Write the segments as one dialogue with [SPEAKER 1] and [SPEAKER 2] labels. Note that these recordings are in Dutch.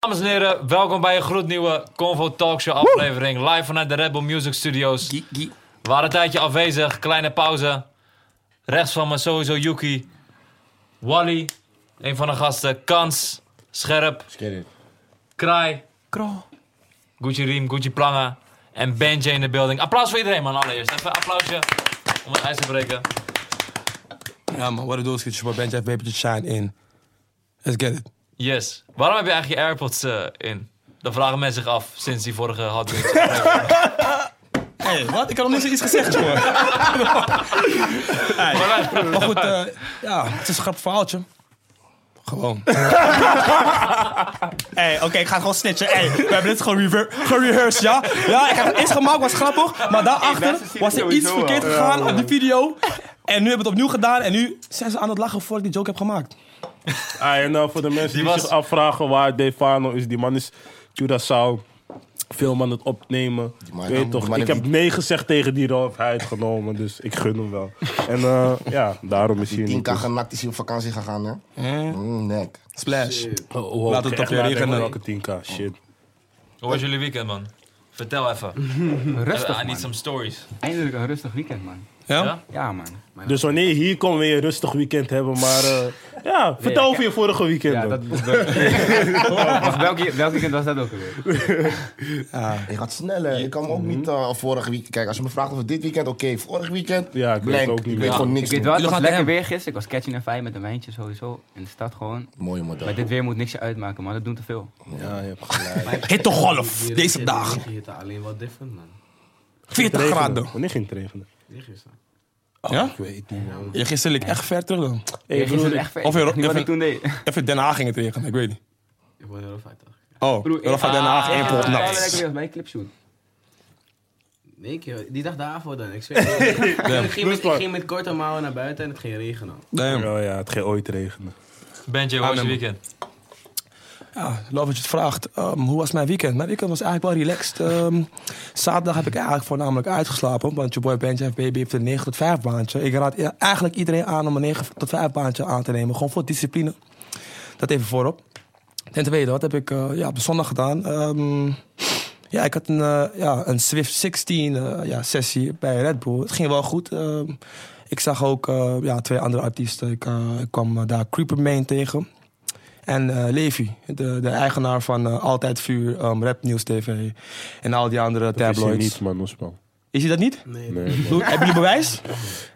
[SPEAKER 1] Dames en heren, welkom bij een gloednieuwe Convo Talkshow aflevering. Live vanuit de Rebel Music Studios.
[SPEAKER 2] Gie, gie.
[SPEAKER 1] We waren een tijdje afwezig, kleine pauze. Rechts van me sowieso Yuki. Wally, een van de gasten. Kans, Scherp, Kraai, Gucci Riem, Gucci Planga en Benji in de building. Applaus voor iedereen man, allereerst. Even een applausje om het ijs te breken.
[SPEAKER 2] Ja man, what it do is get your boy Benji Paper to shine in. Let's get it.
[SPEAKER 1] Yes. Waarom heb je eigenlijk je AirPods eh, in? Dat vragen mensen zich af sinds die vorige had.
[SPEAKER 2] Hé, wat? Ik had nog niet zoiets gezegd, hoor. Maar goed, eh, ja, het is een grappig verhaaltje. Gewoon. hey, oké, ik ga gewoon snitchen. Hey, we hebben dit gewoon rever- gerehearsed, ja? Ja, ik heb het eerst gemaakt, was grappig. Maar daarachter was er iets verkeerd gegaan op die video. En nu hebben we het opnieuw gedaan. En nu zijn ze aan het lachen voordat ik die joke heb gemaakt.
[SPEAKER 3] Ah, en nou, voor de mensen die,
[SPEAKER 1] was-
[SPEAKER 3] zich afvragen waar Defano is, die man is Curaçao. Film aan het opnemen.
[SPEAKER 4] man-
[SPEAKER 3] Weet je toch,
[SPEAKER 4] die man
[SPEAKER 3] ik
[SPEAKER 4] heeft
[SPEAKER 3] heb nee gezegd tegen die rol, heeft hij het genomen, dus ik gun hem wel. En eh, ja, daarom is hij
[SPEAKER 4] Die
[SPEAKER 3] niet. dus-
[SPEAKER 4] 10k genakt is hij op vakantie gegaan, hè? Mm, nek.
[SPEAKER 2] Splash.
[SPEAKER 3] Oh, oh, oh,
[SPEAKER 2] Laat het
[SPEAKER 3] echt
[SPEAKER 2] op je
[SPEAKER 3] nadenken
[SPEAKER 2] regenen.
[SPEAKER 3] welke 10k, shit.
[SPEAKER 1] Hoe was jullie weekend man? Vertel even. Eh,
[SPEAKER 5] Rustig,
[SPEAKER 1] I need
[SPEAKER 5] man.
[SPEAKER 1] some stories.
[SPEAKER 5] Eindelijk een rustig weekend, man.
[SPEAKER 1] Ja?
[SPEAKER 2] Ja?
[SPEAKER 5] Eh, Ja, man. Mijn-
[SPEAKER 3] Dus wanneer je hier komt, wil je een rustig weekend hebben, maar eh, ja, vertel over je vorige weekend.
[SPEAKER 5] Ja,
[SPEAKER 3] dan.
[SPEAKER 5] dat... Was welke, welk weekend was dat ook alweer?
[SPEAKER 3] Ah.
[SPEAKER 4] Ik gaat sneller. Ik kan me ook niet eh, vorige weekend. Kijk, als je me vraagt of het dit weekend, oké. Vorig weekend,
[SPEAKER 3] Ja, ik weet
[SPEAKER 4] blank.
[SPEAKER 3] het ook niet
[SPEAKER 4] Ik
[SPEAKER 3] meer.
[SPEAKER 4] weet gewoon
[SPEAKER 5] Ik
[SPEAKER 4] niks.
[SPEAKER 5] weet wel, het
[SPEAKER 2] Jullie
[SPEAKER 5] was
[SPEAKER 2] gaan
[SPEAKER 5] lekker
[SPEAKER 2] tegen-
[SPEAKER 5] weer gisteren. Ik was catching een vijf met een wijntje sowieso. In de stad gewoon.
[SPEAKER 4] Mooie model.
[SPEAKER 5] Maar dit weer moet niks je uitmaken, man. Dat doet te veel.
[SPEAKER 3] Ja, je hebt gelijk.
[SPEAKER 2] Hittegolf, deze dagen.
[SPEAKER 6] hitte alleen wat different, man.
[SPEAKER 2] 40
[SPEAKER 3] Regenen.
[SPEAKER 2] graden.
[SPEAKER 3] Wanneer ging het regenen?
[SPEAKER 6] Hier gisteren.
[SPEAKER 2] ja? Ik weet niet. Ja, gisteren liep ik echt ver terug dan.
[SPEAKER 3] Hey,
[SPEAKER 5] Ja,
[SPEAKER 3] broer,
[SPEAKER 5] gisteren echt ver.
[SPEAKER 2] of
[SPEAKER 5] Ik
[SPEAKER 2] je-
[SPEAKER 5] weet niet wat
[SPEAKER 2] of
[SPEAKER 5] ik toen deed.
[SPEAKER 2] Even Den Haag ging het regenen, ik weet niet.
[SPEAKER 6] Ik word heel fijn, toch?
[SPEAKER 2] Oh,
[SPEAKER 5] Broer,
[SPEAKER 2] Rafa Den Haag, één pot
[SPEAKER 5] Ja,
[SPEAKER 2] nachts.
[SPEAKER 5] lekker weer als bij een clipshoot.
[SPEAKER 6] Nee, ik, eh, die dag daarvoor dan. Ik zweer het. ik, ging met, ik ging met korte mouwen naar buiten en het ging regenen.
[SPEAKER 2] Damn.
[SPEAKER 3] Oh ja, het ging ooit regenen.
[SPEAKER 1] Benji, hoe was je weekend?
[SPEAKER 2] Ja, love dat je het vraagt. Ehm, hoe was mijn weekend? Mijn weekend was eigenlijk wel relaxed. Ehm, zaterdag heb ik eigenlijk voornamelijk uitgeslapen. Want je boy Benji FBB heeft een 9 tot 5 baantje. Ik raad i- eigenlijk iedereen aan om een 9 tot 5 baantje aan te nemen. Gewoon voor discipline. Dat even voorop. Ten tweede, wat heb ik eh, ja, op de zondag gedaan? Ehm, ja, ik had een, eh, ja, een Swift 16 eh, ja, sessie bij Red Bull. Het ging wel goed. Ehm, ik zag ook eh, ja, twee andere artiesten. Ik, eh, ik kwam eh, daar Creeper Main tegen. En eh, Levi, de, de eigenaar van eh, Altijd Vuur, um, Rap Nieuws TV en al die andere
[SPEAKER 3] Dat is hier
[SPEAKER 2] tabloids.
[SPEAKER 3] niet, man, Osman.
[SPEAKER 2] Is hij dat niet?
[SPEAKER 6] Nee.
[SPEAKER 3] Nee, man.
[SPEAKER 2] Doe- hebben jullie bewijs?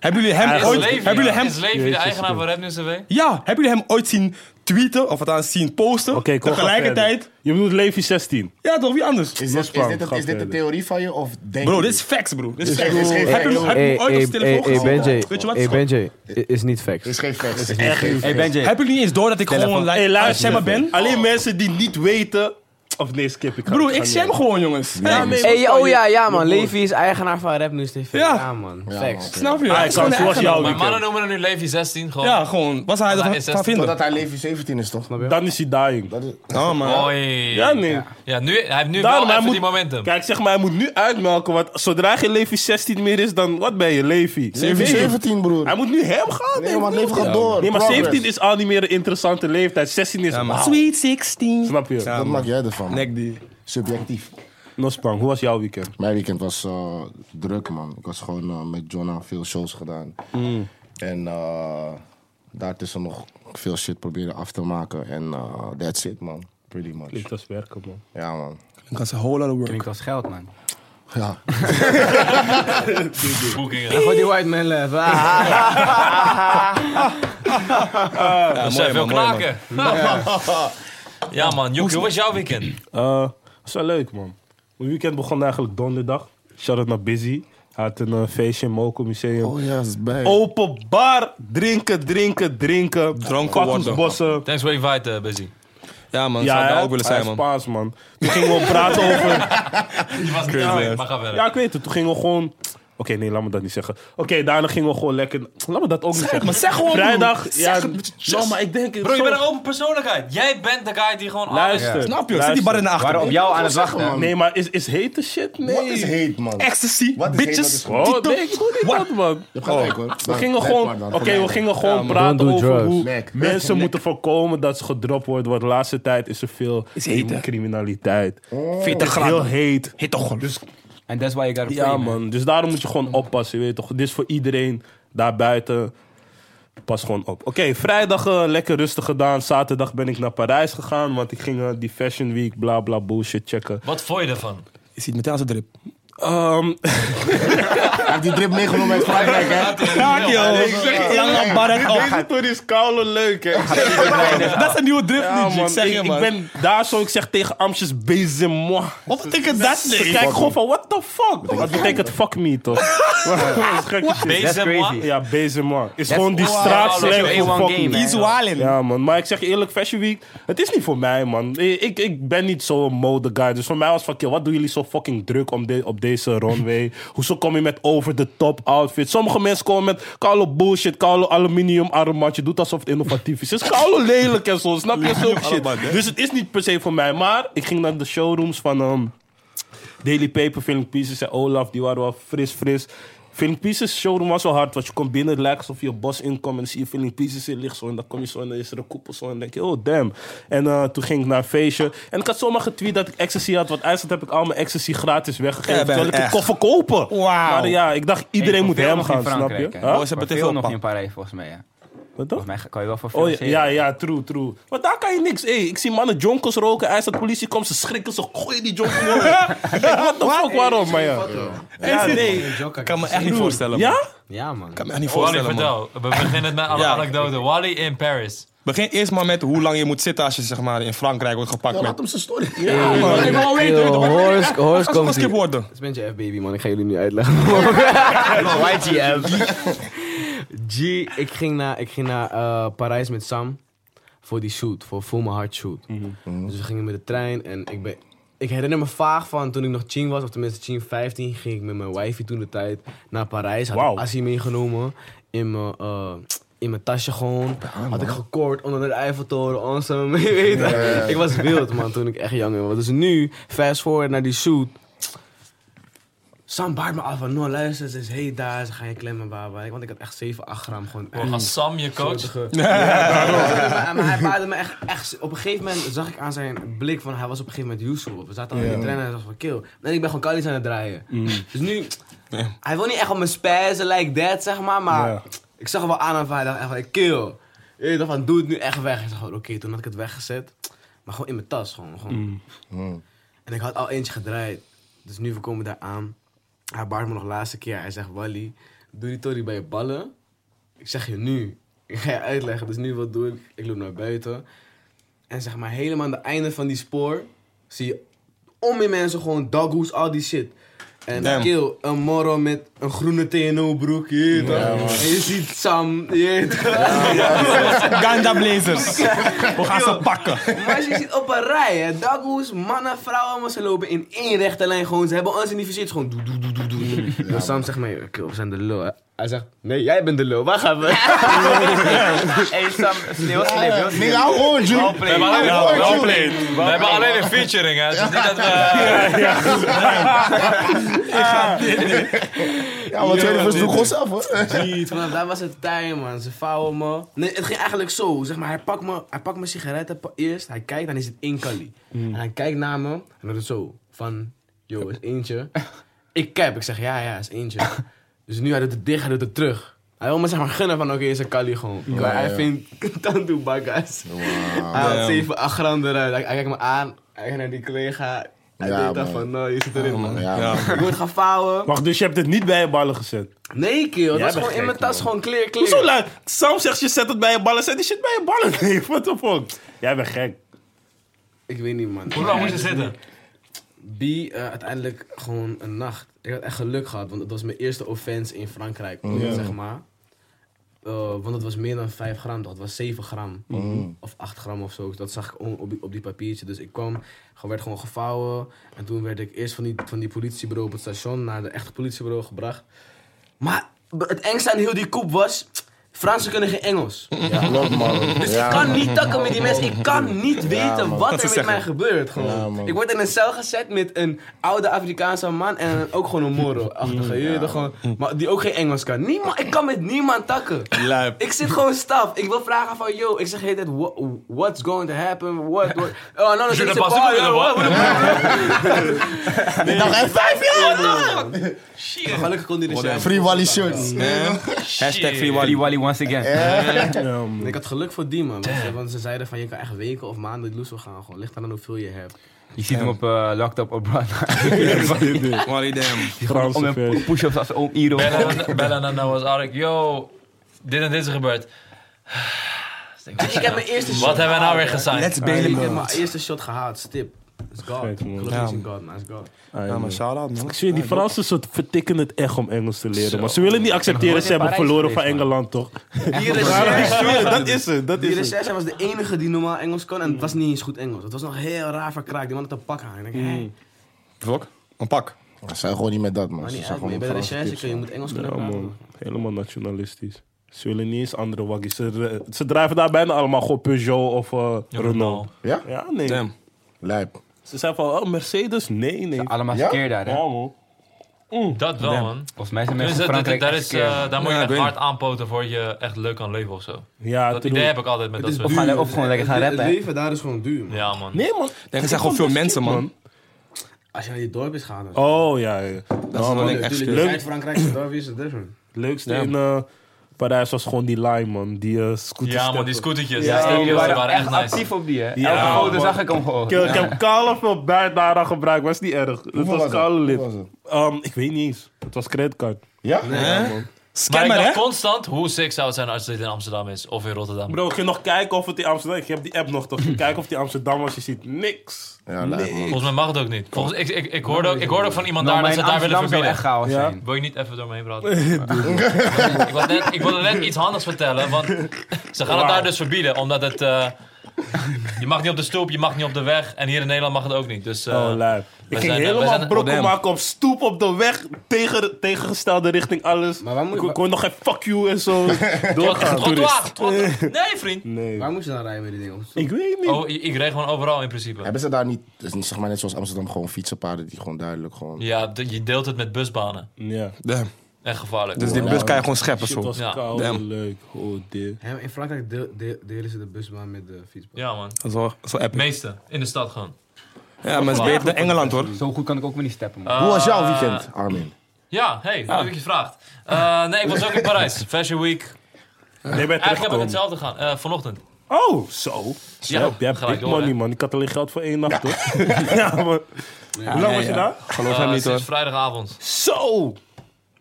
[SPEAKER 2] hebben jullie hem
[SPEAKER 1] Is
[SPEAKER 2] ooit...
[SPEAKER 1] Levi,
[SPEAKER 2] hebben jullie hem,
[SPEAKER 1] is Levi de
[SPEAKER 3] Jezus,
[SPEAKER 1] eigenaar
[SPEAKER 3] joh.
[SPEAKER 1] van Rap News TV?
[SPEAKER 2] ja, hebben jullie hem ooit zien tweeten of wat aan zien posten?
[SPEAKER 3] Oké, kom, ga
[SPEAKER 2] Tegelijkertijd...
[SPEAKER 3] verder. Je bedoelt Levi 16.
[SPEAKER 2] Ja toch, wie anders?
[SPEAKER 4] Is dit, is,
[SPEAKER 3] Lospan,
[SPEAKER 4] dit, een-
[SPEAKER 3] ga
[SPEAKER 4] is dit de
[SPEAKER 3] verder.
[SPEAKER 4] theorie van je of denk
[SPEAKER 2] Bro,
[SPEAKER 4] je?
[SPEAKER 2] dit is facts, bro. Dit is
[SPEAKER 4] Dit
[SPEAKER 2] facts.
[SPEAKER 4] is geen
[SPEAKER 2] Heb je hem-
[SPEAKER 4] facts.
[SPEAKER 2] heb je hem ooit op zijn telefoon
[SPEAKER 7] hey,
[SPEAKER 2] gezien?
[SPEAKER 7] Benji,
[SPEAKER 2] Weet je wat?
[SPEAKER 7] hey, Benji, i- is niet facts.
[SPEAKER 4] Dit is geen facts. Dit is echt geen
[SPEAKER 5] Hey
[SPEAKER 4] facts.
[SPEAKER 5] Benji.
[SPEAKER 2] Hebben jullie niet eens door dat ik gewoon like,
[SPEAKER 3] Hey,
[SPEAKER 2] aan
[SPEAKER 3] luister.
[SPEAKER 2] Shemma ben?
[SPEAKER 3] Alleen mensen die niet weten. Of nee, skip ik. ga-
[SPEAKER 2] Bro,
[SPEAKER 3] ga
[SPEAKER 2] ik
[SPEAKER 3] niet
[SPEAKER 2] sham
[SPEAKER 3] aan.
[SPEAKER 2] gewoon, jongens. Ja,
[SPEAKER 3] nee,
[SPEAKER 7] Hey,
[SPEAKER 3] Osman,
[SPEAKER 7] oh ja,
[SPEAKER 3] je-
[SPEAKER 7] ja
[SPEAKER 3] je
[SPEAKER 7] man,
[SPEAKER 3] broer.
[SPEAKER 7] Levi is eigenaar van Rap News TV.
[SPEAKER 2] Ja.
[SPEAKER 7] man.
[SPEAKER 4] Ja,
[SPEAKER 7] Facts.
[SPEAKER 4] man.
[SPEAKER 2] Snap je?
[SPEAKER 3] Ah,
[SPEAKER 2] Het
[SPEAKER 3] ik
[SPEAKER 2] is
[SPEAKER 3] zou-
[SPEAKER 2] gewoon
[SPEAKER 3] hoe was
[SPEAKER 2] een eigenaar.
[SPEAKER 3] jouw
[SPEAKER 1] Maar
[SPEAKER 3] weekend?
[SPEAKER 1] mannen noemen hem nu Levi 16 gewoon.
[SPEAKER 2] Ja, gewoon. Wat zou hij
[SPEAKER 1] Hij
[SPEAKER 2] ervan
[SPEAKER 1] is
[SPEAKER 2] van vinden?
[SPEAKER 4] Totdat hij leven 17 is, toch?
[SPEAKER 3] Dan is hij dying.
[SPEAKER 4] Dat is,
[SPEAKER 2] Oh, man.
[SPEAKER 1] Hoi.
[SPEAKER 3] Ja, nee.
[SPEAKER 1] Ja, nu, hij heeft nu wel
[SPEAKER 3] Daarom, hij
[SPEAKER 1] even
[SPEAKER 3] moet-
[SPEAKER 1] die momentum.
[SPEAKER 3] Kijk, zeg maar, hij moet nu uitmelken. Want zodra geen Levi 16 meer is, dan wat ben je, Levi?
[SPEAKER 4] Leven
[SPEAKER 3] Levi.
[SPEAKER 4] 17, broer.
[SPEAKER 3] Hij moet nu hem gaan.
[SPEAKER 4] Nee, want leven gaat
[SPEAKER 3] Ja.
[SPEAKER 4] door.
[SPEAKER 3] Nee, maar
[SPEAKER 4] Progress.
[SPEAKER 3] 17 is al niet meer een interessante leeftijd. 16 is. wauw.
[SPEAKER 2] Sweet 16.
[SPEAKER 3] Snap je?
[SPEAKER 2] Ja.
[SPEAKER 4] Dat maak jij ervan.
[SPEAKER 2] Nek die.
[SPEAKER 4] Subjectief.
[SPEAKER 3] Nospang, hoe was jouw weekend?
[SPEAKER 4] Mijn weekend was eh, druk, man. Ik was gewoon eh, met Jonna veel shows gedaan. En eh daartussen nog veel shit proberen af te maken. En eh, that's it, man. Pretty much.
[SPEAKER 3] was werken, man.
[SPEAKER 4] Ja, man.
[SPEAKER 2] Ik had een whole lot of work.
[SPEAKER 5] Klinkt als geld, man.
[SPEAKER 4] Ja.
[SPEAKER 1] Boekingen.
[SPEAKER 6] Gooi die white man left. Ah.
[SPEAKER 1] We zijn veel knaken. Ja man, Joek, hoe was jouw weekend?
[SPEAKER 3] Eh, was wel leuk, man. Mijn weekend begon eigenlijk donderdag. Shout-out naar Busy. Hij had een eh, feestje in Moco Museum.
[SPEAKER 4] Oh ja, dat is bij.
[SPEAKER 3] Open bar, drinken, drinken, drinken.
[SPEAKER 2] Dronken
[SPEAKER 3] Kakkoesbossen.
[SPEAKER 1] Thanks voor je invite, eh, Busy.
[SPEAKER 2] Ja, man.
[SPEAKER 3] Ja,
[SPEAKER 2] zou ik
[SPEAKER 3] hij,
[SPEAKER 2] daar ook willen
[SPEAKER 3] hij
[SPEAKER 2] zijn,
[SPEAKER 3] is
[SPEAKER 2] man.
[SPEAKER 3] Spaans, man. Toen gingen we praten over...
[SPEAKER 1] Je was niet aan, maar ga verder.
[SPEAKER 3] Ja, ik weet het. Toen gingen we gewoon... Oké, nee, laat me dat niet zeggen. Oké, daarna gingen we gewoon lekker... Laat me dat ook niet zeggen.
[SPEAKER 2] maar zeg gewoon, broer.
[SPEAKER 3] Vrijdag,
[SPEAKER 2] Zeg
[SPEAKER 3] ja...
[SPEAKER 2] het met je chest.
[SPEAKER 3] no, maar ik denk...
[SPEAKER 1] Bro, je
[SPEAKER 3] zo-
[SPEAKER 1] bent een open persoonlijkheid. Jij bent de guy die gewoon alles-
[SPEAKER 3] Luister.
[SPEAKER 2] Snap je? Zit
[SPEAKER 3] luister.
[SPEAKER 2] die bar in de
[SPEAKER 5] waren
[SPEAKER 2] achter?
[SPEAKER 5] op jou aan het
[SPEAKER 4] zeggen,
[SPEAKER 5] wachten.
[SPEAKER 4] man.
[SPEAKER 3] Nee, maar is, is hete shit? Nee.
[SPEAKER 4] Wat is heet, man?
[SPEAKER 2] Ecstasy,
[SPEAKER 4] Wat is heet, wat is
[SPEAKER 2] bitches.
[SPEAKER 4] goed?
[SPEAKER 3] Oh, nee, ik doe niet dat, man.
[SPEAKER 4] Je hebt gelijk, hoor.
[SPEAKER 3] We gingen gewoon, oké, we gingen gewoon praten
[SPEAKER 7] Don't do
[SPEAKER 3] over
[SPEAKER 7] drugs.
[SPEAKER 3] hoe
[SPEAKER 4] Mac, Mac,
[SPEAKER 3] mensen
[SPEAKER 4] Mac.
[SPEAKER 3] moeten voorkomen dat ze gedropt worden. Want de laatste tijd is er veel
[SPEAKER 2] Is heten.
[SPEAKER 3] criminaliteit.
[SPEAKER 2] 40
[SPEAKER 3] Heel
[SPEAKER 2] graden.
[SPEAKER 3] heet.
[SPEAKER 2] Hit toch gewoon.
[SPEAKER 5] And that's why you gotta play,
[SPEAKER 3] Ja, man. Dus daarom moet je gewoon oppassen, je weet toch. Dit is voor iedereen daarbuiten. Pas gewoon op. Oké, vrijdag eh, lekker rustig gedaan. Zaterdag ben ik naar Parijs gegaan, want ik ging eh, die Fashion Week, bla bla bullshit checken.
[SPEAKER 1] Wat vond je ervan?
[SPEAKER 2] Je ziet meteen als een drip.
[SPEAKER 3] Ehm,
[SPEAKER 4] Hij heeft die drip meegenomen uit Frankrijk, hè?
[SPEAKER 2] Raak joh. Lange barren.
[SPEAKER 3] Deze tour is koude leuk, hè?
[SPEAKER 2] Dat is een nieuwe drip
[SPEAKER 3] Ja,
[SPEAKER 2] nu, ik
[SPEAKER 3] man,
[SPEAKER 2] zeg
[SPEAKER 3] ik,
[SPEAKER 2] je
[SPEAKER 3] ik
[SPEAKER 2] man.
[SPEAKER 3] ben daar zo, ik zeg tegen Amstjes bezig.
[SPEAKER 2] Wat betekent dat
[SPEAKER 3] Ik
[SPEAKER 2] nee?
[SPEAKER 3] kijk gewoon van, what the fuck? Dat betekent fuck me, toch? Dat is gekke shit.
[SPEAKER 1] Deze
[SPEAKER 5] crazy.
[SPEAKER 1] man.
[SPEAKER 3] Ja, bezig, Is gewoon die
[SPEAKER 1] dat is
[SPEAKER 3] straatslang
[SPEAKER 1] een
[SPEAKER 3] van
[SPEAKER 5] A1
[SPEAKER 3] fuck
[SPEAKER 5] game,
[SPEAKER 3] me.
[SPEAKER 5] hè.
[SPEAKER 2] Easy Wildin.
[SPEAKER 3] Ja, man. Maar ik zeg je eerlijk, Fashion Week, het is niet voor mij, man. Ik, ik, ik ben niet zo'n mode guy. Dus voor mij was van, "Kill, wat doen jullie zo fucking druk om de, op deze runway? Hoezo kom je met over the top outfits? Sommige mensen komen met koude bullshit, koude aluminium armband. Je doet alsof het innovatief is. Het is koude lelijk en zo, snap je? Zulke shit. Dus het is niet per se voor mij. Maar ik ging naar de showrooms van... ehm, Daily Paper, Feeling Pieces en Olaf, die waren wel fris, fris. Feeling Pieces showroom was wel hard, want je komt binnen, het lijkt alsof je bos inkomt en dan zie je Feeling Pieces in ligt zo. En dan kom je zo en dan is er een koepel zo en dan denk je, oh damn. En eh, toen ging ik naar een feestje. En ik had zomaar getweet dat ik ecstasy had, want eindelijk heb ik al mijn ecstasy gratis weggegeven.
[SPEAKER 2] Jij bent
[SPEAKER 3] terwijl ik het kon
[SPEAKER 2] echt.
[SPEAKER 3] verkopen.
[SPEAKER 2] Wauw.
[SPEAKER 3] Maar ja, ik dacht, iedereen moet hem gaan, snap je? Huh?
[SPEAKER 2] Oh, ze hebben
[SPEAKER 5] hebben
[SPEAKER 2] te
[SPEAKER 5] veel
[SPEAKER 2] veel
[SPEAKER 5] nog
[SPEAKER 2] pak.
[SPEAKER 5] in Parijs, volgens mij, ja.
[SPEAKER 3] Wat toch?
[SPEAKER 5] Volgens mij kan je wel voor veel
[SPEAKER 3] Oh ja,
[SPEAKER 5] zeden.
[SPEAKER 3] ja, ja, true, true. Want daar kan je niks. Hey, ik zie mannen jonkels roken, hij staat politie, komt ze schrikken, ze gooien die jonkel weg. Ik denk, What the fuck, waarom? Maar ja. Ja, nee.
[SPEAKER 2] Ik kan me echt niet voorstellen. man.
[SPEAKER 3] Ja?
[SPEAKER 6] Ja, man.
[SPEAKER 2] Ik kan me echt niet
[SPEAKER 1] Wally,
[SPEAKER 2] voorstellen. man.
[SPEAKER 1] vertel. We beginnen met alle
[SPEAKER 2] Ja.
[SPEAKER 1] anekdoten. Wally in Paris.
[SPEAKER 2] Begin eerst maar met hoe lang je moet zitten als je zeg maar, in Frankrijk wordt gepakt.
[SPEAKER 4] Laat
[SPEAKER 2] met...
[SPEAKER 4] hem zijn story.
[SPEAKER 3] Eh,
[SPEAKER 2] Ik wil weten.
[SPEAKER 7] Horse, horse komt
[SPEAKER 2] Skip
[SPEAKER 7] hier.
[SPEAKER 2] worden.
[SPEAKER 6] Dat is Benji F, baby, man.
[SPEAKER 7] Ik ga jullie nu uitleggen.
[SPEAKER 6] YGF. G, ik ging naar, ik ging naar eh, Parijs met Sam voor die shoot, voor Full My Heart shoot. Dus we gingen met de trein en ik ben... Ik herinner me vaag van toen ik nog teen was, of tenminste teen 15, ging ik met mijn wifey toen de tijd naar Parijs. Had
[SPEAKER 3] Wauw.
[SPEAKER 6] ik Assie meegenomen in mijn, eh, in mijn tasje gewoon. Had ik gekort onder de Eiffeltoren, awesome, je weet het. Ik was wild man toen ik echt jong was. Dus nu, fast forward naar die shoot. Sam baart me af van, no luister, ze is heet daar, ze gaan je klemmen, baba. Want ik had echt 7, 8 gram gewoon.
[SPEAKER 3] Mm.
[SPEAKER 6] echt
[SPEAKER 1] Als Sam je coach.
[SPEAKER 6] soortige- Ja, maar- maar hij baarde me echt, echt. Op een gegeven moment zag ik aan zijn blik van, hij was op een gegeven moment Yusuf. We zaten al in de trein en hij was van, kill. En ik ben gewoon Kali's aan het draaien. Dus nu, hij wil niet echt op mijn spijzen like that, zeg maar. Maar
[SPEAKER 3] Ja.
[SPEAKER 6] ik zag hem wel aan en hij dacht echt van, kill. Ik dacht van, doe het nu echt weg. Ik zeg oké, toen had ik het weggezet. Maar gewoon in mijn tas, gewoon. gewoon. Mm. En ik had al eentje gedraaid. Dus nu we komen daar aan. Hij baart me nog de laatste keer. Hij zegt, Wally, doe die Tory bij je ballen. Ik zeg je nu. Ik ga je uitleggen. Dus nu wat doe ik? Ik loop naar buiten. En zeg maar helemaal aan het einde van die spoor... zie je om in mensen gewoon doghoes, al die shit. En
[SPEAKER 2] Damn.
[SPEAKER 6] kill, een moro met een groene TNO broek. Je weet toch? en je ziet Sam. Je weet toch?
[SPEAKER 2] Ganda Blazers. We gaan ze pakken.
[SPEAKER 6] Maar als je ziet op een rij, hè, daghoes, mannen, vrouwen, allemaal ze lopen in één rechte lijn gewoon. Ze hebben ons in die vizier, het is gewoon doe, doe, doe, doe, doe. dus Sam zegt mij, "Kill, we zijn de lul. hè." Hij zegt, nee, jij bent de lul, waar gaan we?
[SPEAKER 5] Hey Sam, heel slim, heel slim.
[SPEAKER 4] Nee, hou hoor,
[SPEAKER 5] Well
[SPEAKER 4] Ju.
[SPEAKER 1] We
[SPEAKER 5] played.
[SPEAKER 1] hebben alleen,
[SPEAKER 4] Ja, wel
[SPEAKER 1] we hebben alleen een featuring, hè. Het is niet dat we...
[SPEAKER 4] Ja, want tweede verzoek gewoon zelf, hoor.
[SPEAKER 6] Vanaf daar was het tijd, man. Ze vouwen me. Nee, het ging eigenlijk zo. Zeg maar, hij pakt, me, hij pakt mijn sigaretten pa- eerst. Hij kijkt, dan is het één kali.
[SPEAKER 5] Mm.
[SPEAKER 6] En hij kijkt naar me. En dan is het zo. Van, yo, is eentje. ik kijk, ik zeg, ja, ja, is eentje. dus nu, hij doet het dicht, hij doet het terug. Hij wil me zeg maar gunnen van, oké, is een kali gewoon. maar hij vindt tandoe bagas. Hij had 7, 8 gram eruit. Hij, hij kijkt me aan. Hij kijkt naar die collega. Hij
[SPEAKER 4] Ja,
[SPEAKER 6] denkt dan
[SPEAKER 4] man.
[SPEAKER 6] van, nou, je zit erin, man.
[SPEAKER 4] Ja, man.
[SPEAKER 6] Ik word gaan vouwen.
[SPEAKER 3] Wacht, dus je hebt het niet bij je ballen gezet?
[SPEAKER 6] Nee, kill. Dat
[SPEAKER 3] Jij bent
[SPEAKER 6] was gewoon in
[SPEAKER 3] gek,
[SPEAKER 6] mijn tas,
[SPEAKER 3] man.
[SPEAKER 6] gewoon clear, clear.
[SPEAKER 3] Hoezo lui? Sam zegt je zet het bij je ballen. Zet die shit bij je ballen. Nee, what the fuck? Jij bent gek.
[SPEAKER 6] Ik weet niet, man.
[SPEAKER 1] Hoe lang moest je zitten?
[SPEAKER 6] B, eh, uiteindelijk gewoon een nacht. Ik had echt geluk gehad, want het was mijn eerste offense in Frankrijk, zeg maar. Eh, want het was meer dan 5 gram, dat was 7 gram. Of 8 gram of zo. Dat zag ik on- op, die- op die papiertje. Dus ik kwam, ge- werd gewoon gevouwen. En toen werd ik eerst van die, van die politiebureau op het station naar de echte politiebureau gebracht. Maar het engste aan heel die koep was... Fransen kunnen geen Engels.
[SPEAKER 4] Ja, klopt, man.
[SPEAKER 6] Dus
[SPEAKER 4] Ja,
[SPEAKER 6] ik kan
[SPEAKER 4] man.
[SPEAKER 6] niet takken met die mensen. Ik kan niet weten
[SPEAKER 4] man.
[SPEAKER 6] wat er met mij gebeurt. Gewoon.
[SPEAKER 4] man.
[SPEAKER 6] ik word in een cel gezet met een oude Afrikaanse man en ook gewoon een moro-achtige. je weet toch gewoon, maar die ook geen Engels kan. Niemand, ik kan met niemand takken.
[SPEAKER 8] Lijp.
[SPEAKER 6] Ik zit gewoon staf. Ik wil vragen van, yo, ik zeg de hele tijd, wha- what's going to happen? What, what? Oh, no, no,
[SPEAKER 1] Je
[SPEAKER 6] ze
[SPEAKER 1] dat
[SPEAKER 6] zegt,
[SPEAKER 1] pas
[SPEAKER 6] oh,
[SPEAKER 1] ook
[SPEAKER 6] ja,
[SPEAKER 1] willen,
[SPEAKER 6] what-
[SPEAKER 1] hoor.
[SPEAKER 4] Ik dacht echt vijf
[SPEAKER 6] Ja,
[SPEAKER 4] jaar.
[SPEAKER 6] toch? Maar Gelukkig kon die er zijn.
[SPEAKER 4] Free Wally shirts.
[SPEAKER 8] Hashtag free
[SPEAKER 5] Wally
[SPEAKER 8] Wally.
[SPEAKER 5] Wally once again.
[SPEAKER 6] Ik had geluk voor die man. want ze- Want ze zeiden van, je kan echt weken of maanden loesel gaan. Gewoon, ligt aan hoeveel je hebt.
[SPEAKER 5] Je ziet hem op eh, locked up op
[SPEAKER 8] Wally damn.
[SPEAKER 5] Om
[SPEAKER 3] Franse
[SPEAKER 5] hem
[SPEAKER 3] feest.
[SPEAKER 5] push-ups als om Iro.
[SPEAKER 1] Bellen- Bellen en dan was Arik, yo, dit en dit is gebeurd.
[SPEAKER 6] Ik heb mijn eerste shot
[SPEAKER 1] Wat hebben we nou weer
[SPEAKER 6] gehaald, hè.
[SPEAKER 1] gesigned?
[SPEAKER 2] Let's bail
[SPEAKER 6] Ik heb
[SPEAKER 2] him,
[SPEAKER 6] mijn eerste shot gehaald, stip. It's God.
[SPEAKER 3] Perfect, man.
[SPEAKER 6] Geloof
[SPEAKER 2] Ja,
[SPEAKER 6] is in
[SPEAKER 2] man.
[SPEAKER 6] God, maar it's God.
[SPEAKER 2] Ah, Ja, maar shout-out, man. Ah,
[SPEAKER 3] Ik zweer, die Fransen ze vertikken het echt om Engels te leren. Maar ze willen niet accepteren,
[SPEAKER 5] nooit
[SPEAKER 3] ze
[SPEAKER 5] in
[SPEAKER 3] hebben
[SPEAKER 5] Parijs
[SPEAKER 3] verloren van
[SPEAKER 5] geweest,
[SPEAKER 3] Engeland, toch?
[SPEAKER 6] Die recherche,
[SPEAKER 3] dat is het, dat
[SPEAKER 6] die recherche was de enige die normaal Engels kon en het was niet eens goed Engels. Het was nog heel raar verkraakt. Die man had een pak aan. Ik denk, hé,
[SPEAKER 8] Vlok? Een pak.
[SPEAKER 4] Ze zijn gewoon niet met dat, man.
[SPEAKER 6] maar
[SPEAKER 4] Ze
[SPEAKER 6] niet
[SPEAKER 4] zijn
[SPEAKER 6] uit.
[SPEAKER 4] gewoon
[SPEAKER 6] man. Je
[SPEAKER 4] met
[SPEAKER 6] bent een
[SPEAKER 4] Franse
[SPEAKER 6] recherche,
[SPEAKER 4] kids,
[SPEAKER 6] kun je moet Engels kunnen
[SPEAKER 3] Ja,
[SPEAKER 6] praten.
[SPEAKER 3] man. Helemaal nationalistisch. Ze willen niet eens andere waggies. Ze, ze drijven daar bijna allemaal gewoon Peugeot of eh, Renault.
[SPEAKER 4] Ja?
[SPEAKER 3] Ja, nee.
[SPEAKER 8] Damn.
[SPEAKER 4] Lijp.
[SPEAKER 3] Ze zijn van, oh, Mercedes? Nee, nee.
[SPEAKER 5] Allemaal
[SPEAKER 4] Ja?
[SPEAKER 5] skeer daar, hè?
[SPEAKER 3] Ja, man. Mm.
[SPEAKER 1] Dat wel, man.
[SPEAKER 5] Volgens mij zijn
[SPEAKER 1] Dus
[SPEAKER 5] mensen in
[SPEAKER 1] dat- dat-
[SPEAKER 5] Frankrijk
[SPEAKER 1] daar
[SPEAKER 5] echt
[SPEAKER 1] is,
[SPEAKER 5] skeer.
[SPEAKER 1] eh, daar moet
[SPEAKER 8] Ja,
[SPEAKER 1] je
[SPEAKER 8] ik
[SPEAKER 1] echt
[SPEAKER 8] weet
[SPEAKER 1] hard aanpoten voor je echt leuk kan leven of zo.
[SPEAKER 3] Ja,
[SPEAKER 1] Dat
[SPEAKER 3] true.
[SPEAKER 1] idee heb ik altijd met
[SPEAKER 6] Het
[SPEAKER 1] dat
[SPEAKER 6] is
[SPEAKER 1] soort
[SPEAKER 6] duur.
[SPEAKER 5] Of gewoon lekker gaan
[SPEAKER 6] Het-
[SPEAKER 5] rappen, hè?
[SPEAKER 6] Het leven daar is gewoon duur, man.
[SPEAKER 1] Ja, man.
[SPEAKER 3] Nee, man.
[SPEAKER 8] Er zijn gewoon veel mensen, man.
[SPEAKER 6] Als je naar je dorp is gaan, dan
[SPEAKER 3] Oh, ja. ja.
[SPEAKER 8] Dat is wel
[SPEAKER 6] Tuurlijk,
[SPEAKER 8] echt
[SPEAKER 6] tuurlijk,
[SPEAKER 8] stuk.
[SPEAKER 6] je kijkt Frankrijk, je dorp is het different.
[SPEAKER 3] Leukste in eh, Parijs was gewoon die line, man. Die eh, scooter.
[SPEAKER 1] Ja, man,
[SPEAKER 3] step.
[SPEAKER 1] die scootertjes.
[SPEAKER 5] Ja,
[SPEAKER 1] die stapjes,
[SPEAKER 5] jullie
[SPEAKER 1] die
[SPEAKER 5] waren
[SPEAKER 1] waren echt nice.
[SPEAKER 5] actief op die, hè?
[SPEAKER 3] Ja,
[SPEAKER 5] Elke foto
[SPEAKER 3] man.
[SPEAKER 5] zag ik hem
[SPEAKER 3] Ik,
[SPEAKER 5] gewoon. Nou,
[SPEAKER 3] ik heb kale veel buiten daaraan gebruikt, was niet erg. Het
[SPEAKER 4] Hoeveel
[SPEAKER 3] was
[SPEAKER 4] was het?
[SPEAKER 3] kale
[SPEAKER 4] Hoeveel was
[SPEAKER 3] lid.
[SPEAKER 4] het?
[SPEAKER 3] Ehm, ik weet niet eens. Het was creditcard.
[SPEAKER 4] Ja?
[SPEAKER 1] Maar ik
[SPEAKER 8] Scammer,
[SPEAKER 1] dacht
[SPEAKER 8] hè?
[SPEAKER 1] constant hoe sick zou het zijn als dit in Amsterdam is. Of in Rotterdam.
[SPEAKER 3] Bro, ik ging nog kijken of het in Amsterdam... Ik heb die app nog toch. Ik ging kijken of die Amsterdam was. Je ziet niks.
[SPEAKER 4] Ja, lijp, man.
[SPEAKER 1] Volgens mij mag het ook niet. Volgens, ik, ik, ik, hoorde ook, ik hoorde ook van iemand
[SPEAKER 5] Nou,
[SPEAKER 1] daar
[SPEAKER 5] maar
[SPEAKER 1] dat ze
[SPEAKER 5] in
[SPEAKER 1] het daar willen
[SPEAKER 5] Amsterdam zou
[SPEAKER 1] verbieden.
[SPEAKER 5] echt chaos
[SPEAKER 3] Ja.
[SPEAKER 5] zijn.
[SPEAKER 1] Wil je niet even door me heen praten? ik, wilde net, ik wilde net iets handigs vertellen, want ze gaan het daar dus verbieden, omdat het... eh, je mag niet op de stoep, je mag niet op de weg. En hier in Nederland mag het ook niet. Dus, eh,
[SPEAKER 3] Oh, lijp.
[SPEAKER 1] we
[SPEAKER 3] Ik ging
[SPEAKER 1] zijn, eh, we
[SPEAKER 3] helemaal
[SPEAKER 1] zijn-
[SPEAKER 3] brokken
[SPEAKER 8] Damn.
[SPEAKER 3] maken op stoep, op de weg, tegen, tegengestelde richting alles.
[SPEAKER 6] Maar waar moet-
[SPEAKER 3] ik kon- kon nog geen fuck you en zo doorgaan.
[SPEAKER 1] Trottoir! trottoir. Nee, vriend!
[SPEAKER 3] Nee.
[SPEAKER 6] Waar moet je dan rijden met die dingen?
[SPEAKER 3] Ik weet niet.
[SPEAKER 1] Oh, ik ik reed gewoon overal in principe.
[SPEAKER 4] Hebben ze daar niet, dus zeg maar net zoals Amsterdam, gewoon fietsenpaden die gewoon duidelijk gewoon...
[SPEAKER 1] Ja, de- je deelt het met busbanen.
[SPEAKER 3] Ja.
[SPEAKER 8] Damn.
[SPEAKER 1] Echt gevaarlijk.
[SPEAKER 8] Dus die bus kan je gewoon scheppen,
[SPEAKER 3] Shit
[SPEAKER 8] zo.
[SPEAKER 3] was
[SPEAKER 1] Ja.
[SPEAKER 3] koud,
[SPEAKER 8] Damn.
[SPEAKER 3] leuk. Oh, dit.
[SPEAKER 6] Hè, In Frankrijk deel- deel- delen ze de busbaan met de fietsbaan.
[SPEAKER 1] Ja, man.
[SPEAKER 8] Dat is wel, dat is wel epic.
[SPEAKER 1] Meeste. In de stad gewoon.
[SPEAKER 8] Ja, maar het is beter dan Engeland, hoor.
[SPEAKER 5] Zo goed kan ik ook weer niet steppen, man.
[SPEAKER 1] Eh,
[SPEAKER 4] Hoe was jouw weekend, Armin?
[SPEAKER 1] Ja,
[SPEAKER 3] Ah.
[SPEAKER 1] hey, leuk dat je het vraagt. Eh, nee, ik was ook in Parijs. Fashion Week.
[SPEAKER 3] Nee,
[SPEAKER 1] Eigenlijk heb
[SPEAKER 3] ben
[SPEAKER 1] ik
[SPEAKER 3] teruggekomen.
[SPEAKER 1] hetzelfde gedaan. eh, vanochtend.
[SPEAKER 3] Oh, zo.
[SPEAKER 1] Ja,
[SPEAKER 3] Ja, jij hebt
[SPEAKER 1] gelijk
[SPEAKER 3] big
[SPEAKER 1] door,
[SPEAKER 3] money,
[SPEAKER 1] hè.
[SPEAKER 3] man. Ik had alleen geld voor één nacht, hoor. ja, man. Hoe lang
[SPEAKER 8] nee,
[SPEAKER 3] was je
[SPEAKER 8] ja.
[SPEAKER 3] daar?
[SPEAKER 8] Geloof
[SPEAKER 1] Eh,
[SPEAKER 8] hem niet, hoor.
[SPEAKER 1] sinds vrijdagavond.
[SPEAKER 3] Zo!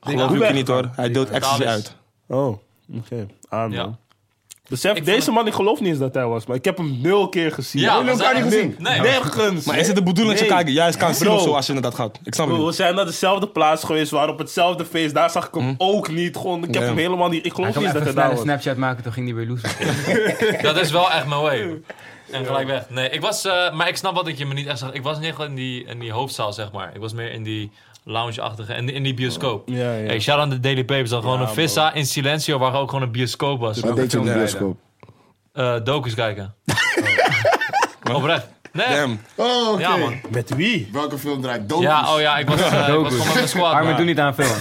[SPEAKER 8] Geloof
[SPEAKER 3] Hoe
[SPEAKER 8] Lucky
[SPEAKER 3] ben-
[SPEAKER 8] niet, hoor. Hij deelt ecstasy
[SPEAKER 1] Talis.
[SPEAKER 8] uit.
[SPEAKER 3] Oh, oké. Aan,
[SPEAKER 1] Ja.
[SPEAKER 3] man. Besef,
[SPEAKER 1] Ik vond
[SPEAKER 3] deze man, ik geloof niet eens dat hij was, maar ik heb hem nul keer gezien.
[SPEAKER 1] Ja,
[SPEAKER 4] Jullie
[SPEAKER 1] we
[SPEAKER 4] elkaar
[SPEAKER 1] zijn-
[SPEAKER 4] niet gezien?
[SPEAKER 1] Nee.
[SPEAKER 3] Nergens.
[SPEAKER 8] Maar is het de bedoeling dat je
[SPEAKER 3] Nee.
[SPEAKER 8] kijkt? Ja, het kan zien
[SPEAKER 3] Bro.
[SPEAKER 8] of zo als je naar dat gaat. Ik snap het
[SPEAKER 3] We
[SPEAKER 8] niet.
[SPEAKER 3] we zijn naar dezelfde plaats geweest, we waren op hetzelfde feest. Daar zag ik
[SPEAKER 1] Hm.
[SPEAKER 3] hem ook niet. Gewoon, ik heb
[SPEAKER 8] Ja.
[SPEAKER 3] hem helemaal niet. Ik
[SPEAKER 5] Hij
[SPEAKER 3] geloof
[SPEAKER 5] kan
[SPEAKER 3] niet eens
[SPEAKER 5] even
[SPEAKER 3] dat hij
[SPEAKER 5] snel
[SPEAKER 3] daar
[SPEAKER 5] een
[SPEAKER 3] was.
[SPEAKER 5] Snapchat maken, toen ging hij weer loose.
[SPEAKER 1] Dat is wel echt mijn way. hoor. En gelijk weg. Nee, ik was, eh, maar ik snap wat ik je me niet echt zag. Ik was niet echt in die, in die hoofdzaal, zeg maar. Ik was meer in die lounge-achtige, in, in die bioscoop.
[SPEAKER 3] Ja, ja.
[SPEAKER 1] Hey, shout aan de Daily Papers. Dan gewoon
[SPEAKER 3] Ja,
[SPEAKER 1] een vissa in silencio, waar ook gewoon een bioscoop was.
[SPEAKER 4] Wat deed je in de bioscoop?
[SPEAKER 1] Eh docus kijken. Oprecht. Nee.
[SPEAKER 8] Damn.
[SPEAKER 4] Oh, oké.
[SPEAKER 1] Ja, man.
[SPEAKER 3] Met wie?
[SPEAKER 4] Welke film draait dood?
[SPEAKER 1] Ja, oh ja, ik was, eh, ik was
[SPEAKER 5] Docus.
[SPEAKER 1] gewoon met mijn squad.
[SPEAKER 5] Armin,
[SPEAKER 1] Ja.
[SPEAKER 5] doe niet aan filmen.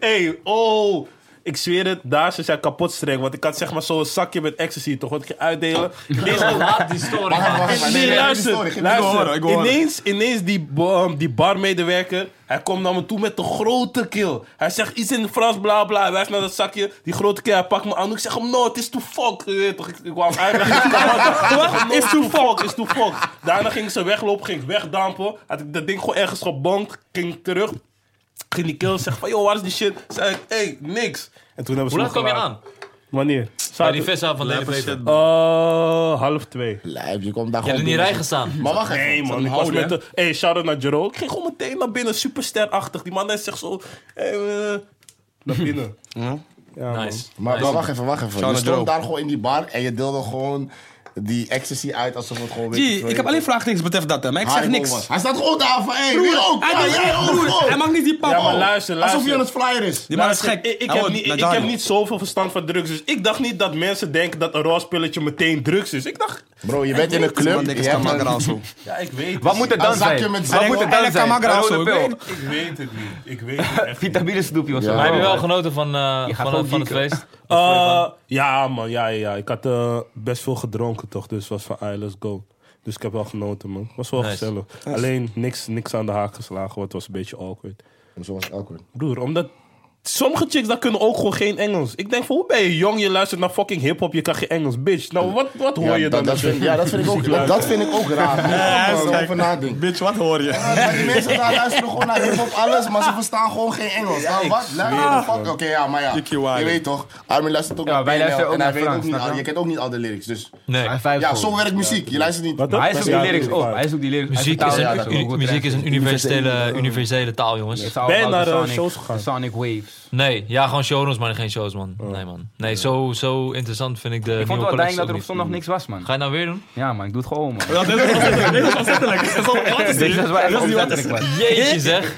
[SPEAKER 3] hey, oh. Ik zweer het, daar ze zijn kapot streng. Want ik had zeg maar zo'n zakje met ecstasy, toch? Wat ik ging uitdelen. Ineens,
[SPEAKER 1] Oh, Laat die story
[SPEAKER 4] Wacht,
[SPEAKER 1] gaan.
[SPEAKER 4] wacht, wacht.
[SPEAKER 3] Ah, nee,
[SPEAKER 4] Nee,
[SPEAKER 3] luister,
[SPEAKER 4] sorry, geen-
[SPEAKER 3] luister.
[SPEAKER 8] Ik wil horen, ik wil horen.
[SPEAKER 3] ineens, ineens die, bo- ehm, die barmedewerker, hij komt naar me toe met de grote keel. Hij zegt iets in het Frans, bla bla. Hij wijst naar dat zakje. Die grote keel, hij pakt me aan. Ik zeg hem, no, het is too fuck. Je weet toch, Ik, ik wou hem uitleggen. Ik zeg, Wat? Is too fuck, is too fuck. Daarna ging ze weglopen, ging ik wegdampen. Had ik dat ding gewoon ergens gebonkt, ging ik terug. Ging die keel zeggen van, joh, waar is die shit? Zei ik, hey, niks. En toen hebben ze
[SPEAKER 1] Hoe
[SPEAKER 3] me
[SPEAKER 1] laat kom je
[SPEAKER 3] gelaten.
[SPEAKER 1] aan?
[SPEAKER 3] Wanneer?
[SPEAKER 1] Bij die
[SPEAKER 3] Zaterdag.
[SPEAKER 1] vissa van Daily Papers. Je
[SPEAKER 3] Eh, half twee.
[SPEAKER 4] Lijp, je komt daar
[SPEAKER 1] hebt
[SPEAKER 4] gewoon
[SPEAKER 1] in die
[SPEAKER 4] binnen.
[SPEAKER 1] rij gestaan.
[SPEAKER 4] Maar wacht even.
[SPEAKER 3] Nee, man. Ik was met de. Hey, shout out naar Jero. Ik ging gewoon meteen naar binnen, supersterachtig. Die man net zegt zo. Hey, eh, naar binnen.
[SPEAKER 1] Nice.
[SPEAKER 4] Maar,
[SPEAKER 1] Nice.
[SPEAKER 4] maar wacht even, wacht even.
[SPEAKER 8] Shout
[SPEAKER 4] Je
[SPEAKER 8] out Joe.
[SPEAKER 4] stond daar gewoon in die bar en je deelde gewoon die ecstasy uit alsof het gewoon... weet
[SPEAKER 8] Gee,
[SPEAKER 4] veel-
[SPEAKER 8] ik heb alleen vraagtekens betreft dat, hè, maar ik zeg
[SPEAKER 4] Haribo
[SPEAKER 8] niks.
[SPEAKER 4] was. Hij staat gewoon daar van, hé, hey, wie ook?
[SPEAKER 8] Hij
[SPEAKER 4] Ja,
[SPEAKER 8] doet-
[SPEAKER 4] jij ook,
[SPEAKER 8] broer,
[SPEAKER 4] gewoon.
[SPEAKER 8] Hij mag niet die pap.
[SPEAKER 3] Ja, maar luister, luister.
[SPEAKER 4] Alsof je aan het flyer is.
[SPEAKER 8] Die man is
[SPEAKER 3] Luister,
[SPEAKER 8] gek.
[SPEAKER 3] Ik,
[SPEAKER 8] Hij
[SPEAKER 3] ik heb,
[SPEAKER 8] wordt
[SPEAKER 3] niet,
[SPEAKER 8] naar
[SPEAKER 3] ik
[SPEAKER 8] Daniel.
[SPEAKER 3] heb niet zoveel verstand van drugs. Dus ik dacht niet dat mensen denken dat een roze pilletje meteen drugs is. Ik dacht,
[SPEAKER 4] Bro, je bent in een club.
[SPEAKER 8] Man,
[SPEAKER 4] je
[SPEAKER 8] denk ik,
[SPEAKER 4] hebt
[SPEAKER 8] Scamagra
[SPEAKER 4] een-
[SPEAKER 8] of zo.
[SPEAKER 3] ja, ik weet het.
[SPEAKER 5] Wat moet het dan
[SPEAKER 4] Een zakje
[SPEAKER 5] zijn?
[SPEAKER 4] met
[SPEAKER 5] Wat moet
[SPEAKER 4] zand.
[SPEAKER 5] het dan
[SPEAKER 8] En
[SPEAKER 5] zijn?
[SPEAKER 8] Kamara
[SPEAKER 5] Een
[SPEAKER 8] of zo,
[SPEAKER 5] rode
[SPEAKER 8] ik
[SPEAKER 5] pil.
[SPEAKER 3] Ik weet het niet. Ik weet het echt niet.
[SPEAKER 5] Vitamine snoepje was
[SPEAKER 4] Ja.
[SPEAKER 5] dat.
[SPEAKER 4] Maar
[SPEAKER 1] Heb je wel genoten van, eh,
[SPEAKER 5] Oh. Je gaat
[SPEAKER 1] van,
[SPEAKER 5] gewoon
[SPEAKER 1] van het
[SPEAKER 5] geeken.
[SPEAKER 1] feest?
[SPEAKER 3] Eh, ja, man. Ja, ja, ja. Ik had eh, best veel gedronken, toch? Dus het was van, ah, let's go. Dus ik heb wel genoten, man. was wel
[SPEAKER 1] Nice.
[SPEAKER 3] gezellig. Alleen niks, niks aan de haak geslagen, want het was een beetje awkward.
[SPEAKER 4] Zo was het awkward.
[SPEAKER 3] Broer, omdat... Sommige chicks, dat kunnen ook gewoon geen Engels. Ik denk van, hoe ben je jong? Je luistert naar fucking hiphop, je kan geen Engels, bitch. Nou, wat, wat hoor
[SPEAKER 4] Ja,
[SPEAKER 3] je
[SPEAKER 4] dat-
[SPEAKER 3] dan?
[SPEAKER 4] dat
[SPEAKER 3] als je-
[SPEAKER 4] vind- ja, dat vind ik ook, dat, dat vind ik ook raar. Ja,
[SPEAKER 8] is gek.
[SPEAKER 4] over nadenken.
[SPEAKER 8] Bitch, wat hoor je?
[SPEAKER 4] Ja, maar die mensen daar luisteren gewoon naar hip-hop, alles, maar ze verstaan gewoon geen Engels. Nou, wat? Luister, fuck. Oké, ja, maar ja.
[SPEAKER 8] Ikkie
[SPEAKER 4] Je
[SPEAKER 8] Wiley.
[SPEAKER 4] weet toch, Armin luistert ook
[SPEAKER 5] Ja,
[SPEAKER 4] naar
[SPEAKER 5] wij
[SPEAKER 4] PNL
[SPEAKER 5] luisteren ook
[SPEAKER 4] en
[SPEAKER 5] naar
[SPEAKER 4] hij weet
[SPEAKER 5] Frans,
[SPEAKER 4] ook niet,
[SPEAKER 5] snap
[SPEAKER 4] al-
[SPEAKER 5] je?
[SPEAKER 4] je kent ook niet al de lyrics, dus...
[SPEAKER 1] Nee.
[SPEAKER 5] Hij vijf
[SPEAKER 4] Ja,
[SPEAKER 5] voor.
[SPEAKER 4] zo werkt muziek. Je luistert niet.
[SPEAKER 3] Wat
[SPEAKER 5] Maar
[SPEAKER 3] dan?
[SPEAKER 5] hij zoekt die
[SPEAKER 3] Ja,
[SPEAKER 5] lyrics op.
[SPEAKER 3] waar.
[SPEAKER 5] Hij zoekt die lyrics hij
[SPEAKER 1] Muziek is,
[SPEAKER 5] vertaalt
[SPEAKER 1] een,
[SPEAKER 5] het ook
[SPEAKER 1] uni-
[SPEAKER 5] goed eh,
[SPEAKER 1] muziek
[SPEAKER 5] terecht.
[SPEAKER 1] is een universele, universele taal, jongens.
[SPEAKER 5] Het is al
[SPEAKER 3] Ben je
[SPEAKER 5] about
[SPEAKER 3] naar,
[SPEAKER 5] de
[SPEAKER 3] eh,
[SPEAKER 5] Sonic-
[SPEAKER 3] shows gegaan?
[SPEAKER 5] de Sonic Waves.
[SPEAKER 1] Nee, ja, gewoon showrooms, maar geen shows, man.
[SPEAKER 5] Oh.
[SPEAKER 1] Nee, man. Nee, zo, zo interessant vind ik de
[SPEAKER 5] Ik vond
[SPEAKER 1] nieuwe
[SPEAKER 5] het wel
[SPEAKER 1] collecties
[SPEAKER 5] dang
[SPEAKER 1] ook
[SPEAKER 5] dat er op
[SPEAKER 1] niet.
[SPEAKER 5] zondag niks was, man.
[SPEAKER 1] Ga je nou weer doen?
[SPEAKER 5] Ja, maar ik doe het gewoon, man.
[SPEAKER 8] Dat is ontzettelijk. Dat is ontzettelijk.
[SPEAKER 5] Dit is waar echt ontzettend was.
[SPEAKER 1] Jeetje zeg.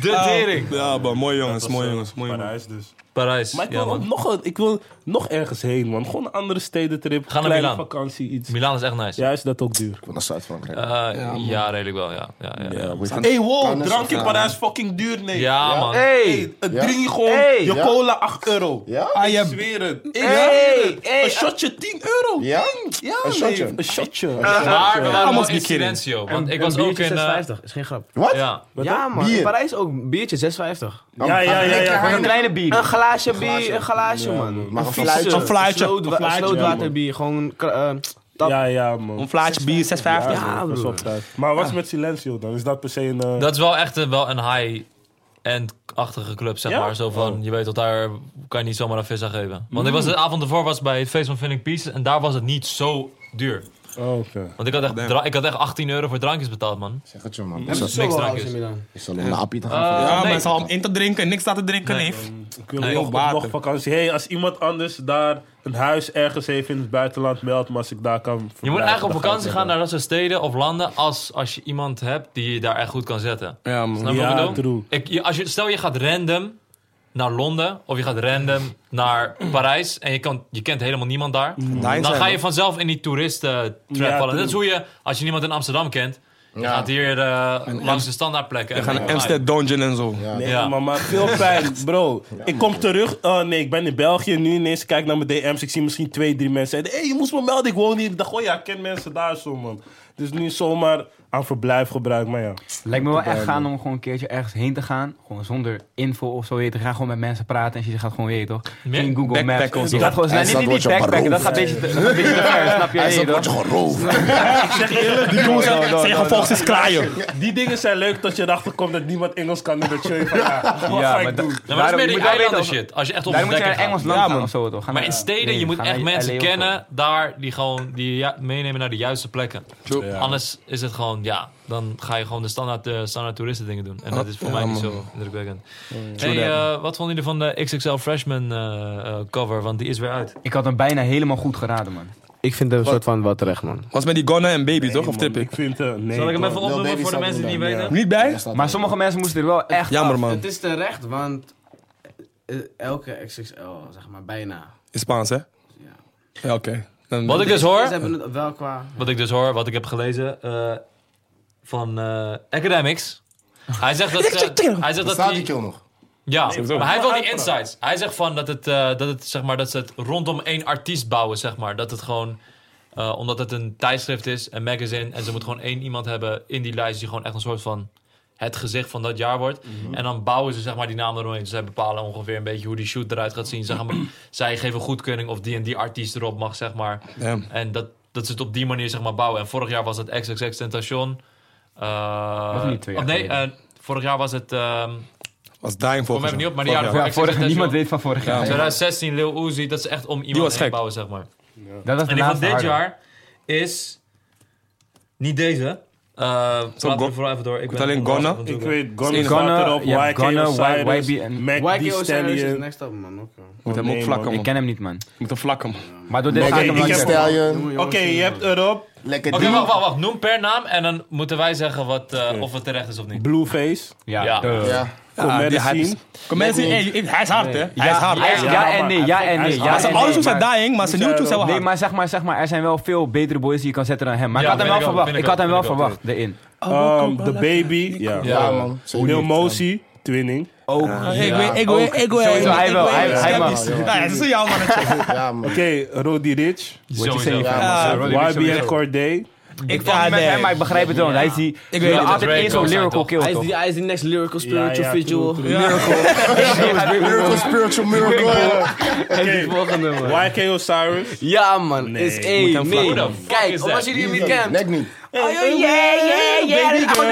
[SPEAKER 1] De tering.
[SPEAKER 8] Ja, man, mooi jongens, mooi jongens, mooi jongens.
[SPEAKER 3] Parijs dus.
[SPEAKER 1] Parijs.
[SPEAKER 3] Maar ik
[SPEAKER 1] Ja,
[SPEAKER 3] wil, ook
[SPEAKER 1] man.
[SPEAKER 3] nog, een- ik wil nog ergens heen, man. Gewoon een andere stedentrip.
[SPEAKER 1] Ga naar
[SPEAKER 3] kleine
[SPEAKER 1] Milaan.
[SPEAKER 3] vakantie, iets.
[SPEAKER 1] Milaan is echt nice.
[SPEAKER 3] Ja, is dat ook duur.
[SPEAKER 4] Naar Zuid-Frankrijk.
[SPEAKER 1] Eh, ja, redelijk wel, ja. Ja, ja, ja.
[SPEAKER 3] Hey, wow,
[SPEAKER 4] Kan is
[SPEAKER 3] drank in
[SPEAKER 4] ook-
[SPEAKER 3] Parijs fucking duur, nee.
[SPEAKER 1] Ja, man.
[SPEAKER 5] Hey!
[SPEAKER 3] Het
[SPEAKER 4] Ja.
[SPEAKER 3] drie gewoon,
[SPEAKER 5] Hey.
[SPEAKER 3] je
[SPEAKER 4] Ja.
[SPEAKER 3] cola 8 euro.
[SPEAKER 4] Ja?
[SPEAKER 3] Ik zweer het. Ik
[SPEAKER 5] Hey.
[SPEAKER 3] zweer het.
[SPEAKER 5] Hey.
[SPEAKER 3] Een shotje 10 euro.
[SPEAKER 4] Ja?
[SPEAKER 3] Ja,
[SPEAKER 4] Een shotje.
[SPEAKER 3] nee, Een shotje.
[SPEAKER 1] Maar we waren wel
[SPEAKER 8] Almost
[SPEAKER 1] in
[SPEAKER 8] be kidding.
[SPEAKER 1] Silencio, want ik
[SPEAKER 6] Een
[SPEAKER 1] was ook
[SPEAKER 6] biertje
[SPEAKER 1] in... eh,
[SPEAKER 6] 6,50, is geen grap.
[SPEAKER 4] Wat?
[SPEAKER 1] Ja.
[SPEAKER 6] Ja, man.
[SPEAKER 4] Bier.
[SPEAKER 6] In Parijs ook biertje 6,50.
[SPEAKER 3] Ja, ja, ja, ja.
[SPEAKER 5] Voor een kleine bier.
[SPEAKER 6] Een glaasje bier, een glaasje, man.
[SPEAKER 4] Maar een
[SPEAKER 6] Vieze,
[SPEAKER 4] fluitje.
[SPEAKER 8] Een fluitje.
[SPEAKER 6] slootwa-
[SPEAKER 8] Een fluitje,
[SPEAKER 6] Slootwaterbier, gewoon... kra- eh, tap.
[SPEAKER 3] Ja, ja,
[SPEAKER 8] Een
[SPEAKER 3] man.
[SPEAKER 8] vlaatje bier, 6,50.
[SPEAKER 6] Ja,
[SPEAKER 3] man, dat is
[SPEAKER 6] broer.
[SPEAKER 3] wel tijd. Maar wat is met Silencio dan? Is dat per se een... eh,
[SPEAKER 1] Dat is wel echt een, wel een high-end-achtige club, zeg
[SPEAKER 3] Ja?
[SPEAKER 1] maar. Zo van, je weet dat daar kan je niet zomaar een vis aan geven. Want ik was de avond ervoor was bij het feest van Vinnik Peace en daar was het niet zo duur.
[SPEAKER 3] oh, oké.
[SPEAKER 1] Want ik had echt, dra- ik had echt 18 euro voor drankjes betaald, man.
[SPEAKER 4] Zeg het je, man. Ik zal-
[SPEAKER 1] Niks
[SPEAKER 6] Alles in
[SPEAKER 1] drankjes.
[SPEAKER 6] Milaan.
[SPEAKER 4] Ik zal om naar Appie te gaan.
[SPEAKER 1] Eh,
[SPEAKER 8] Ja,
[SPEAKER 1] nee.
[SPEAKER 8] mensen om in te drinken, niks aan te drinken, neef.
[SPEAKER 3] Ik wil
[SPEAKER 1] Nee,
[SPEAKER 3] nog,
[SPEAKER 8] ook water.
[SPEAKER 3] nog vakantie. Hey, als iemand anders daar een huis ergens heeft in het buitenland, meld me als ik daar kan
[SPEAKER 1] Je moet
[SPEAKER 3] verblijven,
[SPEAKER 1] eigenlijk
[SPEAKER 3] dan
[SPEAKER 1] op
[SPEAKER 3] ga ik
[SPEAKER 1] vakantie gaan naar dat soort steden of landen als, als je iemand hebt die je daar echt goed kan zetten.
[SPEAKER 8] Ja, man.
[SPEAKER 1] Snap je wat ik
[SPEAKER 3] Ja,
[SPEAKER 1] bedoel?
[SPEAKER 3] true.
[SPEAKER 1] Ik, je- als je, stel je gaat random naar Londen of je gaat random naar Parijs en je, kan, je kent helemaal niemand daar. Dan
[SPEAKER 8] zijn
[SPEAKER 1] ga
[SPEAKER 8] we.
[SPEAKER 1] je vanzelf in die toeristen trap
[SPEAKER 3] Ja,
[SPEAKER 1] vallen.
[SPEAKER 3] true.
[SPEAKER 1] Dat is hoe je, als je niemand in Amsterdam kent, je
[SPEAKER 4] Ja.
[SPEAKER 1] gaat hier eh, langs de standaardplekken.
[SPEAKER 8] We gaan
[SPEAKER 1] en-
[SPEAKER 8] naar Amsterdam Dungeon en zo.
[SPEAKER 3] Nee,
[SPEAKER 1] Ja.
[SPEAKER 3] maar, maar veel pijn, bro. ik kom terug. Oh nee, ik ben in België. Nu ineens kijk ik naar mijn DM's. Ik zie misschien twee, drie mensen. Hé, hey, je moest me melden. Ik woon hier. Ik dacht, oh ja, ik ken mensen daar zo, man. Dus nu zomaar aan verblijf gebruik. Maar ja.
[SPEAKER 5] Lijkt me wel echt gaan om gewoon een keertje ergens heen te gaan. Gewoon zonder info of zo. weet Je Ga gewoon met mensen praten en je gaat gewoon, je weet toch?
[SPEAKER 1] Meer
[SPEAKER 5] In Google
[SPEAKER 8] backpack
[SPEAKER 5] Maps.
[SPEAKER 8] of zo.
[SPEAKER 5] Dat gewoon,
[SPEAKER 4] Hij
[SPEAKER 5] nee,
[SPEAKER 4] staat
[SPEAKER 5] niet, niet
[SPEAKER 4] woordje
[SPEAKER 5] backpacken. Dat
[SPEAKER 4] baroon.
[SPEAKER 5] gaat een beetje te- dat gaat een beetje te ver, snap je?
[SPEAKER 4] Hij is
[SPEAKER 5] je
[SPEAKER 4] een
[SPEAKER 5] weet
[SPEAKER 4] wordt
[SPEAKER 5] toch?
[SPEAKER 4] geroofd.
[SPEAKER 8] Die jongens zijn gevolgd is kraaien.
[SPEAKER 3] Die dingen zijn leuk dat je erachter komt dat niemand Engels kan. En dat je van, ja, wat
[SPEAKER 5] Ja,
[SPEAKER 3] ga
[SPEAKER 5] maar
[SPEAKER 3] ik
[SPEAKER 5] da-
[SPEAKER 3] doen?
[SPEAKER 1] Ja, Nou, maar dat is
[SPEAKER 5] daarom-
[SPEAKER 1] meer die
[SPEAKER 5] je moet wel weten
[SPEAKER 1] eilanden
[SPEAKER 5] of-
[SPEAKER 1] shit. Als je echt op
[SPEAKER 5] Daar moet je
[SPEAKER 1] ontdekking
[SPEAKER 5] naar
[SPEAKER 1] gaat.
[SPEAKER 5] Engels land gaan
[SPEAKER 8] man.
[SPEAKER 5] of zo toch? Gaan
[SPEAKER 1] Maar
[SPEAKER 5] naar-
[SPEAKER 1] in steden,
[SPEAKER 5] nee,
[SPEAKER 1] je moet
[SPEAKER 5] gaan
[SPEAKER 1] echt
[SPEAKER 5] naar
[SPEAKER 1] mensen
[SPEAKER 5] LA of zo.
[SPEAKER 1] kennen daar die gewoon die je ja- meenemen naar de juiste plekken. Anders is het gewoon, ja, dan ga je gewoon de standaard, eh, standaard toeristen dingen doen. En dat is voor mij niet zo indrukwekkend. Hey, eh, wat vonden jullie van de XXL Freshman eh, eh, cover? Want die is weer uit.
[SPEAKER 5] Ik had hem bijna helemaal goed geraden, man.
[SPEAKER 6] Ik vind het een soort van wel terecht, man.
[SPEAKER 8] Was met die Gunna en Baby, toch? Of
[SPEAKER 3] Man,
[SPEAKER 8] trip ik?
[SPEAKER 3] Ik vind eh, nee.
[SPEAKER 1] Zal ik hem
[SPEAKER 3] man.
[SPEAKER 1] even
[SPEAKER 4] Lil
[SPEAKER 1] opnoemen
[SPEAKER 4] Baby
[SPEAKER 1] voor de
[SPEAKER 4] staat
[SPEAKER 1] mensen die
[SPEAKER 4] er
[SPEAKER 1] niet
[SPEAKER 4] dan,
[SPEAKER 1] weten?
[SPEAKER 8] Niet bij?
[SPEAKER 5] Maar sommige mensen moesten er wel echt
[SPEAKER 8] Jammer, man.
[SPEAKER 6] Het is terecht, want eh, elke XXL, zeg maar, bijna.
[SPEAKER 8] In Spaans, hè? Ja. oké. Dan-
[SPEAKER 1] Wat ik dus
[SPEAKER 6] Ze
[SPEAKER 1] hoor,
[SPEAKER 6] hebben het wel qua...
[SPEAKER 1] wat ik dus hoor, wat ik heb gelezen eh, van eh, Academics. Hij zegt dat, ze- hij zegt dat
[SPEAKER 4] Staat
[SPEAKER 1] die-
[SPEAKER 4] die kill nog?
[SPEAKER 1] Ja, maar hij heeft wel die
[SPEAKER 3] Uitpraat.
[SPEAKER 1] insights. Hij zegt van dat, het, eh, dat, het, zeg maar, dat ze het rondom één artiest bouwen, zeg maar. Dat het gewoon, eh, omdat het een tijdschrift is, een magazine... en ze moeten gewoon één iemand hebben in die lijst... die gewoon echt een soort van het gezicht van dat jaar wordt. En dan bouwen ze zeg maar, die naam eromheen. Zij bepalen ongeveer een beetje hoe die shoot eruit gaat zien. Zeg maar, zij geven goedkeuring of die en die artiest erop mag, zeg maar.
[SPEAKER 8] Ja.
[SPEAKER 1] En dat, dat ze het op die manier zeg maar, bouwen. En vorig jaar was het XXX Tentation. Eh,
[SPEAKER 5] Of niet twee jaar
[SPEAKER 1] of nee,
[SPEAKER 5] geleden.
[SPEAKER 1] eh, vorig jaar was het... ehm,
[SPEAKER 8] Was dying voor.
[SPEAKER 1] Kom even niet op, maar die
[SPEAKER 8] Vorig
[SPEAKER 1] jaren
[SPEAKER 8] jaar.
[SPEAKER 5] Ja,
[SPEAKER 1] Ik zeg
[SPEAKER 5] vorig,
[SPEAKER 1] het echt,
[SPEAKER 5] niemand
[SPEAKER 1] joh.
[SPEAKER 5] weet van vorig jaar.
[SPEAKER 1] 2016, Lil Uzi, dat is echt om iemand
[SPEAKER 8] was
[SPEAKER 1] heen
[SPEAKER 8] gek.
[SPEAKER 1] bouwen, zeg maar.
[SPEAKER 5] Dat was de
[SPEAKER 1] En die van
[SPEAKER 5] laatste
[SPEAKER 1] dit
[SPEAKER 5] harde.
[SPEAKER 1] jaar is niet deze. Eh praat
[SPEAKER 8] Go-
[SPEAKER 1] er vooral even door. Ik
[SPEAKER 8] het
[SPEAKER 1] ben
[SPEAKER 8] alleen
[SPEAKER 1] wel
[SPEAKER 8] Ghana?
[SPEAKER 1] even aan het
[SPEAKER 3] Ik
[SPEAKER 1] zoeken.
[SPEAKER 3] weet, Gunna
[SPEAKER 5] In
[SPEAKER 3] staat
[SPEAKER 5] Ghana,
[SPEAKER 3] erop,
[SPEAKER 5] je hebt
[SPEAKER 3] YK
[SPEAKER 5] Ghana,
[SPEAKER 3] Osiris,
[SPEAKER 5] Y- YB en-
[SPEAKER 3] Mac D.
[SPEAKER 6] YK Osiris is
[SPEAKER 3] Stallion.
[SPEAKER 6] next up, man. Oké.
[SPEAKER 8] Moet hem
[SPEAKER 3] Nee,
[SPEAKER 8] ook vlakken,
[SPEAKER 3] man.
[SPEAKER 5] Ik
[SPEAKER 8] man.
[SPEAKER 5] ken hem niet, man.
[SPEAKER 8] Moet hem vlakken, man.
[SPEAKER 5] Maar door dit
[SPEAKER 3] Oké,
[SPEAKER 5] ga ik hem
[SPEAKER 3] ik
[SPEAKER 5] wel
[SPEAKER 3] heb-
[SPEAKER 5] checken.
[SPEAKER 4] Stallion.
[SPEAKER 3] Oké, je hebt erop
[SPEAKER 4] Lekker
[SPEAKER 1] Oké,
[SPEAKER 4] die.
[SPEAKER 1] wacht, wacht, wacht. Noem per naam en dan moeten wij zeggen wat, eh, of het terecht is of niet.
[SPEAKER 3] Blueface,
[SPEAKER 1] Ja.
[SPEAKER 5] Ja, duh.
[SPEAKER 4] Ja.
[SPEAKER 3] Comedy
[SPEAKER 8] die hype is-
[SPEAKER 3] Scene.
[SPEAKER 8] Comedy, hey, hij is hard, hè? Hij is
[SPEAKER 5] Ja,
[SPEAKER 8] hard.
[SPEAKER 5] ja,
[SPEAKER 3] Ja,
[SPEAKER 5] ja en
[SPEAKER 3] maar
[SPEAKER 5] nee,
[SPEAKER 3] hij-
[SPEAKER 5] ja en
[SPEAKER 3] hij is
[SPEAKER 5] nee.
[SPEAKER 3] hard.
[SPEAKER 5] ja
[SPEAKER 8] Zijn
[SPEAKER 5] en
[SPEAKER 8] ouders
[SPEAKER 5] nee,
[SPEAKER 8] zijn
[SPEAKER 5] maar-
[SPEAKER 8] dying, maar zijn
[SPEAKER 3] Moet
[SPEAKER 8] nieuwtjes
[SPEAKER 3] jij
[SPEAKER 8] zijn wel
[SPEAKER 5] Nee,
[SPEAKER 8] hard.
[SPEAKER 5] maar zeg maar, zeg maar, er zijn wel veel betere boys die je kan zetten dan hem. Maar
[SPEAKER 1] Ja,
[SPEAKER 5] ik had hem
[SPEAKER 1] vind
[SPEAKER 5] wel
[SPEAKER 1] ik ook,
[SPEAKER 5] verwacht.
[SPEAKER 1] vind ik
[SPEAKER 5] Ik had
[SPEAKER 1] ook,
[SPEAKER 5] hem wel
[SPEAKER 1] vind ik ook.
[SPEAKER 5] verwacht, erin.
[SPEAKER 3] Um, The Baby, ja.
[SPEAKER 4] Ja, man.
[SPEAKER 3] Lil Mosey, Twinning.
[SPEAKER 5] Ook.
[SPEAKER 8] Ik weet, ik weet, ik weet.
[SPEAKER 5] Sowieso, hij wel, hij- hij mag.
[SPEAKER 8] Dat is jouw man.
[SPEAKER 4] Ja, man.
[SPEAKER 3] Oké, Ah, Roddy Rich,
[SPEAKER 1] Sowieso.
[SPEAKER 4] Ja,
[SPEAKER 8] Ja,
[SPEAKER 4] man.
[SPEAKER 3] YBN Corday.
[SPEAKER 5] Ik
[SPEAKER 8] Ja,
[SPEAKER 5] val niet met
[SPEAKER 8] nee.
[SPEAKER 5] hem, maar ik begrijp het wel. Hij is die... Ik
[SPEAKER 1] weet
[SPEAKER 5] weet
[SPEAKER 1] het,
[SPEAKER 5] altijd
[SPEAKER 1] Drake
[SPEAKER 5] één zo'n
[SPEAKER 1] ook zijn,
[SPEAKER 5] lyrical
[SPEAKER 1] toch?
[SPEAKER 5] kill,
[SPEAKER 6] Hij is
[SPEAKER 5] toch?
[SPEAKER 6] die- Hij is die next lyrical spiritual
[SPEAKER 3] ja,
[SPEAKER 6] visual.
[SPEAKER 4] Miracle, spiritual miracle.
[SPEAKER 3] YK Osiris.
[SPEAKER 6] Ja, man.
[SPEAKER 3] Nee,
[SPEAKER 6] Is
[SPEAKER 3] moet
[SPEAKER 6] één. Nee.
[SPEAKER 1] vlakken. What the fuck is
[SPEAKER 6] Kijk,
[SPEAKER 1] that?
[SPEAKER 6] omdat jullie hem niet kennen.
[SPEAKER 4] Nek niet.
[SPEAKER 6] Oh, yeah, yeah, yeah. Baby girl.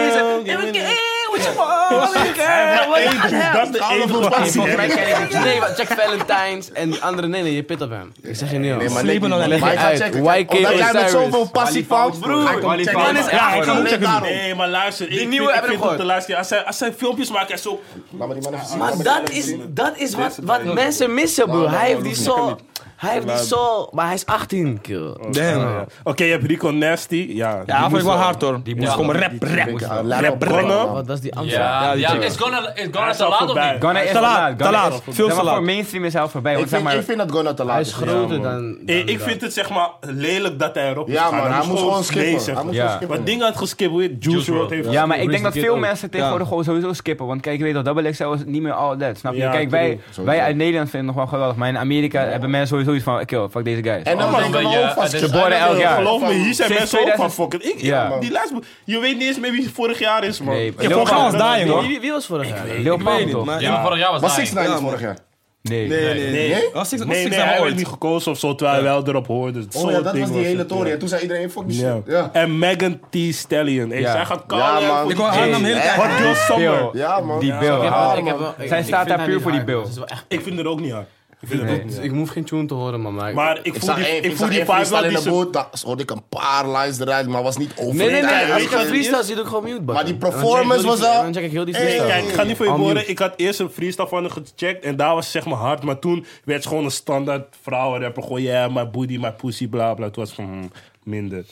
[SPEAKER 6] What you want? Baby girl. What the hell?
[SPEAKER 3] Dat is de enige
[SPEAKER 6] Volgens mij
[SPEAKER 3] passie.
[SPEAKER 6] ken ik het. Nee, maar Jack Valentine's en die andere. Nee, nee, je pit op hem. Ik zeg je nu al.
[SPEAKER 4] Nee, maar Nek niet, man.
[SPEAKER 6] leg
[SPEAKER 4] Maar ik ga
[SPEAKER 6] uit.
[SPEAKER 4] checken.
[SPEAKER 6] YK
[SPEAKER 4] Omdat jij met
[SPEAKER 6] Osiris.
[SPEAKER 4] zoveel passie valt, broer.
[SPEAKER 6] Broer,
[SPEAKER 4] Ga ik hem
[SPEAKER 6] man is
[SPEAKER 4] checken.
[SPEAKER 6] echt
[SPEAKER 4] Ik ga
[SPEAKER 6] goed.
[SPEAKER 4] alleen daarom.
[SPEAKER 3] Nee, maar luister. ik
[SPEAKER 6] nieuwe
[SPEAKER 3] vind- ik
[SPEAKER 6] hebben we
[SPEAKER 3] vind het
[SPEAKER 6] gehoord.
[SPEAKER 3] de laatste keer. Als zij- Als zij filmpjes maken en zo...
[SPEAKER 4] Laat maar die man even zien.
[SPEAKER 6] Maar dat is, dat is wat, wat mensen missen, bro. Hij heeft die soul. Hij heeft die soul, maar hij is 18, kill.
[SPEAKER 8] Damn.
[SPEAKER 3] Oké, je hebt Rico Nasty. Ja,
[SPEAKER 8] Ja, vond ik wel hard, hoor. Die moest komen rap, rap.
[SPEAKER 4] Rap
[SPEAKER 3] Gunna.
[SPEAKER 6] Wat was die Amsterdam?
[SPEAKER 1] Ja, ja, is Ghana, is Ghana
[SPEAKER 3] is
[SPEAKER 1] te
[SPEAKER 3] al
[SPEAKER 1] laat of
[SPEAKER 3] voorbij.
[SPEAKER 1] niet?
[SPEAKER 5] Ghana is
[SPEAKER 8] Te laat,
[SPEAKER 5] Ghana
[SPEAKER 8] te laat.
[SPEAKER 5] is-
[SPEAKER 8] Veel
[SPEAKER 5] Zeg maar
[SPEAKER 8] te laat.
[SPEAKER 5] Voor mainstream is hij al voorbij.
[SPEAKER 4] Ik
[SPEAKER 5] want Zeg
[SPEAKER 4] vind,
[SPEAKER 5] maar,
[SPEAKER 4] ik vind dat Gunnar te laat
[SPEAKER 6] Hij is
[SPEAKER 4] is.
[SPEAKER 6] groter dan...
[SPEAKER 3] Eh, Ik vind het zeg maar lelijk dat hij erop is
[SPEAKER 4] Ja,
[SPEAKER 3] gegaan.
[SPEAKER 4] man. Hij moest gewoon
[SPEAKER 3] nee
[SPEAKER 4] skippen. Hij
[SPEAKER 3] zeggen.
[SPEAKER 4] moest
[SPEAKER 5] Ja.
[SPEAKER 4] gewoon skippen.
[SPEAKER 3] Wat dingen had geskipt, hoe heet Juice
[SPEAKER 1] Juice
[SPEAKER 3] WRLD
[SPEAKER 1] WRLD.
[SPEAKER 3] heeft
[SPEAKER 5] Ja, maar ik denk dat
[SPEAKER 6] Kid
[SPEAKER 5] veel
[SPEAKER 6] ook.
[SPEAKER 5] mensen tegenwoordig gewoon sowieso skippen. Want kijk, je weet wel, Double XL is niet meer all that, snap je?
[SPEAKER 3] Ja,
[SPEAKER 5] kijk, wij,
[SPEAKER 3] true.
[SPEAKER 5] wij uit Nederland vinden het nog wel geweldig. Maar in Amerika hebben mensen sowieso iets van, kill, fuck deze guys.
[SPEAKER 4] En dan
[SPEAKER 1] Allemaal
[SPEAKER 4] denken we
[SPEAKER 1] een
[SPEAKER 4] ook
[SPEAKER 1] beetje,
[SPEAKER 4] vast.
[SPEAKER 1] eh, dit is-
[SPEAKER 5] Ze worden elk jaar.
[SPEAKER 3] Geloof me, hier zijn
[SPEAKER 5] Sinds
[SPEAKER 3] mensen ook van
[SPEAKER 5] 2000
[SPEAKER 3] fuck it. Ik,
[SPEAKER 5] Ja.
[SPEAKER 3] man, die laatste, je weet niet eens meer wie vorig jaar is, man.
[SPEAKER 5] Nee,
[SPEAKER 8] Ja, vorig jaar was dying, hoor.
[SPEAKER 6] Wie, wie was vorig jaar?
[SPEAKER 5] Oh, Lil Pump, toch?
[SPEAKER 1] Ja, maar vorig jaar was
[SPEAKER 4] Was
[SPEAKER 1] hij.
[SPEAKER 4] 6 9 vorig jaar?
[SPEAKER 5] Nee.
[SPEAKER 8] Nee, nee.
[SPEAKER 3] Nee?
[SPEAKER 8] Was ik
[SPEAKER 3] Nee, nee, hij werd niet
[SPEAKER 8] ooit?
[SPEAKER 3] gekozen of zo, terwijl hij wel erop hoorde.
[SPEAKER 4] Oh ja, dat was die hele
[SPEAKER 3] toren.
[SPEAKER 4] toren. En toen zei iedereen fuck die
[SPEAKER 3] Ja.
[SPEAKER 4] shit. Ja.
[SPEAKER 3] En Megan Thee Stallion. Hey,
[SPEAKER 5] Ja.
[SPEAKER 3] Zij gaat
[SPEAKER 4] Ja,
[SPEAKER 3] Carla
[SPEAKER 4] man.
[SPEAKER 3] voor
[SPEAKER 8] Ik hoor haar naam heel tijd.
[SPEAKER 3] Hot Girl Summer.
[SPEAKER 5] Bill.
[SPEAKER 4] Ja, man.
[SPEAKER 5] Die
[SPEAKER 4] Ja.
[SPEAKER 5] Bill.
[SPEAKER 6] Ik heb
[SPEAKER 5] haal
[SPEAKER 6] wel-
[SPEAKER 5] hem.
[SPEAKER 6] ik heb wel- ik-
[SPEAKER 5] Zij staat
[SPEAKER 6] ik vind
[SPEAKER 5] daar
[SPEAKER 6] haar
[SPEAKER 5] puur
[SPEAKER 6] niet
[SPEAKER 5] voor die
[SPEAKER 6] hard,
[SPEAKER 5] Bill.
[SPEAKER 6] maar ze is wel echt-
[SPEAKER 3] Ik vind het ook niet hard. Ik vind het ook niet
[SPEAKER 6] Ik hoef geen tune te horen, man. Maar,
[SPEAKER 3] Maar ik
[SPEAKER 4] Ik
[SPEAKER 3] voel
[SPEAKER 4] zag
[SPEAKER 3] die,
[SPEAKER 4] één-
[SPEAKER 3] ik
[SPEAKER 4] ik
[SPEAKER 3] voel
[SPEAKER 4] zag
[SPEAKER 3] die
[SPEAKER 4] één
[SPEAKER 3] vibe wel
[SPEAKER 4] freestyle
[SPEAKER 3] die
[SPEAKER 4] in de
[SPEAKER 3] ze...
[SPEAKER 4] boot. Daar hoorde ik een paar lines eruit, maar was niet over.
[SPEAKER 6] Nee, nee, nee. Als ik
[SPEAKER 3] wat
[SPEAKER 6] een
[SPEAKER 3] het
[SPEAKER 6] freestyle
[SPEAKER 3] is?
[SPEAKER 6] zit, doe ik gewoon mute, man.
[SPEAKER 4] Maar die
[SPEAKER 6] Dan check ik
[SPEAKER 4] performance
[SPEAKER 6] heel die-
[SPEAKER 4] was wel-
[SPEAKER 6] Dan check ik heel die
[SPEAKER 4] Hey,
[SPEAKER 6] freestyle.
[SPEAKER 3] Kijk, ik ga niet voor je
[SPEAKER 6] Al
[SPEAKER 3] horen.
[SPEAKER 6] mute.
[SPEAKER 3] Ik had eerst een freestyle van haar gecheckt en daar was zeg maar hard. Maar toen werd het gewoon een standaard vrouwenrapper. Gewoon ja, my booty, my pussy, bla bla. Het was van hmm, minder.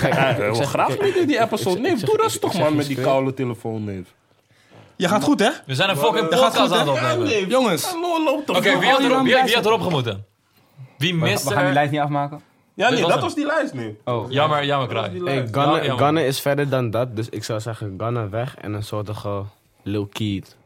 [SPEAKER 3] Ja, wel graag niet in die episode. Nee, doe rustig man met die koude telefoon, neef.
[SPEAKER 8] Je gaat goed, hè?
[SPEAKER 1] We zijn een fucking podcast aan het opnemen.
[SPEAKER 8] Jongens.
[SPEAKER 3] Hallo, loopt toch?
[SPEAKER 1] Oké, wie had erop- wie- wie had erop gemoeten? Wie
[SPEAKER 5] We
[SPEAKER 1] mist
[SPEAKER 5] we gaan die
[SPEAKER 1] er?
[SPEAKER 5] lijst niet afmaken.
[SPEAKER 3] Ja, nee,
[SPEAKER 1] Dit was
[SPEAKER 3] dat
[SPEAKER 1] hem.
[SPEAKER 3] was die lijst, nee.
[SPEAKER 5] Oh.
[SPEAKER 1] Jammer, jammer, kraai.
[SPEAKER 6] Hey,
[SPEAKER 1] Ja,
[SPEAKER 6] Ghana,
[SPEAKER 1] jammer.
[SPEAKER 6] Ghana is verder dan dat, dus ik zou zeggen Ghana weg en een soortige Lil Keed.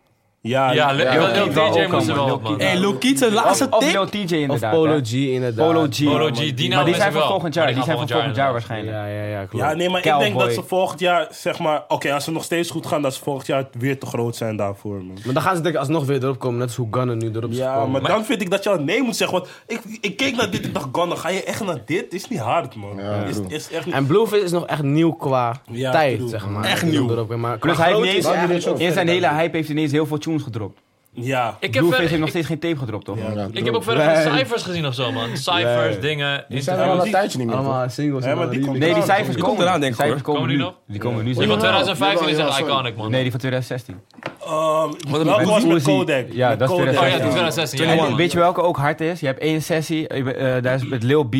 [SPEAKER 3] Ja,
[SPEAKER 1] Ja, Lil-
[SPEAKER 5] Lil
[SPEAKER 1] Lil
[SPEAKER 5] Keed wel
[SPEAKER 1] TJ
[SPEAKER 5] ook
[SPEAKER 1] moest er wel
[SPEAKER 5] al, man.
[SPEAKER 1] op, man.
[SPEAKER 8] Hey, Lil Keat, zijn laatste
[SPEAKER 5] Of Lil
[SPEAKER 8] tik.
[SPEAKER 5] TJ
[SPEAKER 6] Of
[SPEAKER 5] inderdaad.
[SPEAKER 6] Polo
[SPEAKER 5] hè.
[SPEAKER 6] G inderdaad.
[SPEAKER 5] Polo G.
[SPEAKER 1] Polo G, die naam
[SPEAKER 5] Maar die
[SPEAKER 1] wist
[SPEAKER 5] zijn
[SPEAKER 1] ik
[SPEAKER 5] van
[SPEAKER 1] wel.
[SPEAKER 5] volgend
[SPEAKER 1] Maar die
[SPEAKER 5] jaar. Die
[SPEAKER 1] gaan
[SPEAKER 5] zijn van volgend jaar waarschijnlijk.
[SPEAKER 6] Ja, ja, ja, klopt.
[SPEAKER 3] Ja, nee, maar ik denk
[SPEAKER 5] Cowboy.
[SPEAKER 3] dat ze volgend jaar, zeg maar... Oké, als ze nog steeds goed gaan, dat ze volgend jaar weer te groot zijn daarvoor, man.
[SPEAKER 6] Maar dan gaan ze denk ik alsnog weer erop komen, net als hoe Ghana nu erop is
[SPEAKER 3] Ja,
[SPEAKER 6] gekomen.
[SPEAKER 3] maar dan vind ik dat je al nee moet zeggen. Want ik, ik keek naar dit, ik dacht, Ghana, ga je echt naar dit? Is niet hard, man. is, is echt niet...
[SPEAKER 6] En Blueface is nog echt nieuw qua
[SPEAKER 3] Ja,
[SPEAKER 6] tijd,
[SPEAKER 3] true.
[SPEAKER 6] zeg maar.
[SPEAKER 8] Echt
[SPEAKER 6] Dat
[SPEAKER 8] nieuw.
[SPEAKER 6] erop, maar qua
[SPEAKER 5] Plus Dus hij heeft
[SPEAKER 6] groot
[SPEAKER 5] niet eens,
[SPEAKER 6] is-
[SPEAKER 5] eigenlijk- in zijn hele hype heeft hij ineens heel veel tunes gedropt.
[SPEAKER 3] Ja.
[SPEAKER 1] Ik heb,
[SPEAKER 5] Blueface
[SPEAKER 1] verder-
[SPEAKER 5] heeft nog
[SPEAKER 1] ik,
[SPEAKER 5] steeds geen tape gedropt, toch?
[SPEAKER 1] ik heb ook verder geen cijfers gezien of zo, man. Cijfers, dingen.
[SPEAKER 4] zijn er
[SPEAKER 1] interviews.
[SPEAKER 4] al een tijdje niet meer. toch?
[SPEAKER 6] Allemaal singles.
[SPEAKER 3] Ja, maar
[SPEAKER 6] allemaal
[SPEAKER 3] die komt-
[SPEAKER 5] Nee,
[SPEAKER 6] remixes.
[SPEAKER 5] die cijfers
[SPEAKER 8] Die
[SPEAKER 5] komen.
[SPEAKER 8] komt eraan, denk ik,
[SPEAKER 5] Cijfers
[SPEAKER 8] hoor.
[SPEAKER 5] komen
[SPEAKER 1] Komen
[SPEAKER 5] nu.
[SPEAKER 1] die nog?
[SPEAKER 5] Die komen
[SPEAKER 1] Die
[SPEAKER 5] nu.
[SPEAKER 1] van
[SPEAKER 5] zeker.
[SPEAKER 1] 2015 is
[SPEAKER 4] Jawel,
[SPEAKER 1] echt
[SPEAKER 4] jawel,
[SPEAKER 1] iconic, man.
[SPEAKER 5] Nee, die van 2016.
[SPEAKER 3] Ehm, welke was met
[SPEAKER 5] Uzi.
[SPEAKER 3] Kodak?
[SPEAKER 5] Ja,
[SPEAKER 3] Met
[SPEAKER 5] dat is
[SPEAKER 3] Kodak.
[SPEAKER 1] Oh ja,
[SPEAKER 5] 2016.
[SPEAKER 1] die 2016.
[SPEAKER 5] En
[SPEAKER 1] ja, man.
[SPEAKER 5] weet je welke ook hard is? Je hebt één sessie, eh, eh, daar is met Lil B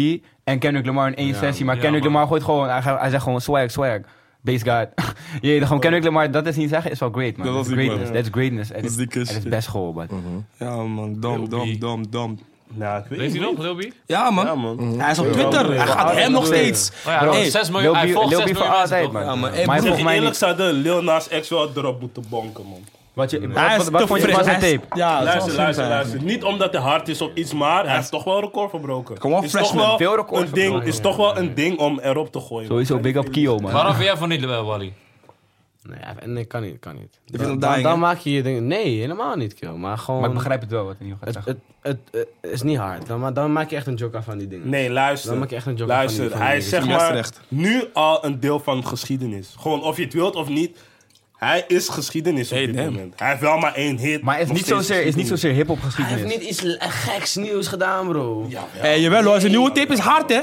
[SPEAKER 5] en Kendrick Lamar in één sessie. Maar
[SPEAKER 1] Ja,
[SPEAKER 5] Kendrick
[SPEAKER 1] man.
[SPEAKER 5] Lamar gooit gewoon, hij, gaat- hij zegt gewoon swag, swag. Base guard. je weet gewoon Kendrick Lamar, dat is niet zeggen, is wel great man.
[SPEAKER 8] Oh. Dat was
[SPEAKER 5] That's
[SPEAKER 8] die
[SPEAKER 5] greatness,
[SPEAKER 8] man.
[SPEAKER 5] that's greatness. En
[SPEAKER 8] is die kus,
[SPEAKER 5] het is
[SPEAKER 8] ja.
[SPEAKER 5] best school, but.
[SPEAKER 8] Ja, man. Dom, dom, dom, dom.
[SPEAKER 3] Nou, ik weet
[SPEAKER 1] Weet
[SPEAKER 3] niet.
[SPEAKER 1] je nog, Lil B?
[SPEAKER 8] Ja,
[SPEAKER 3] Ja,
[SPEAKER 8] man.
[SPEAKER 3] man.
[SPEAKER 8] Hij is op Twitter. Hij gaat hem nog steeds.
[SPEAKER 1] Oh ja,
[SPEAKER 8] Hey,
[SPEAKER 1] 6
[SPEAKER 5] Lil
[SPEAKER 1] miljoen. Hij
[SPEAKER 5] B,
[SPEAKER 1] volgt
[SPEAKER 5] Lil
[SPEAKER 1] 6
[SPEAKER 5] B voor
[SPEAKER 1] miljoen mensen,
[SPEAKER 5] altijd
[SPEAKER 1] toch?
[SPEAKER 5] man.
[SPEAKER 8] Ja,
[SPEAKER 5] maar
[SPEAKER 8] maar,
[SPEAKER 5] hij
[SPEAKER 8] hey,
[SPEAKER 5] volgens
[SPEAKER 3] Zeg je
[SPEAKER 5] mij
[SPEAKER 3] eerlijk,
[SPEAKER 5] niet.
[SPEAKER 3] ze hadden Lil Nas X wel erop moeten bonken, man.
[SPEAKER 5] Wat, je, wat,
[SPEAKER 8] Hij is
[SPEAKER 5] wat, wat
[SPEAKER 8] te
[SPEAKER 5] vond je van
[SPEAKER 8] fris.
[SPEAKER 5] zijn
[SPEAKER 8] Hij is-
[SPEAKER 5] tape?
[SPEAKER 8] Ja, dat
[SPEAKER 3] Luister,
[SPEAKER 8] is
[SPEAKER 3] luister,
[SPEAKER 8] wel-
[SPEAKER 3] luister. Niet omdat hij hard is of iets, maar hij heeft toch wel een record verbroken.
[SPEAKER 8] Kom op,
[SPEAKER 3] is
[SPEAKER 8] freshman.
[SPEAKER 3] toch wel
[SPEAKER 5] Veel records
[SPEAKER 3] een ding,
[SPEAKER 5] verbroken,
[SPEAKER 3] is toch wel een ding om erop te gooien. man.
[SPEAKER 5] Sowieso big up Kio man.
[SPEAKER 1] Waarom vind jij van niet, eh, Wally?
[SPEAKER 6] Nee, ja, nee, kan niet, kan niet.
[SPEAKER 8] vindt hem
[SPEAKER 6] dan,
[SPEAKER 8] dying,
[SPEAKER 6] dan
[SPEAKER 8] hè?
[SPEAKER 6] maak je je dingen... Nee, helemaal niet, kill. Maar gewoon...
[SPEAKER 5] Maar ik begrijp het wel wat hij nu gaat
[SPEAKER 6] Het,
[SPEAKER 5] zeggen.
[SPEAKER 6] het, het, het is niet hard. Dan, maar dan maak je echt een joke af van die dingen.
[SPEAKER 3] Nee, luister.
[SPEAKER 6] Dan maak ik echt een joke
[SPEAKER 3] luister,
[SPEAKER 6] van die- van
[SPEAKER 3] hij
[SPEAKER 6] die
[SPEAKER 3] is
[SPEAKER 6] dingen.
[SPEAKER 3] zeg
[SPEAKER 8] Die best terecht.
[SPEAKER 3] maar nu al een deel van geschiedenis. Gewoon of je het wilt of niet. Hij is geschiedenis op dit
[SPEAKER 8] damn.
[SPEAKER 3] moment. Hij heeft wel maar één hit.
[SPEAKER 5] Maar het is
[SPEAKER 3] nog
[SPEAKER 5] niet
[SPEAKER 3] steeds
[SPEAKER 5] zozeer, is niet
[SPEAKER 3] geschiedenis.
[SPEAKER 5] zozeer hip-hop
[SPEAKER 6] Hij heeft
[SPEAKER 5] geschiedenis.
[SPEAKER 6] niet iets l- geks nieuws gedaan, bro.
[SPEAKER 8] Eh, Hé, jawel hoor. Zijn nieuwe tape is hard, hè?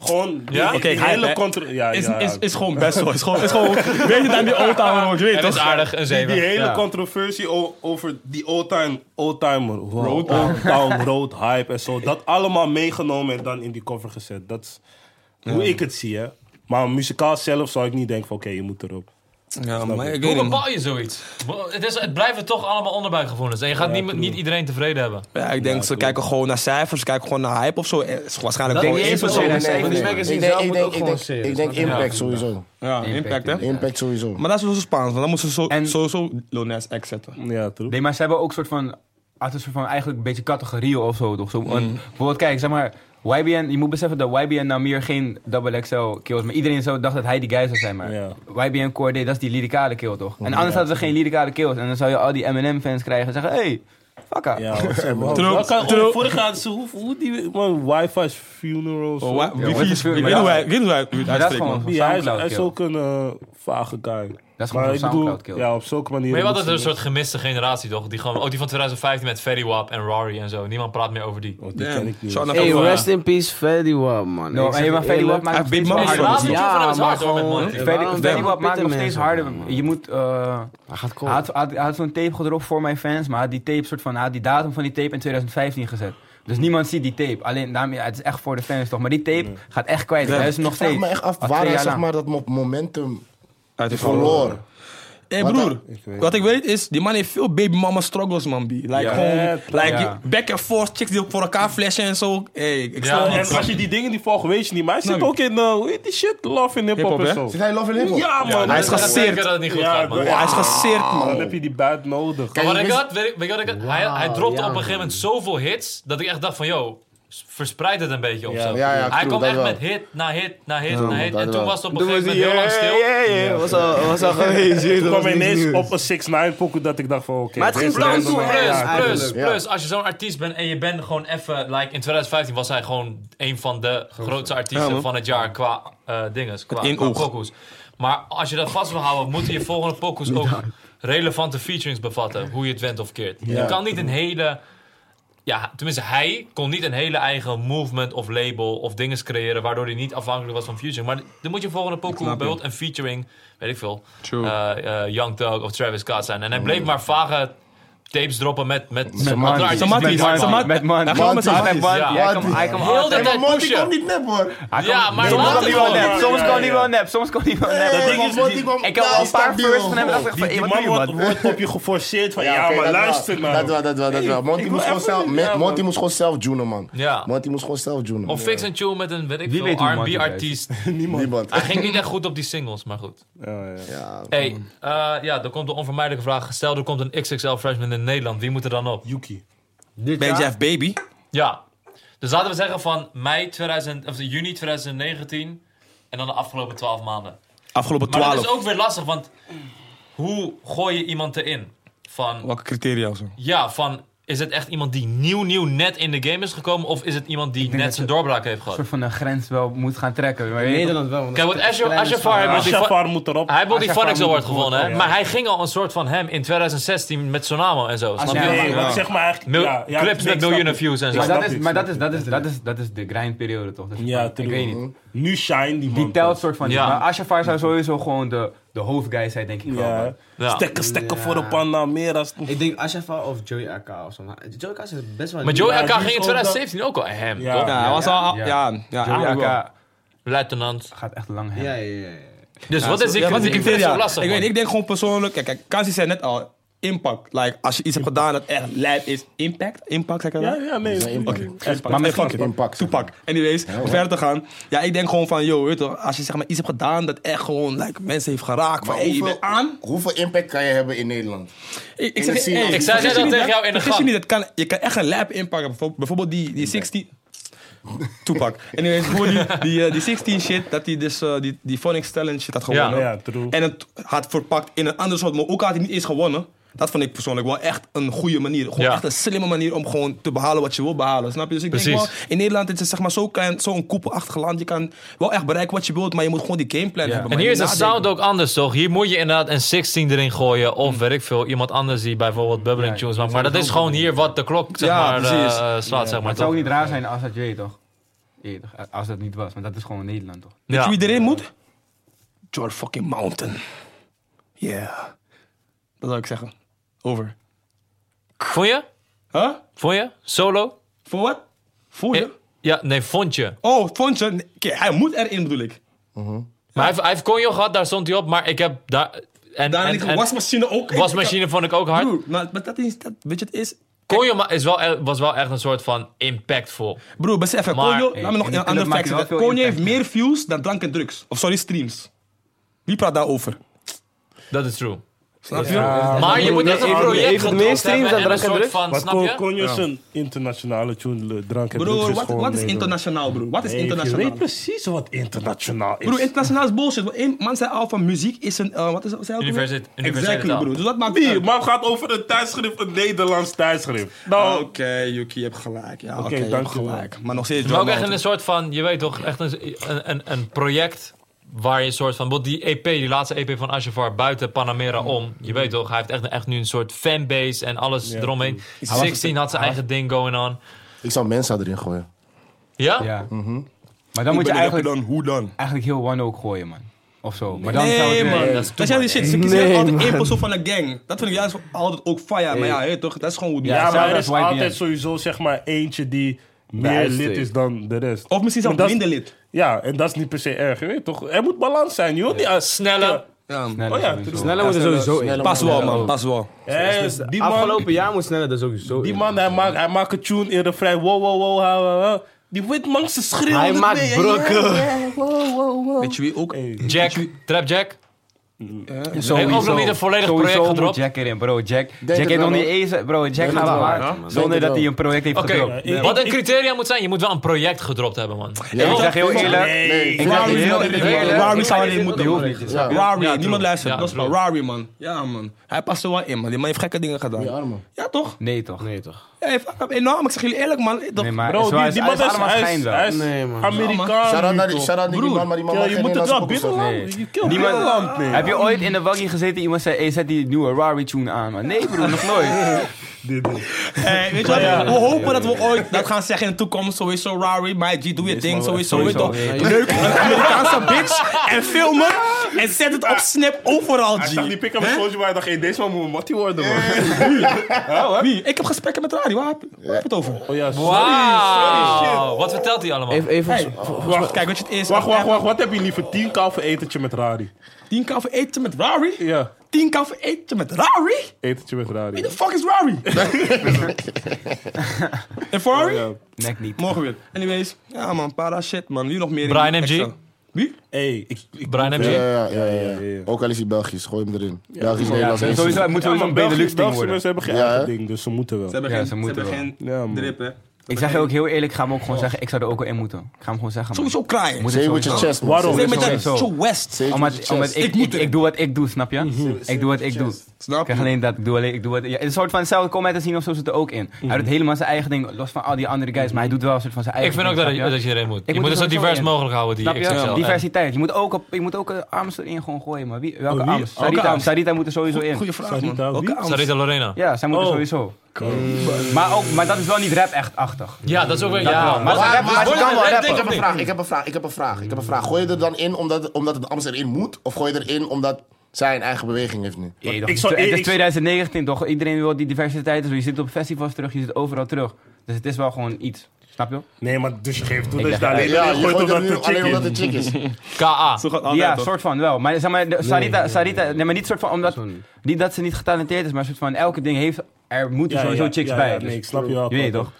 [SPEAKER 3] Gewoon die,
[SPEAKER 1] Ja?
[SPEAKER 3] die
[SPEAKER 1] Oké,
[SPEAKER 3] hele
[SPEAKER 8] hij-
[SPEAKER 3] contro- Ja,
[SPEAKER 8] Is,
[SPEAKER 3] ja,
[SPEAKER 8] is, is gewoon best wel. Is gewoon, is gewoon weet je, dan die old timer je weet
[SPEAKER 1] Het is
[SPEAKER 8] toch?
[SPEAKER 1] aardig, een
[SPEAKER 3] die
[SPEAKER 1] 7.
[SPEAKER 3] hele
[SPEAKER 8] Ja.
[SPEAKER 3] controversie o- over die oldtime, oldtimer, wow, oldtown road hype en zo. Dat allemaal meegenomen en dan in die cover gezet. Dat is hoe ik het zie, hè. Maar muzikaal zelf zou ik niet denken van, oké, je moet erop.
[SPEAKER 2] Ja, maar ik
[SPEAKER 1] Hoe
[SPEAKER 2] weet niet. man.
[SPEAKER 1] bepaal je zoiets? Wa- Het, is, het blijven toch allemaal onderbuikgevoelens. En je gaat niet, niet iedereen tevreden hebben.
[SPEAKER 2] Ja, ik denk ze kijken gewoon naar cijfers, ze kijken gewoon naar hype of zo. Eh, Het is waarschijnlijk
[SPEAKER 6] Dat
[SPEAKER 2] gewoon
[SPEAKER 6] is
[SPEAKER 2] één
[SPEAKER 6] niet eens
[SPEAKER 2] persoon.
[SPEAKER 6] per
[SPEAKER 2] die
[SPEAKER 6] se,
[SPEAKER 2] zegt,
[SPEAKER 6] nee,
[SPEAKER 2] nee.
[SPEAKER 6] nee. magazine
[SPEAKER 4] Ik denk-
[SPEAKER 6] zelf
[SPEAKER 4] ik
[SPEAKER 6] moet
[SPEAKER 4] denk-
[SPEAKER 6] ook
[SPEAKER 4] ik
[SPEAKER 6] gewoon
[SPEAKER 4] denk-
[SPEAKER 6] serieus
[SPEAKER 4] Ik denk
[SPEAKER 6] worden.
[SPEAKER 4] impact sowieso.
[SPEAKER 8] Ja, impact hè?
[SPEAKER 4] Impact sowieso.
[SPEAKER 2] Maar dat is wel zo Spaans, want dan moeten ze zo-
[SPEAKER 5] En-
[SPEAKER 2] sowieso Lil Nas X zetten.
[SPEAKER 3] Ja, troep.
[SPEAKER 5] Nee, maar ze hebben ook soort van, uit een soort van eigenlijk een beetje categorieën of zo, toch? Zo,
[SPEAKER 3] Mm.
[SPEAKER 5] want bijvoorbeeld, kijk, zeg maar, YBN, je moet beseffen dat YBN nou meer geen double XL kill is, maar iedereen zo dacht dat hij die guy zou zijn, maar
[SPEAKER 3] Ja.
[SPEAKER 5] YBN Core D, dat is die lyricale kill, toch? En anders hadden ze geen lyricale kills en dan zou je al die Eminem-fans krijgen en zeggen, hey, fuck up.
[SPEAKER 3] Ja, wat- wat-
[SPEAKER 8] Troep,
[SPEAKER 3] wat kan-
[SPEAKER 8] troep.
[SPEAKER 3] Vorig jaar, ze- hoe, hoe die, man, wifi's funerals.
[SPEAKER 8] Oh, wa-
[SPEAKER 5] Ja,
[SPEAKER 8] Wie
[SPEAKER 5] wat
[SPEAKER 8] wie
[SPEAKER 5] is
[SPEAKER 8] is
[SPEAKER 5] veel-
[SPEAKER 8] wie-
[SPEAKER 5] maar
[SPEAKER 8] wie-
[SPEAKER 5] ja.
[SPEAKER 8] hoe hij- wie- hoe hij- hoe
[SPEAKER 5] Maar
[SPEAKER 8] hij
[SPEAKER 5] Nou, dat is
[SPEAKER 8] uitspreekt,
[SPEAKER 5] gewoon
[SPEAKER 8] man.
[SPEAKER 5] van
[SPEAKER 3] Ja, hij is, hij
[SPEAKER 5] Soundcloud
[SPEAKER 3] is
[SPEAKER 5] kill.
[SPEAKER 3] ook een eh, vage guy.
[SPEAKER 5] Dat is gewoon
[SPEAKER 3] maar
[SPEAKER 5] een
[SPEAKER 3] ik bedoel,
[SPEAKER 5] Soundcloud kill.
[SPEAKER 3] ja, op zulke manier.
[SPEAKER 1] Maar je had
[SPEAKER 3] moet
[SPEAKER 1] altijd een
[SPEAKER 3] ze-
[SPEAKER 1] soort gemiste generatie, toch? Die gewoon, ook die van 2015 met Fetty Wap en Rory en zo. Niemand praat meer over die.
[SPEAKER 3] Oh, die ken ik niet.
[SPEAKER 2] Shout out
[SPEAKER 6] Hey,
[SPEAKER 2] naar-
[SPEAKER 1] eh,
[SPEAKER 6] rest in peace, Fetty Wap, man.
[SPEAKER 5] No,
[SPEAKER 6] Ik zeg
[SPEAKER 5] en je maar
[SPEAKER 6] je
[SPEAKER 5] Fetty Wap
[SPEAKER 6] eerlijk.
[SPEAKER 5] maakt nog
[SPEAKER 2] Hij
[SPEAKER 5] steeds
[SPEAKER 2] beat
[SPEAKER 1] Die
[SPEAKER 2] Mama
[SPEAKER 5] harder.
[SPEAKER 1] laatste
[SPEAKER 2] Ja,
[SPEAKER 1] tune van hem is
[SPEAKER 6] maar
[SPEAKER 1] hard, hoor, met
[SPEAKER 6] gewoon-
[SPEAKER 1] Monty.
[SPEAKER 6] Ja,
[SPEAKER 5] Fetty
[SPEAKER 6] waarom
[SPEAKER 5] Fetty
[SPEAKER 6] waarom
[SPEAKER 5] Wap maakt
[SPEAKER 6] pitten
[SPEAKER 5] nog steeds
[SPEAKER 6] mensen Ah,
[SPEAKER 5] harder.
[SPEAKER 6] dan, man?
[SPEAKER 5] Je moet... eh,
[SPEAKER 6] Hij gaat
[SPEAKER 5] Hij
[SPEAKER 6] komen.
[SPEAKER 5] had, had, had zo'n tape gedropt voor mijn fans, maar had die tape soort van, hij had die datum van die tape in 2015 gezet. Dus niemand ziet die tape. Alleen, daarmee, het is echt voor de fans toch. Maar die
[SPEAKER 6] Mm.
[SPEAKER 5] tape gaat echt kwijt. Hij is nog
[SPEAKER 4] Ik vraag
[SPEAKER 5] steeds.
[SPEAKER 4] me echt af
[SPEAKER 5] Al
[SPEAKER 4] waar
[SPEAKER 5] twee
[SPEAKER 4] hij
[SPEAKER 5] jaar
[SPEAKER 4] zeg
[SPEAKER 5] lang.
[SPEAKER 4] maar, dat mo- momentum
[SPEAKER 2] Uit de
[SPEAKER 4] verloor.
[SPEAKER 2] Hé
[SPEAKER 4] Wat
[SPEAKER 2] broer,
[SPEAKER 4] dan? Ik weet
[SPEAKER 2] wat ik weet is, die man heeft veel baby mama struggles man, B. Like
[SPEAKER 3] Ja,
[SPEAKER 2] gewoon, like
[SPEAKER 5] ja.
[SPEAKER 2] je- back and forth, chicks die op voor elkaar flashen en zo. Hey, ik
[SPEAKER 1] Ja,
[SPEAKER 2] snap
[SPEAKER 1] man.
[SPEAKER 2] niet.
[SPEAKER 3] En als je die dingen die volgt, weet je niet. Maar hij zit
[SPEAKER 2] Nee.
[SPEAKER 3] ook in, eh, hoe heet die shit? Love in hip-hop
[SPEAKER 2] Hip-hop,
[SPEAKER 3] en
[SPEAKER 2] hè?
[SPEAKER 3] zo.
[SPEAKER 4] Zit hij Love in Hip Hop?
[SPEAKER 3] Ja, man.
[SPEAKER 2] hij is
[SPEAKER 1] Dat
[SPEAKER 2] geseerd.
[SPEAKER 1] zeker dat het niet goed
[SPEAKER 3] Ja,
[SPEAKER 1] gaat, man.
[SPEAKER 3] bro.
[SPEAKER 2] Hij is geseerd
[SPEAKER 3] Dan
[SPEAKER 2] man.
[SPEAKER 3] heb je die buit nodig.
[SPEAKER 1] Weet je
[SPEAKER 4] Kijk,
[SPEAKER 1] wat ik had? Weet je- weet je wat ik had? Hij, hij
[SPEAKER 6] Wauw,
[SPEAKER 1] dropte
[SPEAKER 6] ja,
[SPEAKER 1] op een gegeven moment zoveel hits dat ik echt dacht van, yo, s- verspreid het een beetje of
[SPEAKER 3] Ja,
[SPEAKER 1] zo.
[SPEAKER 4] ja, ja,
[SPEAKER 1] hij
[SPEAKER 4] true,
[SPEAKER 1] kwam
[SPEAKER 4] dat
[SPEAKER 1] echt
[SPEAKER 4] wel.
[SPEAKER 1] met hit na hit na hit na hit.
[SPEAKER 4] dat
[SPEAKER 1] En toen
[SPEAKER 4] wel.
[SPEAKER 1] was het op een
[SPEAKER 7] Doe maar
[SPEAKER 1] gegeven
[SPEAKER 7] die,
[SPEAKER 1] moment heel
[SPEAKER 2] eh,
[SPEAKER 1] lang
[SPEAKER 7] yeah,
[SPEAKER 1] stil.
[SPEAKER 7] yeah, yeah. Was al was al geweest.
[SPEAKER 3] Toen
[SPEAKER 7] je weet
[SPEAKER 3] kwam
[SPEAKER 7] toch, niks
[SPEAKER 3] ineens
[SPEAKER 7] nieuws.
[SPEAKER 3] op een 6 9 pokoe dat ik dacht van oké.
[SPEAKER 7] Maar het ging
[SPEAKER 3] dit is
[SPEAKER 7] blauw
[SPEAKER 3] random,
[SPEAKER 7] toe,
[SPEAKER 3] maar
[SPEAKER 7] hè?
[SPEAKER 1] Plus,
[SPEAKER 3] ja.
[SPEAKER 1] plus,
[SPEAKER 6] eigenlijk,
[SPEAKER 4] ja.
[SPEAKER 1] plus, als je zo'n artiest bent en je bent gewoon even, like in 2015 was hij gewoon een van de grootste artiesten van het jaar qua eh dinges, qua,
[SPEAKER 2] één
[SPEAKER 1] qua
[SPEAKER 2] oog.
[SPEAKER 1] pokoes. Maar als je dat vast wil houden, moeten je volgende pokoes ook relevante featurings bevatten, hoe je het went of keert. Je kan niet een hele, ja, tenminste hij kon niet een hele eigen movement of label of dinges creëren, waardoor hij niet afhankelijk was van featuring. Maar dan moet je volgende pokoe bijvoorbeeld een featuring, weet ik veel, eh, eh, Young Thug of Travis Scott zijn. En hij
[SPEAKER 5] Mm.
[SPEAKER 1] bleef maar vage tapes droppen met, met, met
[SPEAKER 4] Samadhi.
[SPEAKER 1] andere artiesten.
[SPEAKER 2] Samadhi,
[SPEAKER 1] Met
[SPEAKER 5] Met man,
[SPEAKER 2] Samadhi.
[SPEAKER 5] met man.
[SPEAKER 2] Hij ging met zijn
[SPEAKER 5] Hij
[SPEAKER 2] handjes.
[SPEAKER 5] kwam-
[SPEAKER 1] Ja.
[SPEAKER 5] hij kwam- Hij kwam
[SPEAKER 1] Heel de
[SPEAKER 5] altijd-
[SPEAKER 1] tijd
[SPEAKER 4] Monty
[SPEAKER 1] pushen.
[SPEAKER 4] komt niet nep hoor.
[SPEAKER 5] hij kwam-
[SPEAKER 1] Ja, maar
[SPEAKER 5] soms
[SPEAKER 1] later
[SPEAKER 5] kwam hij wel
[SPEAKER 1] wel.
[SPEAKER 5] nep.
[SPEAKER 1] Ja,
[SPEAKER 5] Soms
[SPEAKER 3] ja,
[SPEAKER 5] kwam hij
[SPEAKER 3] ja.
[SPEAKER 5] wel nep. Soms kwam hij wel nep.
[SPEAKER 3] ding is, die-
[SPEAKER 5] Ik heb al een paar firsts van hem en dacht ik van,
[SPEAKER 3] Die,
[SPEAKER 5] hey,
[SPEAKER 3] die
[SPEAKER 5] wat doe
[SPEAKER 3] man
[SPEAKER 5] je
[SPEAKER 3] wordt,
[SPEAKER 5] man?
[SPEAKER 3] wordt op je geforceerd van ja,
[SPEAKER 4] oké,
[SPEAKER 3] maar
[SPEAKER 4] dat wel.
[SPEAKER 3] luister nou.
[SPEAKER 4] Dat wel, dat wel, dat wel. Monty
[SPEAKER 3] ik
[SPEAKER 4] moest
[SPEAKER 3] wil
[SPEAKER 4] gewoon zelf-
[SPEAKER 3] even-
[SPEAKER 4] Met-
[SPEAKER 3] ja,
[SPEAKER 4] Monty
[SPEAKER 3] man.
[SPEAKER 4] moest gewoon zelf junen, man.
[SPEAKER 1] Ja.
[SPEAKER 4] Monty moest gewoon zelf junen.
[SPEAKER 1] Of Fix and Chill met een, weet ik
[SPEAKER 5] Wie weet
[SPEAKER 1] veel,
[SPEAKER 5] hoe Monty
[SPEAKER 1] R&B-artiest.
[SPEAKER 4] Niemand.
[SPEAKER 1] Hij ging niet echt goed op die singles, maar goed.
[SPEAKER 3] Ja, ja.
[SPEAKER 5] Oh,
[SPEAKER 4] Ja,
[SPEAKER 1] hey, eh, ja, er komt de onvermijdelijke vraag. Stel, er komt een XXL freshman in Nederland. Wie moet er dan op?
[SPEAKER 3] Yuki.
[SPEAKER 2] Ben Jeff Baby?
[SPEAKER 1] Ja. Dus laten we zeggen van mei 2000, of juni 2019 en dan de afgelopen 12 maanden.
[SPEAKER 2] Afgelopen
[SPEAKER 1] Maar dat is
[SPEAKER 2] 12.
[SPEAKER 1] ook weer lastig, want hoe gooi je iemand erin? Van,
[SPEAKER 2] Welke criteria of zo?
[SPEAKER 1] Ja, van is het echt iemand die nieuw, nieuw net in de game is gekomen? Of is het iemand die net
[SPEAKER 5] dat
[SPEAKER 1] zijn doorbraak heeft gehad?
[SPEAKER 5] Een soort van een grens wel moet gaan trekken. Maar je weet toch-
[SPEAKER 6] Nederland wel. want
[SPEAKER 1] Kijk,
[SPEAKER 6] dat
[SPEAKER 1] want
[SPEAKER 6] is een
[SPEAKER 1] Asher-
[SPEAKER 6] kleine
[SPEAKER 1] Asher Farr
[SPEAKER 6] schaal.
[SPEAKER 1] hebben-
[SPEAKER 3] Ashafar moet erop.
[SPEAKER 1] Hij heeft die
[SPEAKER 5] Ashraf
[SPEAKER 1] Phonics
[SPEAKER 5] moet
[SPEAKER 1] Award
[SPEAKER 5] goed
[SPEAKER 1] gewonnen, hè?
[SPEAKER 3] worden, ja.
[SPEAKER 1] Maar hij ging al een soort van hem in 2016 met Sonamo en zo. Snap
[SPEAKER 5] ja,
[SPEAKER 1] je?
[SPEAKER 5] ja.
[SPEAKER 3] Nee, want zeg maar eigenlijk...
[SPEAKER 1] Mil-
[SPEAKER 3] ja, ja,
[SPEAKER 1] clips
[SPEAKER 3] nee,
[SPEAKER 1] met
[SPEAKER 3] ik snap
[SPEAKER 1] miljoenen
[SPEAKER 3] het.
[SPEAKER 1] views en zo.
[SPEAKER 5] Maar
[SPEAKER 3] snap
[SPEAKER 5] dat is,
[SPEAKER 3] ik,
[SPEAKER 5] maar
[SPEAKER 3] snap
[SPEAKER 5] dat is, dat is, dat is, dat is de grindperiode toch? Dus
[SPEAKER 3] Ja,
[SPEAKER 5] ik weet niet.
[SPEAKER 3] tuurlijk. Nu shine die man.
[SPEAKER 5] Die telt soort van.
[SPEAKER 1] Ja.
[SPEAKER 5] Maar Ashafar zou sowieso gewoon de, de hoofdguy zijn, denk ik wel. man.
[SPEAKER 3] Ja.
[SPEAKER 1] Ja.
[SPEAKER 3] Stekken, stekken
[SPEAKER 6] Ja.
[SPEAKER 3] voor de Panamera.
[SPEAKER 6] Ik denk Ashafa of Joey AK of zo. Maar Joey AK is best wel.
[SPEAKER 1] Maar Joey
[SPEAKER 3] Ja,
[SPEAKER 1] AK
[SPEAKER 3] die
[SPEAKER 1] ging
[SPEAKER 3] is
[SPEAKER 1] in
[SPEAKER 3] ook
[SPEAKER 1] 2017 ook al hem.
[SPEAKER 3] Ja.
[SPEAKER 1] toch?
[SPEAKER 2] Ja, hij was al...
[SPEAKER 5] ja.
[SPEAKER 2] Ja, ja,
[SPEAKER 5] Joey
[SPEAKER 2] eigenlijk wel.
[SPEAKER 5] Aka
[SPEAKER 1] Luitenant.
[SPEAKER 5] gaat echt lang
[SPEAKER 6] Ja,
[SPEAKER 5] hebben.
[SPEAKER 6] ja, ja. ja.
[SPEAKER 1] Dus wat is die
[SPEAKER 2] Ja, wat is
[SPEAKER 1] Ik
[SPEAKER 2] die
[SPEAKER 1] vind het zo
[SPEAKER 2] criteria?
[SPEAKER 1] lastig,
[SPEAKER 2] Ik weet,
[SPEAKER 1] man.
[SPEAKER 2] ik denk gewoon persoonlijk... Kijk, kijk Kasi zei net al, impact. Like, als je iets hebt gedaan dat echt lijp is, impact? Impact, zeg ik dat?
[SPEAKER 3] Ja, ja, nee.
[SPEAKER 4] Zijn impact.
[SPEAKER 2] Maar met fuck
[SPEAKER 4] Impact, impact,
[SPEAKER 2] impact.
[SPEAKER 4] zeg
[SPEAKER 2] Toepak. Anyways, om verder te gaan. Ja, ik denk gewoon van, joh, weet je, wel, als je zeg maar iets hebt gedaan dat echt gewoon like, mensen heeft geraakt. Van,
[SPEAKER 4] Maar
[SPEAKER 2] hey, je
[SPEAKER 4] hoeveel,
[SPEAKER 2] bent aan.
[SPEAKER 4] hoeveel impact kan je hebben in Nederland?
[SPEAKER 2] Ik,
[SPEAKER 4] In
[SPEAKER 2] zeg,
[SPEAKER 4] de
[SPEAKER 2] hey,
[SPEAKER 4] scene. Ik zei
[SPEAKER 2] vergis
[SPEAKER 1] net
[SPEAKER 2] je
[SPEAKER 1] al
[SPEAKER 2] niet,
[SPEAKER 1] tegen
[SPEAKER 2] hè?
[SPEAKER 1] jou in de
[SPEAKER 2] Vergis je
[SPEAKER 1] gang.
[SPEAKER 2] niet, het kan, je kan echt een lab inpakken. Bijvoorbeeld- Bijvoorbeeld die, die 16... Toepak. Anyways, gewoon die, die, eh, die 16 shit, dat hij dus eh, die, die Phonics Challenge shit had gewonnen.
[SPEAKER 3] Ja, true.
[SPEAKER 2] En het had verpakt in een ander soort, maar ook had hij niet eens gewonnen. Dat vond ik persoonlijk wel echt een goede manier. Gewoon
[SPEAKER 1] Ja.
[SPEAKER 2] echt een slimme manier om gewoon te behalen wat je wil behalen. Snap je? Dus ik denk
[SPEAKER 1] Precies.
[SPEAKER 2] wel, in Nederland is het zeg maar zo'n zo zo'n koepelachtig land. Je kan wel echt bereiken wat je wilt, maar je moet gewoon die gameplan hebben.
[SPEAKER 1] En
[SPEAKER 2] maar
[SPEAKER 1] hier is de
[SPEAKER 2] nadenken.
[SPEAKER 1] sound ook anders, toch? Hier moet je inderdaad een 16 erin gooien. Of weet ik veel, iemand anders die bijvoorbeeld bubbling
[SPEAKER 5] Ja,
[SPEAKER 1] tunes maakt. Maar dat is gewoon hier wat de klok zeg
[SPEAKER 2] Ja,
[SPEAKER 1] maar, eh,
[SPEAKER 2] precies.
[SPEAKER 1] slaat, zeg
[SPEAKER 5] Maar
[SPEAKER 1] maar.
[SPEAKER 5] het zou
[SPEAKER 1] Toch?
[SPEAKER 5] ook niet raar zijn als dat je weet toch? Ja, toch, Als dat niet was, want dat is gewoon Nederland toch?
[SPEAKER 2] Weet
[SPEAKER 1] Ja.
[SPEAKER 2] je wie erin moet? George fucking Mountain. Yeah. Dat zou ik zeggen. Over.
[SPEAKER 1] Vond je?
[SPEAKER 2] Huh?
[SPEAKER 1] Vond je? Solo?
[SPEAKER 2] Voor wat? Voor je?
[SPEAKER 1] Ja, nee, vond je.
[SPEAKER 2] Oh, vond je? Nee, oké, hij moet erin bedoel ik.
[SPEAKER 1] Maar hij, heeft- hij heeft Conjo gehad, daar stond hij op. Maar ik heb daar... En,
[SPEAKER 2] Daarna
[SPEAKER 1] en,
[SPEAKER 2] die
[SPEAKER 1] en-
[SPEAKER 2] wasmachine ook.
[SPEAKER 1] wasmachine vond ik ook hard.
[SPEAKER 2] Broer, maar, maar dat is, dat, weet je, het is...
[SPEAKER 1] Conjo ma- is wel, e- was wel echt een soort van impactvol.
[SPEAKER 2] Broer, besef even,
[SPEAKER 1] Maar-
[SPEAKER 2] Konyo,
[SPEAKER 1] Hey,
[SPEAKER 2] laat me nog
[SPEAKER 5] in de
[SPEAKER 2] een ander
[SPEAKER 5] club
[SPEAKER 2] fact
[SPEAKER 5] maakt
[SPEAKER 2] zeggen.
[SPEAKER 5] hij wel veel
[SPEAKER 2] Konyo heeft
[SPEAKER 5] impact.
[SPEAKER 2] meer views dan drank en drugs. Of sorry, streams. Wie praat daarover?
[SPEAKER 1] Dat is true.
[SPEAKER 2] Snap je?
[SPEAKER 1] Maar je moet echt een project
[SPEAKER 7] heeft het meer
[SPEAKER 1] gedropt
[SPEAKER 7] streams
[SPEAKER 1] hebben en
[SPEAKER 7] dan
[SPEAKER 1] een
[SPEAKER 7] Drank en
[SPEAKER 1] soort
[SPEAKER 7] Drugs?
[SPEAKER 1] van,
[SPEAKER 3] Maar
[SPEAKER 1] snap je?
[SPEAKER 3] kon je zijn internationale tune, eh, drank en drugs
[SPEAKER 2] Broer,
[SPEAKER 3] is
[SPEAKER 2] wat,
[SPEAKER 3] gewoon
[SPEAKER 2] wat is
[SPEAKER 3] Nederland.
[SPEAKER 2] internationaal, broer? Wat is
[SPEAKER 3] Nee, Je
[SPEAKER 2] internationaal?
[SPEAKER 3] weet precies wat internationaal is.
[SPEAKER 2] Broer, internationaal is bullshit. Want één man zei al van muziek is een... eh, wat is wat zei hij ook alweer?
[SPEAKER 1] Universiteit- universitaire
[SPEAKER 2] Exactly,
[SPEAKER 1] taal.
[SPEAKER 2] broer. Dus dat maakt...
[SPEAKER 3] Wie? Man gaat over een tijdschrift, een Nederlands tijdschrift. Nou,
[SPEAKER 2] Oké, Yuki, je hebt gelijk. Ja, oké, je
[SPEAKER 3] dank
[SPEAKER 2] hebt
[SPEAKER 3] je wel.
[SPEAKER 2] gelijk. Maar nog steeds
[SPEAKER 1] Maar ook
[SPEAKER 2] John
[SPEAKER 1] echt
[SPEAKER 2] Mountain.
[SPEAKER 1] een soort van, je weet toch, echt een, een, een, een project waar je een soort van, bijvoorbeeld die EP, die laatste EP van Asjevar buiten Panamera om. Je weet toch, hij heeft echt, echt nu een soort fanbase en alles eromheen. 16 had zijn eigen ding going on.
[SPEAKER 4] Ik zou Mensa erin gooien.
[SPEAKER 1] Ja?
[SPEAKER 5] Ja. Maar dan moet je
[SPEAKER 2] Ben
[SPEAKER 5] eigenlijk,
[SPEAKER 2] dan, hoe dan?
[SPEAKER 5] eigenlijk heel One ook gooien, man. Of zo. Maar dan zou
[SPEAKER 2] Nee,
[SPEAKER 5] het- eh,
[SPEAKER 2] man.
[SPEAKER 1] dat is
[SPEAKER 2] Dat
[SPEAKER 1] too
[SPEAKER 2] is juist die shit. Ze
[SPEAKER 7] Nee,
[SPEAKER 2] kiezen altijd
[SPEAKER 7] man.
[SPEAKER 2] één persoon van een gang. Dat vind ik juist altijd ook fire. Maar ja, hé, toch, dat is gewoon hoe
[SPEAKER 3] ja,
[SPEAKER 5] zou
[SPEAKER 3] maar er
[SPEAKER 5] dat
[SPEAKER 3] is
[SPEAKER 5] YBN?
[SPEAKER 3] altijd sowieso zeg maar eentje die meer
[SPEAKER 5] Luister.
[SPEAKER 3] lid is dan de rest.
[SPEAKER 2] Of misschien zelfs
[SPEAKER 3] En dat is-
[SPEAKER 2] minder lid.
[SPEAKER 3] Ja, en dat is niet per se erg, je weet toch? Er moet balans zijn, joh. Die,
[SPEAKER 1] Sneller.
[SPEAKER 5] Sneller
[SPEAKER 3] Oh ja,
[SPEAKER 5] sowieso.
[SPEAKER 3] tuurlijk.
[SPEAKER 7] Sneller worden sowieso in.
[SPEAKER 2] Pas wel, man. Pas wel.
[SPEAKER 3] Hè,
[SPEAKER 5] dus
[SPEAKER 3] die man,
[SPEAKER 6] Afgelopen jaar moet sneller, dat is sowieso.
[SPEAKER 3] die man hij, maakt, hij maakt een tune in de vrij. Wow, wow, wow, wow, wow, wow. Die witman, ze schreeuwen.
[SPEAKER 6] Hij
[SPEAKER 3] het
[SPEAKER 6] maakt
[SPEAKER 3] mee.
[SPEAKER 6] brokken.
[SPEAKER 2] Weet je wie ook?
[SPEAKER 1] Jack, Trap Jack.
[SPEAKER 5] Sowieso.
[SPEAKER 1] Heeft ook nog niet een volledig
[SPEAKER 5] Sowieso
[SPEAKER 1] project
[SPEAKER 5] moet
[SPEAKER 1] gedropt.
[SPEAKER 5] Jack erin, bro. Jack,
[SPEAKER 4] het
[SPEAKER 5] Jack heeft
[SPEAKER 4] wel,
[SPEAKER 5] nog niet eens... Bro, Jack gaat wel hard. Zonder dat hij een project heeft
[SPEAKER 1] Oké,
[SPEAKER 5] gedropt.
[SPEAKER 1] wat een criteria moet zijn, je moet wel een project gedropt hebben, man.
[SPEAKER 5] Ik zeg heel
[SPEAKER 1] Ja,
[SPEAKER 5] eerlijk...
[SPEAKER 3] Nee.
[SPEAKER 5] Ik zeg
[SPEAKER 2] Waarom
[SPEAKER 5] heel
[SPEAKER 2] zou
[SPEAKER 5] eerlijk...
[SPEAKER 2] hij- waarom zou hij moeten
[SPEAKER 5] Die hoeft niet. snap je?
[SPEAKER 2] Rari,
[SPEAKER 1] true.
[SPEAKER 2] niemand luistert.
[SPEAKER 1] Ja,
[SPEAKER 2] dat is
[SPEAKER 1] true.
[SPEAKER 2] wel Rari, man. Ja, man. Hij past er wel in, man. Die man heeft gekke dingen gedaan. Ja,
[SPEAKER 4] Armen.
[SPEAKER 2] toch?
[SPEAKER 5] Nee, toch?
[SPEAKER 6] Nee, toch?
[SPEAKER 2] Hij heeft fuck up enorm. Ik zeg jullie eerlijk, man. Toch?
[SPEAKER 5] Nee, maar
[SPEAKER 3] Bro,
[SPEAKER 5] zo, hij
[SPEAKER 3] die,
[SPEAKER 5] is,
[SPEAKER 3] die
[SPEAKER 5] hij
[SPEAKER 3] man
[SPEAKER 5] is
[SPEAKER 3] is,
[SPEAKER 5] allemaal
[SPEAKER 3] hij is,
[SPEAKER 5] schijn wel.
[SPEAKER 3] hij is
[SPEAKER 6] Nee, man.
[SPEAKER 3] Amerikaan.
[SPEAKER 4] Shout-out naar die,
[SPEAKER 3] toch?
[SPEAKER 4] shout out naar die man, maar die man
[SPEAKER 3] Ja,
[SPEAKER 4] mag
[SPEAKER 3] je
[SPEAKER 4] geen
[SPEAKER 3] moet het wel
[SPEAKER 4] Nederlandse poppers
[SPEAKER 3] binnenland.
[SPEAKER 4] hebben.
[SPEAKER 3] Je kilt
[SPEAKER 5] Niemand-
[SPEAKER 3] binnenland, nee.
[SPEAKER 5] Heb je ooit in een waggie gezeten iemand zei, hey, zet die nieuwe Rari tune aan? Maar nee broer, nog nooit.
[SPEAKER 2] Hey, weet je wat? We hopen dat we ooit dat gaan zeggen in de toekomst. Sowieso, Rari, my G, doe je ding. Sowieso, weet je toch?
[SPEAKER 5] sowieso.
[SPEAKER 2] Leuk, een Amerikaanse bitch. En filmen. En zet het op Snap overal,
[SPEAKER 3] Hij zag die
[SPEAKER 2] G.
[SPEAKER 3] pick-up met Soulja Boy en dacht, hey, deze man moet een mattie worden, man.
[SPEAKER 2] Wie? Ik heb gesprekken met Rari. Waar heb waar heb je het over?
[SPEAKER 3] Oh ja, sorry.
[SPEAKER 1] Wauw, wat vertelt hij allemaal?
[SPEAKER 7] Even, even
[SPEAKER 2] Hey, wacht, kijk, weet je het is?
[SPEAKER 3] Wacht, wacht, wacht. Wat heb je liever? 10k of een etentje met Rari?
[SPEAKER 2] 10k voor eten met Rari?
[SPEAKER 3] Ja,
[SPEAKER 2] 10k voor eten met Rari?
[SPEAKER 3] etentje met Rari.
[SPEAKER 2] Wie de fuck is Rari? en voor Rari?
[SPEAKER 3] Ja.
[SPEAKER 5] Nek niet.
[SPEAKER 2] Morgen weer. Anyways, ja man, para shit man. Wie nog meer? in
[SPEAKER 1] Brian
[SPEAKER 2] die
[SPEAKER 1] MG?
[SPEAKER 2] extra? Wie?
[SPEAKER 3] Hey, ik... ik
[SPEAKER 1] Brian
[SPEAKER 4] Ja,
[SPEAKER 1] MG.
[SPEAKER 4] ja, ja, ja, ja. Ook al is hij Belgisch, gooi hem erin. Belgisch,
[SPEAKER 5] Ja,
[SPEAKER 4] Nederlands.
[SPEAKER 5] ze- sowieso hij moet
[SPEAKER 3] ja,
[SPEAKER 5] wel
[SPEAKER 3] maar
[SPEAKER 5] een
[SPEAKER 3] Belgisch,
[SPEAKER 5] Benelux ding
[SPEAKER 3] Belgische
[SPEAKER 5] worden.
[SPEAKER 3] mensen hebben geen
[SPEAKER 4] Ja,
[SPEAKER 3] eigen
[SPEAKER 4] hè?
[SPEAKER 3] ding, dus ze moeten wel.
[SPEAKER 2] hebben
[SPEAKER 5] Ja, ze moeten wel.
[SPEAKER 2] geen
[SPEAKER 3] Ja, man.
[SPEAKER 2] drip, hè.
[SPEAKER 5] Ik zeg je ook heel eerlijk, ik ga hem ook gewoon zeggen, ik zou er ook wel in moeten. Ik ga hem gewoon zeggen. man.
[SPEAKER 2] Sowieso kraaien.
[SPEAKER 5] Moet
[SPEAKER 4] Say
[SPEAKER 5] ik
[SPEAKER 4] with
[SPEAKER 5] sowieso.
[SPEAKER 4] your chest, man.
[SPEAKER 3] Waarom?
[SPEAKER 2] Zeg
[SPEAKER 4] Say
[SPEAKER 2] met
[SPEAKER 4] with your
[SPEAKER 2] dat
[SPEAKER 5] sowieso.
[SPEAKER 2] Joe West.
[SPEAKER 4] Say it with
[SPEAKER 5] Omdat,
[SPEAKER 4] your
[SPEAKER 5] omdat
[SPEAKER 4] chest.
[SPEAKER 5] ik,
[SPEAKER 2] Ik
[SPEAKER 5] ik,
[SPEAKER 2] moet
[SPEAKER 5] ik,
[SPEAKER 2] erin.
[SPEAKER 5] doe wat ik doe, snap je? Ik doe wat ik doe.
[SPEAKER 2] Snap
[SPEAKER 5] Ik zeg
[SPEAKER 2] je?
[SPEAKER 5] alleen dat, ik doe alleen, ik doe wat... Ja, een soort van hetzelfde comment te zien of zo zit er ook in. Hij doet helemaal zijn eigen ding, los van al die andere guys, maar hij doet wel een soort van zijn
[SPEAKER 1] Ik
[SPEAKER 5] eigen
[SPEAKER 1] vind ook dat,
[SPEAKER 5] ding, snap je?
[SPEAKER 1] dat je erin moet. Je
[SPEAKER 5] moet
[SPEAKER 1] moet
[SPEAKER 5] er
[SPEAKER 1] het zo
[SPEAKER 5] sowieso
[SPEAKER 1] divers
[SPEAKER 5] in.
[SPEAKER 1] mogelijk houden, die
[SPEAKER 5] Snap je?
[SPEAKER 1] XXL.
[SPEAKER 5] Diversiteit. Je moet ook, op, je moet ook eh, arms erin gewoon gooien, maar wie, welke
[SPEAKER 3] Oh, wie?
[SPEAKER 5] arms?
[SPEAKER 3] Welke
[SPEAKER 5] Sarita,
[SPEAKER 2] arms?
[SPEAKER 5] Sarita moet er sowieso in.
[SPEAKER 2] Goeie vraag,
[SPEAKER 3] Sarita,
[SPEAKER 2] man.
[SPEAKER 3] wie?
[SPEAKER 2] Welke arms?
[SPEAKER 1] Sarita Lorena.
[SPEAKER 5] Ja, zij moeten
[SPEAKER 3] Oh.
[SPEAKER 5] sowieso. Maar, ook, maar dat is wel niet rap-echt-achtig.
[SPEAKER 1] Ja, dat is ook weer... Ja,
[SPEAKER 5] maar
[SPEAKER 1] wat-
[SPEAKER 5] ze rappen-
[SPEAKER 1] wat-
[SPEAKER 5] ze
[SPEAKER 1] wat-
[SPEAKER 5] kan wel
[SPEAKER 1] wat-
[SPEAKER 5] rappen.
[SPEAKER 1] denk
[SPEAKER 4] Ik heb
[SPEAKER 1] ik
[SPEAKER 4] een
[SPEAKER 1] niet.
[SPEAKER 4] vraag, ik heb een vraag, ik heb een vraag, ik heb een vraag. Gooi je er dan in omdat, omdat het Amsterdam erin moet? Of gooi je erin omdat zij een eigen beweging heeft nu?
[SPEAKER 5] Nee,
[SPEAKER 3] Ik
[SPEAKER 5] toch,
[SPEAKER 3] zou-
[SPEAKER 5] het
[SPEAKER 3] ik-
[SPEAKER 5] is
[SPEAKER 3] ik-
[SPEAKER 5] 2019 toch? Iedereen wil die diversiteit. Dus je zit op festivals terug, je zit overal terug. Dus het is wel gewoon iets. Snap je?
[SPEAKER 3] Nee, maar dus je geeft toe
[SPEAKER 5] Ik
[SPEAKER 3] dat je
[SPEAKER 5] leg
[SPEAKER 3] daar alleen
[SPEAKER 4] Ja,
[SPEAKER 3] ja,
[SPEAKER 4] je
[SPEAKER 3] gooit
[SPEAKER 4] gooit
[SPEAKER 3] omdat
[SPEAKER 4] hem nu
[SPEAKER 3] het chick
[SPEAKER 4] alleen omdat
[SPEAKER 3] is.
[SPEAKER 4] het chick is.
[SPEAKER 1] K.A.
[SPEAKER 2] Zo gaat
[SPEAKER 5] ja,
[SPEAKER 2] altijd, toch?
[SPEAKER 5] soort van wel. Maar zeg maar, de- Sarita, Sarita nee, maar niet soort van omdat. Niet dat ze niet getalenteerd is, maar soort van elke ding heeft. Er moeten
[SPEAKER 3] Ja,
[SPEAKER 5] sowieso
[SPEAKER 3] ja,
[SPEAKER 5] chicks
[SPEAKER 3] ja,
[SPEAKER 5] bij.
[SPEAKER 3] ja,
[SPEAKER 5] Dus
[SPEAKER 3] nee, ik snap je wel.
[SPEAKER 5] je weet toch?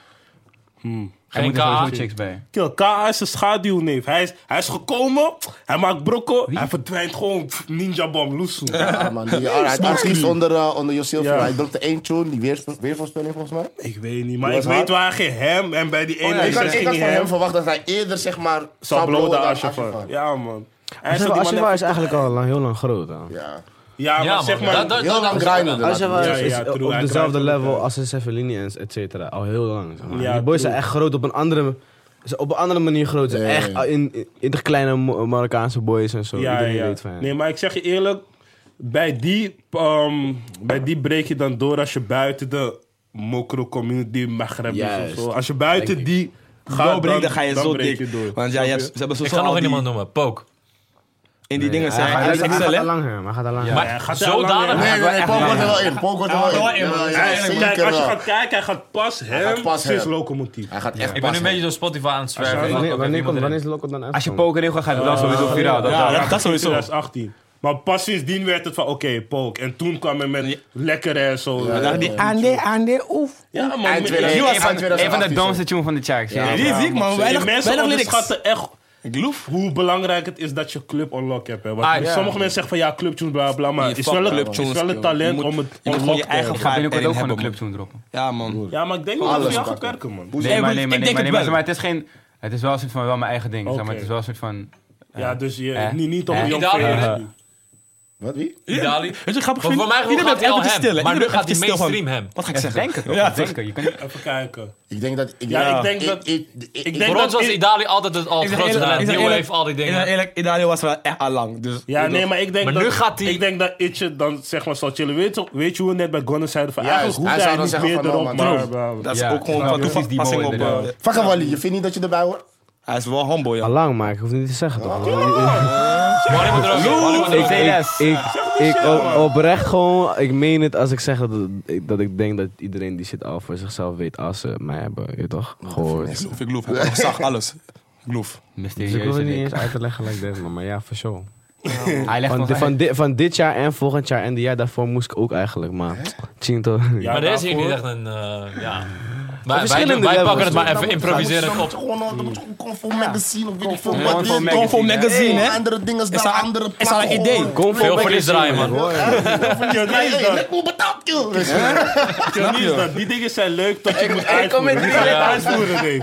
[SPEAKER 5] Er
[SPEAKER 1] Geen
[SPEAKER 5] moeten
[SPEAKER 1] K.A.
[SPEAKER 5] sowieso chicks bij.
[SPEAKER 3] Kill, K.A. is een schaduwneef. Hij is, hij is gekomen, hij maakt brokken, hij verdwijnt gewoon pff, ninja bomb, loesoe.
[SPEAKER 4] Ja, man. Die, hij had artiest onder, eh, onder Josilver.
[SPEAKER 3] Ja.
[SPEAKER 4] Hij drukte één tune, die weersvo- weervoorspelling volgens mij.
[SPEAKER 3] Ik weet niet, maar
[SPEAKER 4] Dat
[SPEAKER 3] ik
[SPEAKER 4] was hard.
[SPEAKER 3] weet waar hij ging hem en bij die ene
[SPEAKER 4] ik had,
[SPEAKER 3] zes
[SPEAKER 4] ik
[SPEAKER 3] ging
[SPEAKER 4] had
[SPEAKER 3] hij
[SPEAKER 4] van
[SPEAKER 3] hem.
[SPEAKER 4] hem verwacht dat hij eerder, zeg maar,
[SPEAKER 3] Zou bloden
[SPEAKER 4] dan
[SPEAKER 3] als je van.
[SPEAKER 4] Ashafar.
[SPEAKER 3] Ja, man. Hij
[SPEAKER 6] Als
[SPEAKER 3] is die man
[SPEAKER 6] is eigenlijk al lang, heel lang groot. hè.
[SPEAKER 4] Ja.
[SPEAKER 3] Ja,
[SPEAKER 1] Ja,
[SPEAKER 3] maar zeg
[SPEAKER 1] man. Dat-
[SPEAKER 3] maar.
[SPEAKER 1] dat-
[SPEAKER 4] Heel lang
[SPEAKER 1] dat-
[SPEAKER 4] grinden.
[SPEAKER 6] Als je
[SPEAKER 3] Ja,
[SPEAKER 6] is
[SPEAKER 3] ja,
[SPEAKER 6] op
[SPEAKER 3] true, hij
[SPEAKER 6] dezelfde
[SPEAKER 3] draait ook,
[SPEAKER 6] level
[SPEAKER 3] ja.
[SPEAKER 6] als een Sevelini en et cetera. Al heel lang. Zeg maar.
[SPEAKER 3] Ja,
[SPEAKER 6] die boys
[SPEAKER 3] true.
[SPEAKER 6] zijn echt groot op een andere, ze- op een andere manier groot. Ze
[SPEAKER 4] Ja, ja,
[SPEAKER 6] echt
[SPEAKER 4] ja.
[SPEAKER 6] in, in, in de kleine Mo- Marokkaanse boys en zo.
[SPEAKER 3] Ja,
[SPEAKER 6] Iedereen
[SPEAKER 3] ja.
[SPEAKER 6] weet van hen.
[SPEAKER 3] Nee, maar ik zeg je eerlijk, bij die, ehm, bij die breek je dan door als je buiten de mokro community Maghreb is
[SPEAKER 6] Juist.
[SPEAKER 3] of zo. Als je buiten die Ga-
[SPEAKER 2] doorbreekt,
[SPEAKER 3] dan-
[SPEAKER 2] dan ga je
[SPEAKER 3] dan
[SPEAKER 2] zo dik.
[SPEAKER 3] breek je door.
[SPEAKER 2] Want ja, je hebt, ze hebben zo
[SPEAKER 1] Ik ga nog
[SPEAKER 2] in
[SPEAKER 1] iemand noemen. Poke.
[SPEAKER 2] In die dingen zijn.
[SPEAKER 6] Hij
[SPEAKER 2] Ja,
[SPEAKER 6] hij gaat
[SPEAKER 2] XL,
[SPEAKER 6] er
[SPEAKER 2] hè?
[SPEAKER 6] langer, maar hij gaat er langer.
[SPEAKER 1] Maar
[SPEAKER 3] hij gaat er lang in.
[SPEAKER 1] zodanig...
[SPEAKER 4] Nee, nee, nee, Pook wordt er wel in. Pook wordt er wel in. Ja, ja,
[SPEAKER 3] Hij-
[SPEAKER 4] zeker
[SPEAKER 3] kijk, als je
[SPEAKER 4] wel.
[SPEAKER 3] gaat kijken, hij gaat pas
[SPEAKER 4] gaat
[SPEAKER 3] hem.
[SPEAKER 4] pas
[SPEAKER 3] Sinds
[SPEAKER 4] hem.
[SPEAKER 3] locomotief.
[SPEAKER 4] Hij gaat echt
[SPEAKER 1] Ik ben nu
[SPEAKER 4] passen.
[SPEAKER 1] een beetje door Spotify aan het zwerven. Ik
[SPEAKER 6] Wanneer,
[SPEAKER 1] heb
[SPEAKER 6] wanneer,
[SPEAKER 1] iemand
[SPEAKER 6] komt, wanneer
[SPEAKER 1] erin.
[SPEAKER 6] is Lokot dan uit?
[SPEAKER 5] Als je poker in gaat, gaat het dan sowieso
[SPEAKER 3] Ah,
[SPEAKER 5] viraal. Dat-
[SPEAKER 2] Ja,
[SPEAKER 5] dat-
[SPEAKER 2] dat, dat sowieso.
[SPEAKER 3] 2018. Maar pas sindsdien werd het van, oké, Pook. En toen kwam hij met lekker en zo. Ja,
[SPEAKER 2] Ja, die Ande, Ande, oef.
[SPEAKER 3] man.
[SPEAKER 4] Eind
[SPEAKER 3] met-
[SPEAKER 4] 2000
[SPEAKER 5] Een van-
[SPEAKER 4] eind
[SPEAKER 5] Een van de
[SPEAKER 4] 2018
[SPEAKER 5] domste tune van de Chicks.
[SPEAKER 4] Ja,
[SPEAKER 5] ja.
[SPEAKER 2] Die is ziek, man. Weinig,
[SPEAKER 3] mensen
[SPEAKER 2] weinig lyrics.
[SPEAKER 3] onderschatten echt hoe belangrijk het is dat je club unlock hebt. Hè. Want
[SPEAKER 1] Ah, ja.
[SPEAKER 3] sommige mensen zeggen van ja, clubtunes, bla bla, maar
[SPEAKER 2] Je
[SPEAKER 3] het is
[SPEAKER 2] fuck
[SPEAKER 3] wel, een-
[SPEAKER 2] clubtunes,
[SPEAKER 3] is wel een
[SPEAKER 2] joh.
[SPEAKER 3] talent
[SPEAKER 2] Je moet-
[SPEAKER 3] om het
[SPEAKER 2] je moet gewoon
[SPEAKER 3] unlock
[SPEAKER 2] je
[SPEAKER 3] te hebben.
[SPEAKER 2] eigen
[SPEAKER 5] Ik ga binnenkort
[SPEAKER 2] erin
[SPEAKER 5] ook gewoon een
[SPEAKER 2] hebben, man.
[SPEAKER 5] clubtune droppen.
[SPEAKER 2] Ja, man.
[SPEAKER 3] Ja, maar ik denk niet
[SPEAKER 4] Alles
[SPEAKER 3] dat je aan
[SPEAKER 4] kan.
[SPEAKER 3] gaat werken, man.
[SPEAKER 4] Hoezo?
[SPEAKER 5] Nee, maar
[SPEAKER 2] Ik
[SPEAKER 5] nee,
[SPEAKER 2] denk
[SPEAKER 5] maar nee,
[SPEAKER 2] het
[SPEAKER 5] maar nee, maar
[SPEAKER 2] wel.
[SPEAKER 5] maar het is geen... Het is wel, een soort van, wel mijn eigen ding, zeg
[SPEAKER 3] Oké.
[SPEAKER 5] maar. Het is wel een soort van...
[SPEAKER 3] Ja, dus je,
[SPEAKER 5] Eh?
[SPEAKER 3] niet, niet op
[SPEAKER 5] Eh?
[SPEAKER 3] de jong
[SPEAKER 1] Daar-
[SPEAKER 3] vee-
[SPEAKER 4] Wat, wie?
[SPEAKER 1] Idali.
[SPEAKER 2] Weet je, grappig
[SPEAKER 1] Maar
[SPEAKER 2] vind
[SPEAKER 1] voor mij
[SPEAKER 2] Iedereen
[SPEAKER 1] gaat
[SPEAKER 2] blijft
[SPEAKER 1] hij al
[SPEAKER 2] even stil,
[SPEAKER 1] hem.
[SPEAKER 2] hè?
[SPEAKER 1] Maar nu
[SPEAKER 2] Iedereen
[SPEAKER 1] gaat hij
[SPEAKER 2] blijft even stil van-
[SPEAKER 1] mainstream hem.
[SPEAKER 2] Wat ga ik zeggen?
[SPEAKER 5] Denken toch?
[SPEAKER 2] Ja,
[SPEAKER 5] Ja, denken. Je kan niet...
[SPEAKER 3] Even kijken.
[SPEAKER 4] Ik denk dat... Ik,
[SPEAKER 3] Ja, ik denk dat-
[SPEAKER 4] Ik, ik, ik,
[SPEAKER 3] Ik
[SPEAKER 4] ik-
[SPEAKER 3] denk
[SPEAKER 1] Voor ons
[SPEAKER 3] dat...
[SPEAKER 1] was
[SPEAKER 3] ik-
[SPEAKER 1] Idali altijd het al
[SPEAKER 2] Is
[SPEAKER 1] het
[SPEAKER 2] er
[SPEAKER 1] grootste
[SPEAKER 2] eerlijk-
[SPEAKER 1] talent.
[SPEAKER 2] is er
[SPEAKER 1] New
[SPEAKER 2] eerlijk-
[SPEAKER 1] Wave, al die
[SPEAKER 2] Ik ben
[SPEAKER 1] dingen.
[SPEAKER 2] eerlijk, Idario was er wel echt al lang. Dus
[SPEAKER 3] Ja, nee, maar ik denk
[SPEAKER 1] Maar
[SPEAKER 3] dat...
[SPEAKER 1] nu gaat hij-
[SPEAKER 3] Ik denk dat Itje dan zeg maar zal chillen. Weet, je- weet je hoe we net bij Gunner zeiden van...
[SPEAKER 4] Ja,
[SPEAKER 3] eigenlijk
[SPEAKER 4] hij
[SPEAKER 3] hoeft hij,
[SPEAKER 4] zou dan
[SPEAKER 3] niet
[SPEAKER 4] zeggen
[SPEAKER 3] meer
[SPEAKER 4] van,
[SPEAKER 3] erop,
[SPEAKER 4] nou, maar-
[SPEAKER 3] maar... maar-
[SPEAKER 2] dat is
[SPEAKER 5] Ja,
[SPEAKER 2] ook gewoon
[SPEAKER 5] nou,
[SPEAKER 2] van
[SPEAKER 5] precies die
[SPEAKER 2] toepassing op...
[SPEAKER 5] molen,
[SPEAKER 2] eh,
[SPEAKER 5] inderdaad.
[SPEAKER 4] Fuck hem, Wally. Je vindt niet dat je erbij hoort?
[SPEAKER 2] Hij is wel humble,
[SPEAKER 6] Al
[SPEAKER 2] ja.
[SPEAKER 6] lang, maar ik hoef het niet te zeggen toch?
[SPEAKER 1] Wanneer moet er ook- wanneer moet er ook-
[SPEAKER 6] Ik, ik, ik, ik op- oprecht gewoon, ik meen het als ik zeg dat, ik- dat ik denk dat iedereen die shit al voor zichzelf weet als ze mij hebben, je weet toch, gehoord.
[SPEAKER 2] Of ik loof. Ik zag alles. Ik loof.
[SPEAKER 6] Dus ik wil
[SPEAKER 5] Mysterieuze
[SPEAKER 6] het niet eens
[SPEAKER 5] ding.
[SPEAKER 6] uit te leggen like dit, man, maar ja, for sure.
[SPEAKER 5] Hij legt
[SPEAKER 6] Van,
[SPEAKER 5] ons
[SPEAKER 6] di-
[SPEAKER 5] uit.
[SPEAKER 6] van, di- van dit jaar en volgend jaar en de jaar daarvoor moest ik ook eigenlijk, maar Chinto.
[SPEAKER 3] Ja,
[SPEAKER 1] Maar er is hier
[SPEAKER 3] daarvoor-
[SPEAKER 1] niet echt een... eh, Ja. Wij- Wij
[SPEAKER 6] verschillende
[SPEAKER 1] doen- wij pakken
[SPEAKER 6] levels,
[SPEAKER 1] het maar
[SPEAKER 4] Dan
[SPEAKER 1] even
[SPEAKER 4] moet- dan
[SPEAKER 1] improviseren
[SPEAKER 4] moet
[SPEAKER 1] op.
[SPEAKER 4] je gewoon dan moet je Conform Magazine of weet ik veel
[SPEAKER 5] Conform
[SPEAKER 4] wat. dit-
[SPEAKER 5] Magazine.
[SPEAKER 2] Conform Magazine,
[SPEAKER 4] Eh,
[SPEAKER 2] hè?
[SPEAKER 4] Andere dingen
[SPEAKER 2] Is
[SPEAKER 4] staan,
[SPEAKER 2] dat-
[SPEAKER 4] andere
[SPEAKER 2] is dat een
[SPEAKER 4] plakken
[SPEAKER 2] idee?
[SPEAKER 4] gewoon.
[SPEAKER 6] Kom
[SPEAKER 1] Veel verlies draaien, man.
[SPEAKER 3] Ja, nee, is
[SPEAKER 4] Hey,
[SPEAKER 3] dat.
[SPEAKER 4] Let me betaald, joh.
[SPEAKER 3] Ja, niet is dat. Die dingen zijn leuk tot je moet uitvoeren. Die ga je uitvoeren, Dave.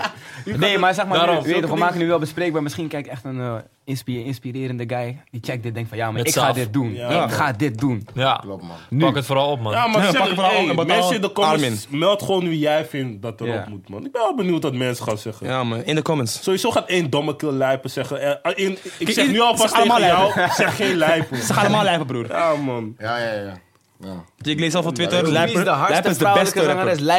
[SPEAKER 5] Nee, maar zeg maar,
[SPEAKER 1] Daarom.
[SPEAKER 5] nu, weet je toch, we maken nu wel bespreekbaar. Misschien kijkt echt een eh, inspi- inspirerende guy die checkt dit denkt van ja, maar
[SPEAKER 1] Met
[SPEAKER 5] ik ga
[SPEAKER 1] zelf.
[SPEAKER 5] dit doen.
[SPEAKER 3] Ja.
[SPEAKER 5] Ik ga dit doen.
[SPEAKER 1] Ja,
[SPEAKER 4] Klopt, man.
[SPEAKER 1] pak het vooral op,
[SPEAKER 3] Ja,
[SPEAKER 1] man.
[SPEAKER 3] maar
[SPEAKER 2] Ja,
[SPEAKER 3] zeg,
[SPEAKER 2] pak hem maar
[SPEAKER 3] hey,
[SPEAKER 2] aan en betaal
[SPEAKER 3] mensen in de comments,
[SPEAKER 2] Armin.
[SPEAKER 3] meld gewoon wie jij vindt dat erop
[SPEAKER 5] Ja.
[SPEAKER 3] moet, man. Ik ben wel benieuwd wat mensen gaan zeggen.
[SPEAKER 2] Ja, man. In de comments.
[SPEAKER 3] Sowieso gaat één domme kill lijpen zeggen. Eh, in- ik zeg
[SPEAKER 2] ieder-
[SPEAKER 3] nu alvast
[SPEAKER 2] zeg allemaal
[SPEAKER 3] tegen jou, zeg geen lijpen.
[SPEAKER 2] Ze gaan allemaal lijpen, broer.
[SPEAKER 3] Ja, man.
[SPEAKER 4] Ja, ja, ja. ja.
[SPEAKER 2] Ik lees al van Twitter.
[SPEAKER 7] Wie is
[SPEAKER 2] Lijpen
[SPEAKER 7] de
[SPEAKER 2] lijpen
[SPEAKER 7] hardste
[SPEAKER 2] is de beste
[SPEAKER 7] vrouwelijke
[SPEAKER 2] rapper.
[SPEAKER 7] zangeres?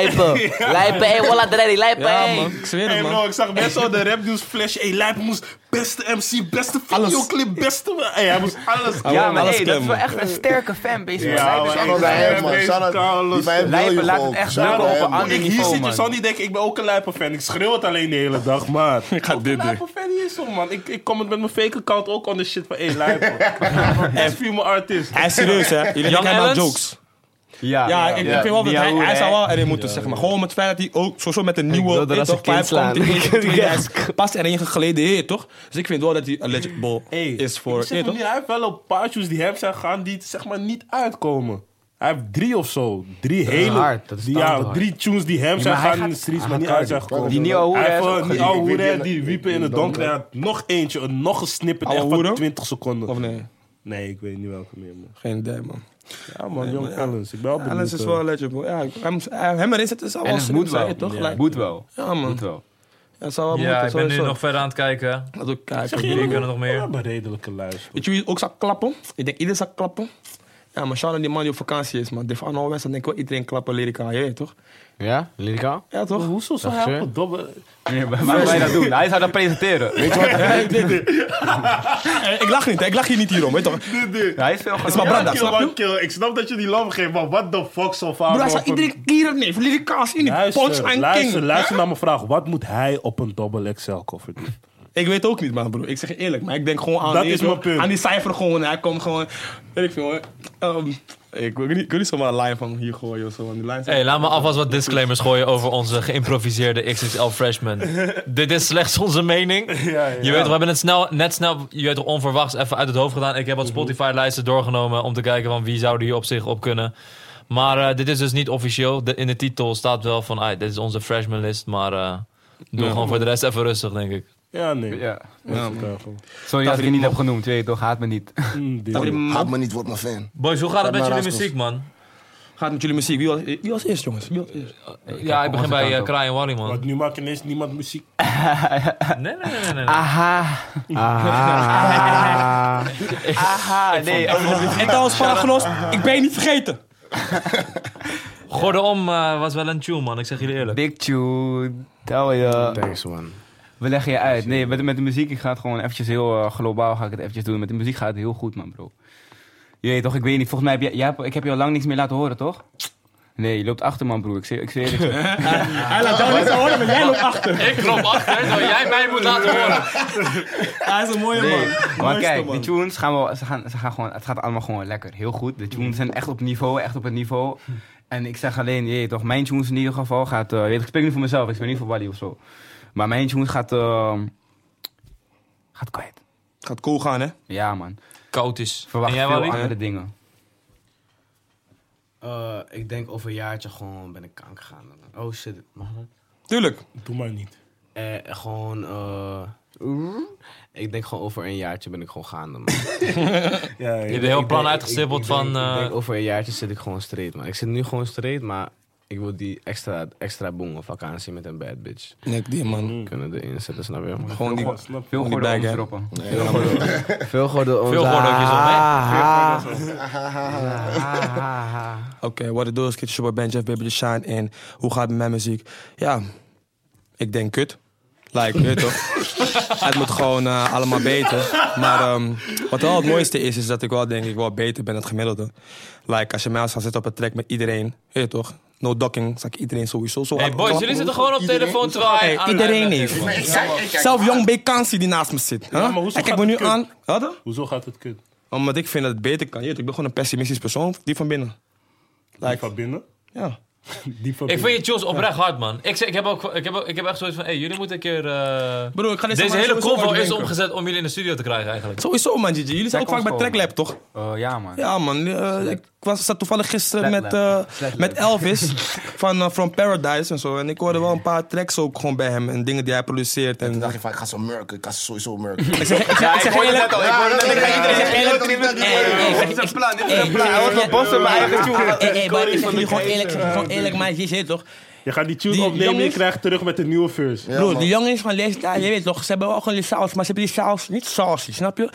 [SPEAKER 7] Lijpen. Lijpen, hé, Walla Dreddy, lijpen,
[SPEAKER 2] Ja,
[SPEAKER 7] hé.
[SPEAKER 2] man. Ik zweer
[SPEAKER 3] Hey
[SPEAKER 2] het,
[SPEAKER 3] bro,
[SPEAKER 2] man.
[SPEAKER 3] ik zag mensen al de rap nieuws flash. Hey, Lijpen moest beste MC, beste videoclip, beste... Hey, hij moest alles...
[SPEAKER 2] Ja,
[SPEAKER 5] Ja, maar
[SPEAKER 2] alles
[SPEAKER 5] hey, dat
[SPEAKER 2] kennen,
[SPEAKER 5] is wel
[SPEAKER 2] man.
[SPEAKER 5] echt een sterke fanbase.
[SPEAKER 3] Ja,
[SPEAKER 5] man. Lijpen
[SPEAKER 3] man.
[SPEAKER 5] is echt-
[SPEAKER 4] Shout-out naar hem, man. Shout-out. Die bij hem wil je
[SPEAKER 5] Lijpen laat het
[SPEAKER 4] gewoon.
[SPEAKER 5] echt
[SPEAKER 4] Shout-out
[SPEAKER 5] drukken op een
[SPEAKER 4] naar hem,
[SPEAKER 5] ander
[SPEAKER 3] Ik, hier
[SPEAKER 5] niveau,
[SPEAKER 3] zit je,
[SPEAKER 5] man.
[SPEAKER 3] zal niet denken, ik ben ook een Lijpen-fan. Ik schreeuw het alleen de hele dag, maar...
[SPEAKER 2] Ik ga dit doen.
[SPEAKER 3] Lijpen-fan is zo, man. Ik, ik kom met mijn fake account ook on de shit van... Hey, Lijpen. Echt female artist.
[SPEAKER 2] Hij is serieus, hè? Jullie denken hij maakt
[SPEAKER 1] Ellens?
[SPEAKER 2] jokes.
[SPEAKER 5] Ah, Ja,
[SPEAKER 2] Ja, ik, ik vind wel dat
[SPEAKER 5] Ja,
[SPEAKER 2] hij,
[SPEAKER 5] hoe,
[SPEAKER 2] hij
[SPEAKER 5] hè?
[SPEAKER 2] zou wel erin moeten, zeg maar. Gewoon met het feit dat hij ook sowieso met een nieuwe...
[SPEAKER 7] wil dat
[SPEAKER 2] weet
[SPEAKER 7] als
[SPEAKER 2] toch,
[SPEAKER 7] een kind
[SPEAKER 2] vibe
[SPEAKER 7] slaan.
[SPEAKER 2] komt, die-
[SPEAKER 7] Ik- ik-
[SPEAKER 2] die- hij Past erin geleden heer, toch? Dus ik vind wel dat hij eligible
[SPEAKER 3] Hey,
[SPEAKER 2] is voor...
[SPEAKER 3] ik zeg
[SPEAKER 2] Nee,
[SPEAKER 3] maar
[SPEAKER 2] toch?
[SPEAKER 3] niet, hij heeft wel een paar shoes die hem zijn gaan die zeg maar niet uitkomen. Hij heeft drie of zo. Drie
[SPEAKER 6] is
[SPEAKER 3] hele...
[SPEAKER 6] hard, dat is
[SPEAKER 3] die- ja,
[SPEAKER 6] tandhard.
[SPEAKER 3] drie tunes die hem zijn
[SPEAKER 5] maar hij
[SPEAKER 3] gaan in
[SPEAKER 5] gaat-
[SPEAKER 3] de streets,
[SPEAKER 5] hij
[SPEAKER 3] maar
[SPEAKER 5] gaat
[SPEAKER 3] niet uit zijn
[SPEAKER 5] harder.
[SPEAKER 3] gekomen.
[SPEAKER 5] Die nieuwe hoeren
[SPEAKER 3] Hij
[SPEAKER 5] is
[SPEAKER 3] heeft
[SPEAKER 5] ook
[SPEAKER 3] eh,
[SPEAKER 5] goed.
[SPEAKER 3] die oude
[SPEAKER 4] Ik weet
[SPEAKER 3] hoeren
[SPEAKER 4] niet-
[SPEAKER 3] die wiepen in het donker. Hij had nog eentje, een- nog een snippet
[SPEAKER 2] Oude
[SPEAKER 3] echt van
[SPEAKER 2] hoeren?
[SPEAKER 3] 20 seconden.
[SPEAKER 2] Of nee?
[SPEAKER 3] Nee, ik weet niet welke meer. Man.
[SPEAKER 2] Geen idee, man.
[SPEAKER 3] Ja man, jong Ellens. Ik ben wel benieuwd.
[SPEAKER 2] Alice is
[SPEAKER 3] eh.
[SPEAKER 2] wel eligible. Ja, hem, hem erin zetten is al
[SPEAKER 5] En
[SPEAKER 2] wel
[SPEAKER 5] het
[SPEAKER 2] slim,
[SPEAKER 5] moet
[SPEAKER 2] zei
[SPEAKER 5] wel.
[SPEAKER 2] je toch?
[SPEAKER 5] Ja,
[SPEAKER 2] Gelijk.
[SPEAKER 5] Moet wel.
[SPEAKER 2] Ja, man.
[SPEAKER 5] Moet wel.
[SPEAKER 2] Dat zou wel
[SPEAKER 1] Ja,
[SPEAKER 2] moeten,
[SPEAKER 1] ik ben nu
[SPEAKER 2] sowieso.
[SPEAKER 1] nog verder aan het kijken.
[SPEAKER 2] Dat ook kijken.
[SPEAKER 3] Zeg je
[SPEAKER 1] Jullie
[SPEAKER 3] nog-
[SPEAKER 1] kunnen nog meer.
[SPEAKER 3] Ja, maar redelijke luister.
[SPEAKER 2] Weet je wie ook zou klappen? Ik denk iedereen zou klappen. Ja, maar Sean en die man die op vakantie is, man. De van alle mensen denk ik wel iedereen klappen lyrica, je weet toch?
[SPEAKER 7] Ja, lyrica?
[SPEAKER 2] Ja, toch?
[SPEAKER 3] Oh, Hoezo zou
[SPEAKER 7] Dag,
[SPEAKER 3] hij
[SPEAKER 7] sir.
[SPEAKER 3] op een domme...
[SPEAKER 5] Nee, maar Waarom zou je dat doen? Hij zou dat presenteren.
[SPEAKER 2] Eh, ik lach niet, hè. ik lach hier niet hierom, weet toch? Het
[SPEAKER 5] Hij is veel
[SPEAKER 2] is maar
[SPEAKER 3] Ja,
[SPEAKER 2] Branda,
[SPEAKER 3] kill,
[SPEAKER 2] snap je?
[SPEAKER 3] man, kill. Ik snap dat je die lam geeft, maar what the fuck zal vaak...
[SPEAKER 2] Bro, hij zou iedereen kieren, nee, lyrica's in die punch
[SPEAKER 3] Luister,
[SPEAKER 2] en
[SPEAKER 3] luister,
[SPEAKER 2] king.
[SPEAKER 3] luister naar mijn vraag. Wat moet hij op een double XL koffer doen?
[SPEAKER 2] Ik weet ook niet, man, bro. Ik zeg je eerlijk, maar ik denk gewoon aan,
[SPEAKER 3] Dat
[SPEAKER 2] die-
[SPEAKER 3] is mijn punt.
[SPEAKER 2] aan die cijfer gewoon. Hij komt gewoon, weet ik veel, hè. Ehm, ik wil niet, ik wil niet zomaar een line van hier gooien of zo. want Die line
[SPEAKER 1] Hey, laat me alvast wat disclaimers gooien over onze geïmproviseerde XXL freshman. Dit is slechts onze mening. Je weet toch, we hebben het snel, net snel, je weet toch, onverwachts even uit het hoofd gedaan. Ik heb wat Spotify-lijsten doorgenomen om te kijken van wie zouden hier op zich op kunnen. Maar eh, dit is dus niet officieel. De- in de titel staat wel van, ah, dit is onze freshman list, maar eh, doe gewoon voor de rest even rustig, denk ik.
[SPEAKER 3] Ja, nee.
[SPEAKER 5] Ja.
[SPEAKER 3] Dat is elkaar gewoon.
[SPEAKER 5] Sorry dat ik je niet heb genoemd, weet je toch? Haat me niet.
[SPEAKER 3] Mm, dit-
[SPEAKER 4] Haat me niet, word mijn fan.
[SPEAKER 1] Boys, hoe gaat het
[SPEAKER 4] Laat
[SPEAKER 1] met
[SPEAKER 4] maar
[SPEAKER 1] jullie
[SPEAKER 4] raasels.
[SPEAKER 1] muziek, man?
[SPEAKER 2] Gaat met jullie muziek. Wie was, eh, wie was eerst, jongens? Wie was eerst?
[SPEAKER 1] Ja, ik begin
[SPEAKER 5] onze
[SPEAKER 1] bij
[SPEAKER 5] kant
[SPEAKER 1] eh
[SPEAKER 5] op.
[SPEAKER 1] Kraai en Wally, man.
[SPEAKER 3] Want nu maakt ineens niemand muziek.
[SPEAKER 1] Nee, nee, nee, nee. nee.
[SPEAKER 5] Aha. Aha. Aha. Nee, oh.
[SPEAKER 2] En trouwens, Paragenos, ik ben je niet vergeten.
[SPEAKER 1] Gordon om eh, was wel een tune, man. Ik zeg jullie eerlijk.
[SPEAKER 5] Big tune, tel je.
[SPEAKER 6] Thanks, man.
[SPEAKER 5] We leggen je uit. Nee, met, met de muziek, ik ga het gewoon eventjes heel eh, globaal ga ik het eventjes doen. Met de muziek gaat het heel goed, man, bro. Je weet toch, ik weet niet, volgens mij heb jij, jij hebt- ik heb je al lang niks meer laten horen, toch? Nee, je loopt achter, man, broer. Ik zie, ik zie het.
[SPEAKER 8] Hij laat jou niks horen, maar jij loopt achter.
[SPEAKER 1] Ik loop achter, dat jij mij moet laten horen.
[SPEAKER 8] Hij is een mooie
[SPEAKER 5] Nee,
[SPEAKER 8] man.
[SPEAKER 5] maar
[SPEAKER 8] Mooiste
[SPEAKER 5] kijk,
[SPEAKER 8] man.
[SPEAKER 5] die tunes gaan wel, ze gaan, ze gaan gewoon, het gaat allemaal gewoon lekker. Heel goed. De tunes zijn echt op niveau, echt op het niveau. En ik zeg alleen, je weet toch, mijn tunes in ieder geval gaat, eh, je weet, ik spreek niet voor mezelf, ik spreek niet voor Wally of zo. Maar mijn tunes gaat, eh, gaat kwijt.
[SPEAKER 2] Gaat cool gaan, hè?
[SPEAKER 5] Ja man,
[SPEAKER 1] Koud is.
[SPEAKER 5] verwacht
[SPEAKER 1] en jij
[SPEAKER 5] veel
[SPEAKER 1] Wally?
[SPEAKER 5] andere dingen.
[SPEAKER 6] Eh, ik denk over een jaartje gewoon ben ik kanker gegaan. Oh shit, mag dat?
[SPEAKER 2] Tuurlijk.
[SPEAKER 3] Doe maar niet.
[SPEAKER 6] Eh, gewoon, eh, ik denk gewoon over een jaartje ben ik gewoon gaande, man.
[SPEAKER 3] Ja, ja.
[SPEAKER 1] Je hebt een heel
[SPEAKER 6] Ik
[SPEAKER 1] plan
[SPEAKER 6] denk-
[SPEAKER 1] uitgestippeld
[SPEAKER 6] ik- ik denk-
[SPEAKER 1] van...
[SPEAKER 6] ik
[SPEAKER 1] eh,
[SPEAKER 6] denk over een jaartje zit ik gewoon straight, man. Ik zit nu gewoon straight, maar ik wil die extra, extra boom of vakantie met een bad bitch
[SPEAKER 2] Nee, die man.
[SPEAKER 6] kunnen erin zetten, snap je?
[SPEAKER 2] Gewoon die...
[SPEAKER 3] Snap je?
[SPEAKER 5] Veel
[SPEAKER 2] Moet ik
[SPEAKER 5] goede
[SPEAKER 2] bij, hè?
[SPEAKER 5] droppen.
[SPEAKER 7] Veel gordel
[SPEAKER 1] Veel gordeltjes op, hè?
[SPEAKER 7] Ah.
[SPEAKER 2] Oké, what it do is, kids, your boy Ben Jeff, Baby The Shine. En hoe gaat het met mijn muziek? Ja, ik denk kut. Like, weet je toch? het moet gewoon eh, allemaal beter. Maar ehm, wat wel het mooiste is, is dat ik wel denk ik wel beter ben dan het gemiddelde. Like, als je mij als gaat zitten op een track met iedereen, weet je toch? No docking, zag ik iedereen sowieso zo
[SPEAKER 1] Hey
[SPEAKER 2] hard
[SPEAKER 1] boys,
[SPEAKER 2] klappen.
[SPEAKER 1] jullie zitten gewoon op telefoon terwijl hij
[SPEAKER 2] Hey,
[SPEAKER 1] aan het
[SPEAKER 2] iedereen
[SPEAKER 1] uitleggen is,
[SPEAKER 2] heeft.
[SPEAKER 1] man.
[SPEAKER 2] Zelf Young Bekansi die naast me zit. hè?
[SPEAKER 3] maar hoezo
[SPEAKER 2] Hij
[SPEAKER 3] gaat
[SPEAKER 2] kijkt me nu
[SPEAKER 3] het kut?
[SPEAKER 2] aan. Wat dan?
[SPEAKER 3] Hoezo gaat het kut?
[SPEAKER 2] Omdat ik vind dat het beter kan. Je weet, ik ben gewoon een pessimistisch persoon, die van binnen.
[SPEAKER 3] Die van binnen?
[SPEAKER 2] Ja.
[SPEAKER 3] Die van
[SPEAKER 1] Ik
[SPEAKER 3] binnen.
[SPEAKER 1] vind je tunes oprecht hard, man. Ik, zeg- ik, heb ook, ik, heb, ook- ik heb echt zoiets van, hey, jullie moeten een keer... eh,
[SPEAKER 2] Broer, ik ga
[SPEAKER 1] deze hele convo is
[SPEAKER 2] omgezet.
[SPEAKER 1] omgezet om jullie in de studio te krijgen, eigenlijk.
[SPEAKER 2] Sowieso, man, Gigi. Jullie zijn
[SPEAKER 5] Zij
[SPEAKER 2] ook vaak bij
[SPEAKER 5] komt gewoon,
[SPEAKER 2] Tracklab, toch?
[SPEAKER 5] Eh, ja man.
[SPEAKER 2] Ja, man. eh, ik was, zat toevallig gisteren
[SPEAKER 5] Slap
[SPEAKER 2] met, eh,
[SPEAKER 5] lab. Slap
[SPEAKER 2] met
[SPEAKER 5] lab.
[SPEAKER 2] Elvis van eh, From Paradise en zo. En ik hoorde wel een paar tracks ook gewoon bij hem. En dingen die hij produceert. En
[SPEAKER 4] Dan dacht je van, ik ga ze merken. Ik ga ze sowieso merken.
[SPEAKER 2] ik zeg, ik zeg, ik zeg eerlijk-
[SPEAKER 5] Hij wordt van Bossen mijn eigen tune.
[SPEAKER 2] Hey, hey, Ah, eh, maar ik zeg jullie gewoon eerlijk, ik zeg jullie gewoon eerlijk, maar je ziet toch?
[SPEAKER 3] Je gaat die tune
[SPEAKER 2] Die
[SPEAKER 3] opnemen en je
[SPEAKER 2] jongens-
[SPEAKER 3] krijgt terug met een nieuwe verse.
[SPEAKER 2] Broer, die jongens van deze tijd, je weet toch, ze hebben wel gewoon die saus, maar ze hebben die saus, niet sausie, snap je?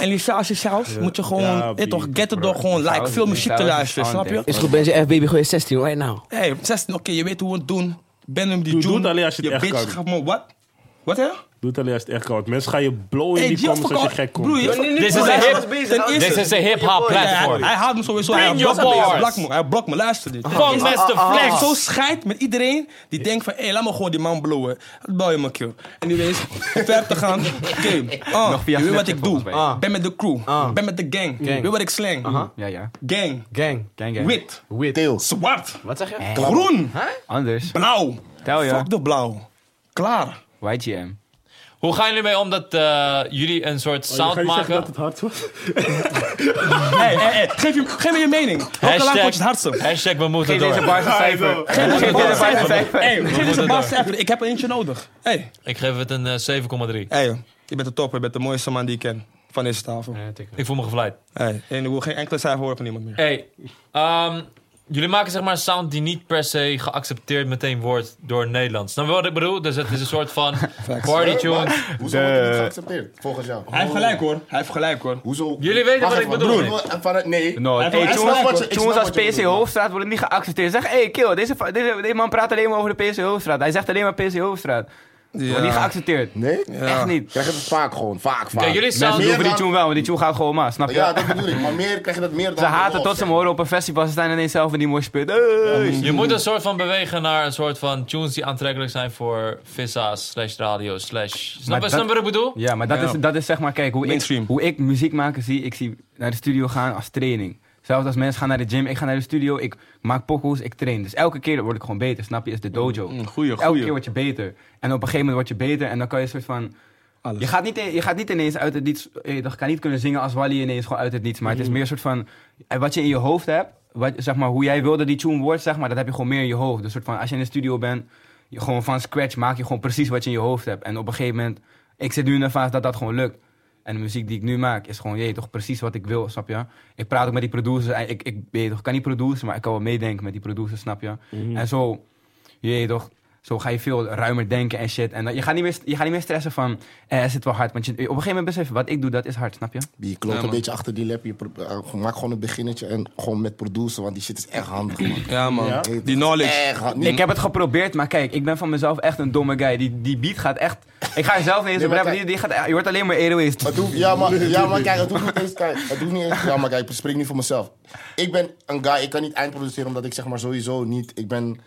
[SPEAKER 2] En die saus, die saus, moet je gewoon,
[SPEAKER 3] Ja,
[SPEAKER 2] je weet toch,
[SPEAKER 3] bro.
[SPEAKER 2] getten door gewoon like, veel
[SPEAKER 5] die
[SPEAKER 2] muziek te
[SPEAKER 5] saus is
[SPEAKER 2] luisteren, snap je?
[SPEAKER 5] aandacht.
[SPEAKER 7] Is goed, ben je FBB gewoon 16 right now.
[SPEAKER 2] Hey, 16, oké, je weet hoe we het doen. Ben hem die
[SPEAKER 3] Doe- doe
[SPEAKER 2] June,
[SPEAKER 3] het alleen als je het echt
[SPEAKER 2] bitch
[SPEAKER 3] kan.
[SPEAKER 2] gaat me wat? Wat hè?
[SPEAKER 3] Doe het alleen als het echt kan. want Mensen gaan je blowen in die
[SPEAKER 2] Gio
[SPEAKER 3] comments als je
[SPEAKER 2] verkoopt-
[SPEAKER 3] gek
[SPEAKER 2] Broer,
[SPEAKER 3] komt.
[SPEAKER 2] je verkoopt-
[SPEAKER 1] Dit is een
[SPEAKER 2] Hij
[SPEAKER 1] hip-
[SPEAKER 2] was bezig, ten
[SPEAKER 1] Dit
[SPEAKER 2] eerste-
[SPEAKER 1] is een hip-hop
[SPEAKER 2] Ja, hij,
[SPEAKER 1] platform.
[SPEAKER 2] hij haat me sowieso. Hij
[SPEAKER 1] Bring your
[SPEAKER 2] blokt me, hij
[SPEAKER 1] bars.
[SPEAKER 2] blokt me. Hij blokt me, luister dit.
[SPEAKER 1] Van Mr.
[SPEAKER 2] Hij is
[SPEAKER 1] Flex.
[SPEAKER 2] zo scheid met iedereen die denkt van, hé, laat me gewoon die man blowen. Dat bel je me, kill. Anyways, verder te gaan. Oké, ah,
[SPEAKER 5] via
[SPEAKER 2] je weet wat
[SPEAKER 5] Snapchat
[SPEAKER 2] ik doe.
[SPEAKER 5] volgens mij.
[SPEAKER 2] Ik Ben met de crew. Ik Ben met de gang. Weet je wat ik slang?
[SPEAKER 5] Ja ja.
[SPEAKER 2] Gang.
[SPEAKER 7] Gang.
[SPEAKER 5] Gang gang.
[SPEAKER 2] Wit.
[SPEAKER 4] Teel.
[SPEAKER 2] Zwart.
[SPEAKER 6] Wat zeg
[SPEAKER 7] Eh,
[SPEAKER 6] je?
[SPEAKER 2] Groen.
[SPEAKER 5] Anders.
[SPEAKER 2] Blauw.
[SPEAKER 5] Tel je.
[SPEAKER 2] Fuck de blauw. Klaar.
[SPEAKER 5] YGM.
[SPEAKER 1] Hoe gaan jullie mee om dat eh, jullie een soort
[SPEAKER 3] Ga
[SPEAKER 1] sound
[SPEAKER 3] Oh, je
[SPEAKER 1] maken?
[SPEAKER 3] zeggen dat het hard was?
[SPEAKER 2] Hey, hey, hey. Geef, je, geef me je mening. Welke laag
[SPEAKER 1] Hashtag-
[SPEAKER 2] vond je het hardste?
[SPEAKER 1] Hashtag, we moeten
[SPEAKER 5] Geef deze
[SPEAKER 1] door.
[SPEAKER 5] bars een cijfer. Geef
[SPEAKER 2] Geef
[SPEAKER 5] deze
[SPEAKER 2] deze
[SPEAKER 5] bars een
[SPEAKER 2] cijfer.
[SPEAKER 5] cijfer.
[SPEAKER 2] Hey, geef eens
[SPEAKER 1] moeten
[SPEAKER 2] een bar
[SPEAKER 1] door.
[SPEAKER 2] cijfer. Ik heb er eentje nodig. Hey.
[SPEAKER 1] Ik geef het een eh, 7,3.
[SPEAKER 2] Hey, je bent de topper. Je bent de mooiste man die ik ken. Van deze tafel.
[SPEAKER 1] Ik voel me gevleid.
[SPEAKER 2] Hey. En ik wil geen enkele cijfer horen van iemand meer.
[SPEAKER 1] Hey, ehm, jullie maken zeg maar een sound die niet per se geaccepteerd meteen wordt door Nederland. Snap je wat ik bedoel? Dus het is een soort van party tune.
[SPEAKER 4] Hoezo wordt het niet geaccepteerd, volgens jou?
[SPEAKER 2] Hij heeft gelijk hoor. Hij heeft gelijk hoor.
[SPEAKER 4] Hoezo?
[SPEAKER 1] Jullie weten
[SPEAKER 4] Wacht
[SPEAKER 1] wat ik
[SPEAKER 4] even,
[SPEAKER 1] bedoel,
[SPEAKER 4] broer, vanuit- Nee.
[SPEAKER 5] No,
[SPEAKER 4] Hij-
[SPEAKER 5] hey,
[SPEAKER 4] hij snapt wat je-
[SPEAKER 5] jongens,
[SPEAKER 4] ik
[SPEAKER 5] jongens
[SPEAKER 4] snap
[SPEAKER 5] als
[SPEAKER 4] wat je
[SPEAKER 5] PC
[SPEAKER 4] bedoelt, man.
[SPEAKER 5] Hoofdstraat worden niet geaccepteerd. Zeg, hey kill, deze, fa- deze, deze man praat alleen maar over de PC Hoofdstraat. Hij zegt alleen maar PC Hoofdstraat. Wordt niet geaccepteerd.
[SPEAKER 4] Nee?
[SPEAKER 5] Echt niet.
[SPEAKER 4] Krijg je dat vaak gewoon, vaak, vaak.
[SPEAKER 1] Kijk, jullie
[SPEAKER 5] Mensen
[SPEAKER 1] sound...
[SPEAKER 4] meer
[SPEAKER 5] lopen die
[SPEAKER 4] dan-
[SPEAKER 5] tune wel, want die tune gaat gewoon maar, snap je?
[SPEAKER 4] Ja, dat bedoel ik. Maar meer krijg je dat meer dan...
[SPEAKER 5] Ze haten tot ze hem horen op een festival, ze staan ineens zelf in die mooie spit. Hey.
[SPEAKER 1] Je moet een soort van bewegen naar een soort van tunes die aantrekkelijk zijn voor vissa's, slash radio, slash... Snap
[SPEAKER 5] Maar
[SPEAKER 1] je
[SPEAKER 5] dat-
[SPEAKER 1] snap je wat ik bedoel?
[SPEAKER 5] Ja, maar dat, is, dat is zeg maar, kijk, hoe ik,
[SPEAKER 2] Mainstream.
[SPEAKER 5] hoe ik muziek maken zie, ik zie naar de studio gaan als training. Zelfs als mensen gaan naar de gym, ik ga naar de studio, ik maak pokoes, ik train. Dus elke keer word ik gewoon beter, snap je? Is de dojo.
[SPEAKER 2] Mm, goeie,
[SPEAKER 5] elke
[SPEAKER 2] goeie.
[SPEAKER 5] keer word je beter. En op een gegeven moment word je beter en dan kan je een soort van...
[SPEAKER 2] Alles.
[SPEAKER 5] Je gaat, niet, in- je gaat niet ineens uit het niets... eh, Je toch kan niet kunnen zingen als Wally ineens gewoon uit het niets. Maar het
[SPEAKER 2] Mm.
[SPEAKER 5] is meer een soort van... eh, Wat je in je hoofd hebt, wat, zeg maar, hoe jij wilde die tune wordt, zeg maar, dat heb je gewoon meer in je hoofd. Dus een soort van, als je in de studio bent, je, gewoon van scratch maak je gewoon precies wat je in je hoofd hebt. En op een gegeven moment... Ik zit nu in een fase dat dat gewoon lukt. En de muziek die ik nu maak is gewoon, je weet toch precies wat ik wil, snap je? Ik praat ook met die producers. en Ik,
[SPEAKER 4] Mhm.
[SPEAKER 5] ik weet toch, ik kan niet produceren, maar ik kan wel meedenken met die producers, snap je? En zo, je weet toch, Zo ga je veel ruimer denken en shit. En dan- je, gaat niet meer, je gaat niet meer stressen van, eh, is het wel hard? Want je, op een gegeven moment besef je, wat ik doe, dat is hard, snap je?
[SPEAKER 4] Je klopt een beetje achter die lap. Je pro- eh, maak gewoon een beginnetje en gewoon met produceren, want die shit is echt handig, man.
[SPEAKER 2] Ja, man.
[SPEAKER 3] Ja?
[SPEAKER 2] Die knowledge.
[SPEAKER 4] Echt handig.
[SPEAKER 5] Ik heb het geprobeerd, maar kijk, ik ben van mezelf echt een domme guy. Die, die beat gaat echt... Ik ga er zelf niet eens
[SPEAKER 4] Nee,
[SPEAKER 5] op
[SPEAKER 4] maar
[SPEAKER 5] rappen, die,
[SPEAKER 4] kijk-
[SPEAKER 5] die gaat, echt- je hoort alleen maar Airways.
[SPEAKER 4] Het hoeft- ja, maar, ja, maar kijk, het hoeft niet eens. Kijk, het hoeft niet eens ja, maar kijk, ik spreek niet voor mezelf. Ik ben een guy, ik kan niet eindproduceren omdat ik zeg maar sowieso niet. Ik ben,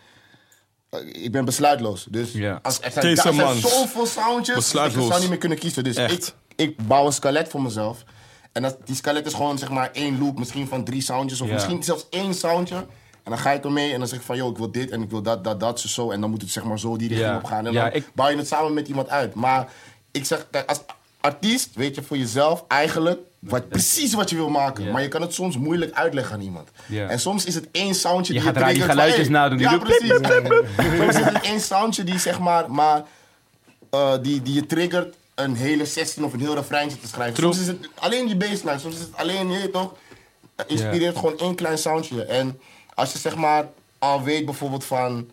[SPEAKER 4] eh, ik ben besluitloos. Dus
[SPEAKER 5] Ja.
[SPEAKER 4] als, er zijn,
[SPEAKER 2] Deze
[SPEAKER 4] er zijn
[SPEAKER 2] man.
[SPEAKER 4] zoveel soundjes.
[SPEAKER 2] Besluitloos.
[SPEAKER 4] Ik zou niet meer kunnen kiezen. Dus ik,
[SPEAKER 2] Echt.
[SPEAKER 4] ik bouw een skelet voor mezelf. En dat, die skelet is gewoon zeg maar één loop, misschien van drie soundjes of
[SPEAKER 5] Ja.
[SPEAKER 4] misschien zelfs één soundje. En dan ga ik ermee en dan zeg ik van, joh, ik wil dit en ik wil dat, dat, dat, zo, zo. En dan moet het zeg maar zo die richting
[SPEAKER 5] Ja.
[SPEAKER 4] op gaan. En
[SPEAKER 5] Ja,
[SPEAKER 4] dan
[SPEAKER 5] ik-
[SPEAKER 4] bouw je het samen met iemand uit. Maar ik zeg, kijk, als artiest weet je voor jezelf eigenlijk wat, precies wat je wil maken. Maar je kan het soms moeilijk uitleggen aan iemand.
[SPEAKER 5] Ja.
[SPEAKER 4] En soms is het één soundje
[SPEAKER 5] Je
[SPEAKER 4] die
[SPEAKER 5] gaat raar die
[SPEAKER 4] triggert van,
[SPEAKER 5] geluidjes nadoen. Die
[SPEAKER 4] Ja,
[SPEAKER 5] doen
[SPEAKER 4] precies. Soms is het één soundje die zeg maar, maar eh, die, die je triggert een hele 16 of een heel refreintje te schrijven. Soms is het alleen die baseline, soms is het alleen, je weet toch? Het Inspireert gewoon één klein soundje. En als je zeg maar al weet bijvoorbeeld van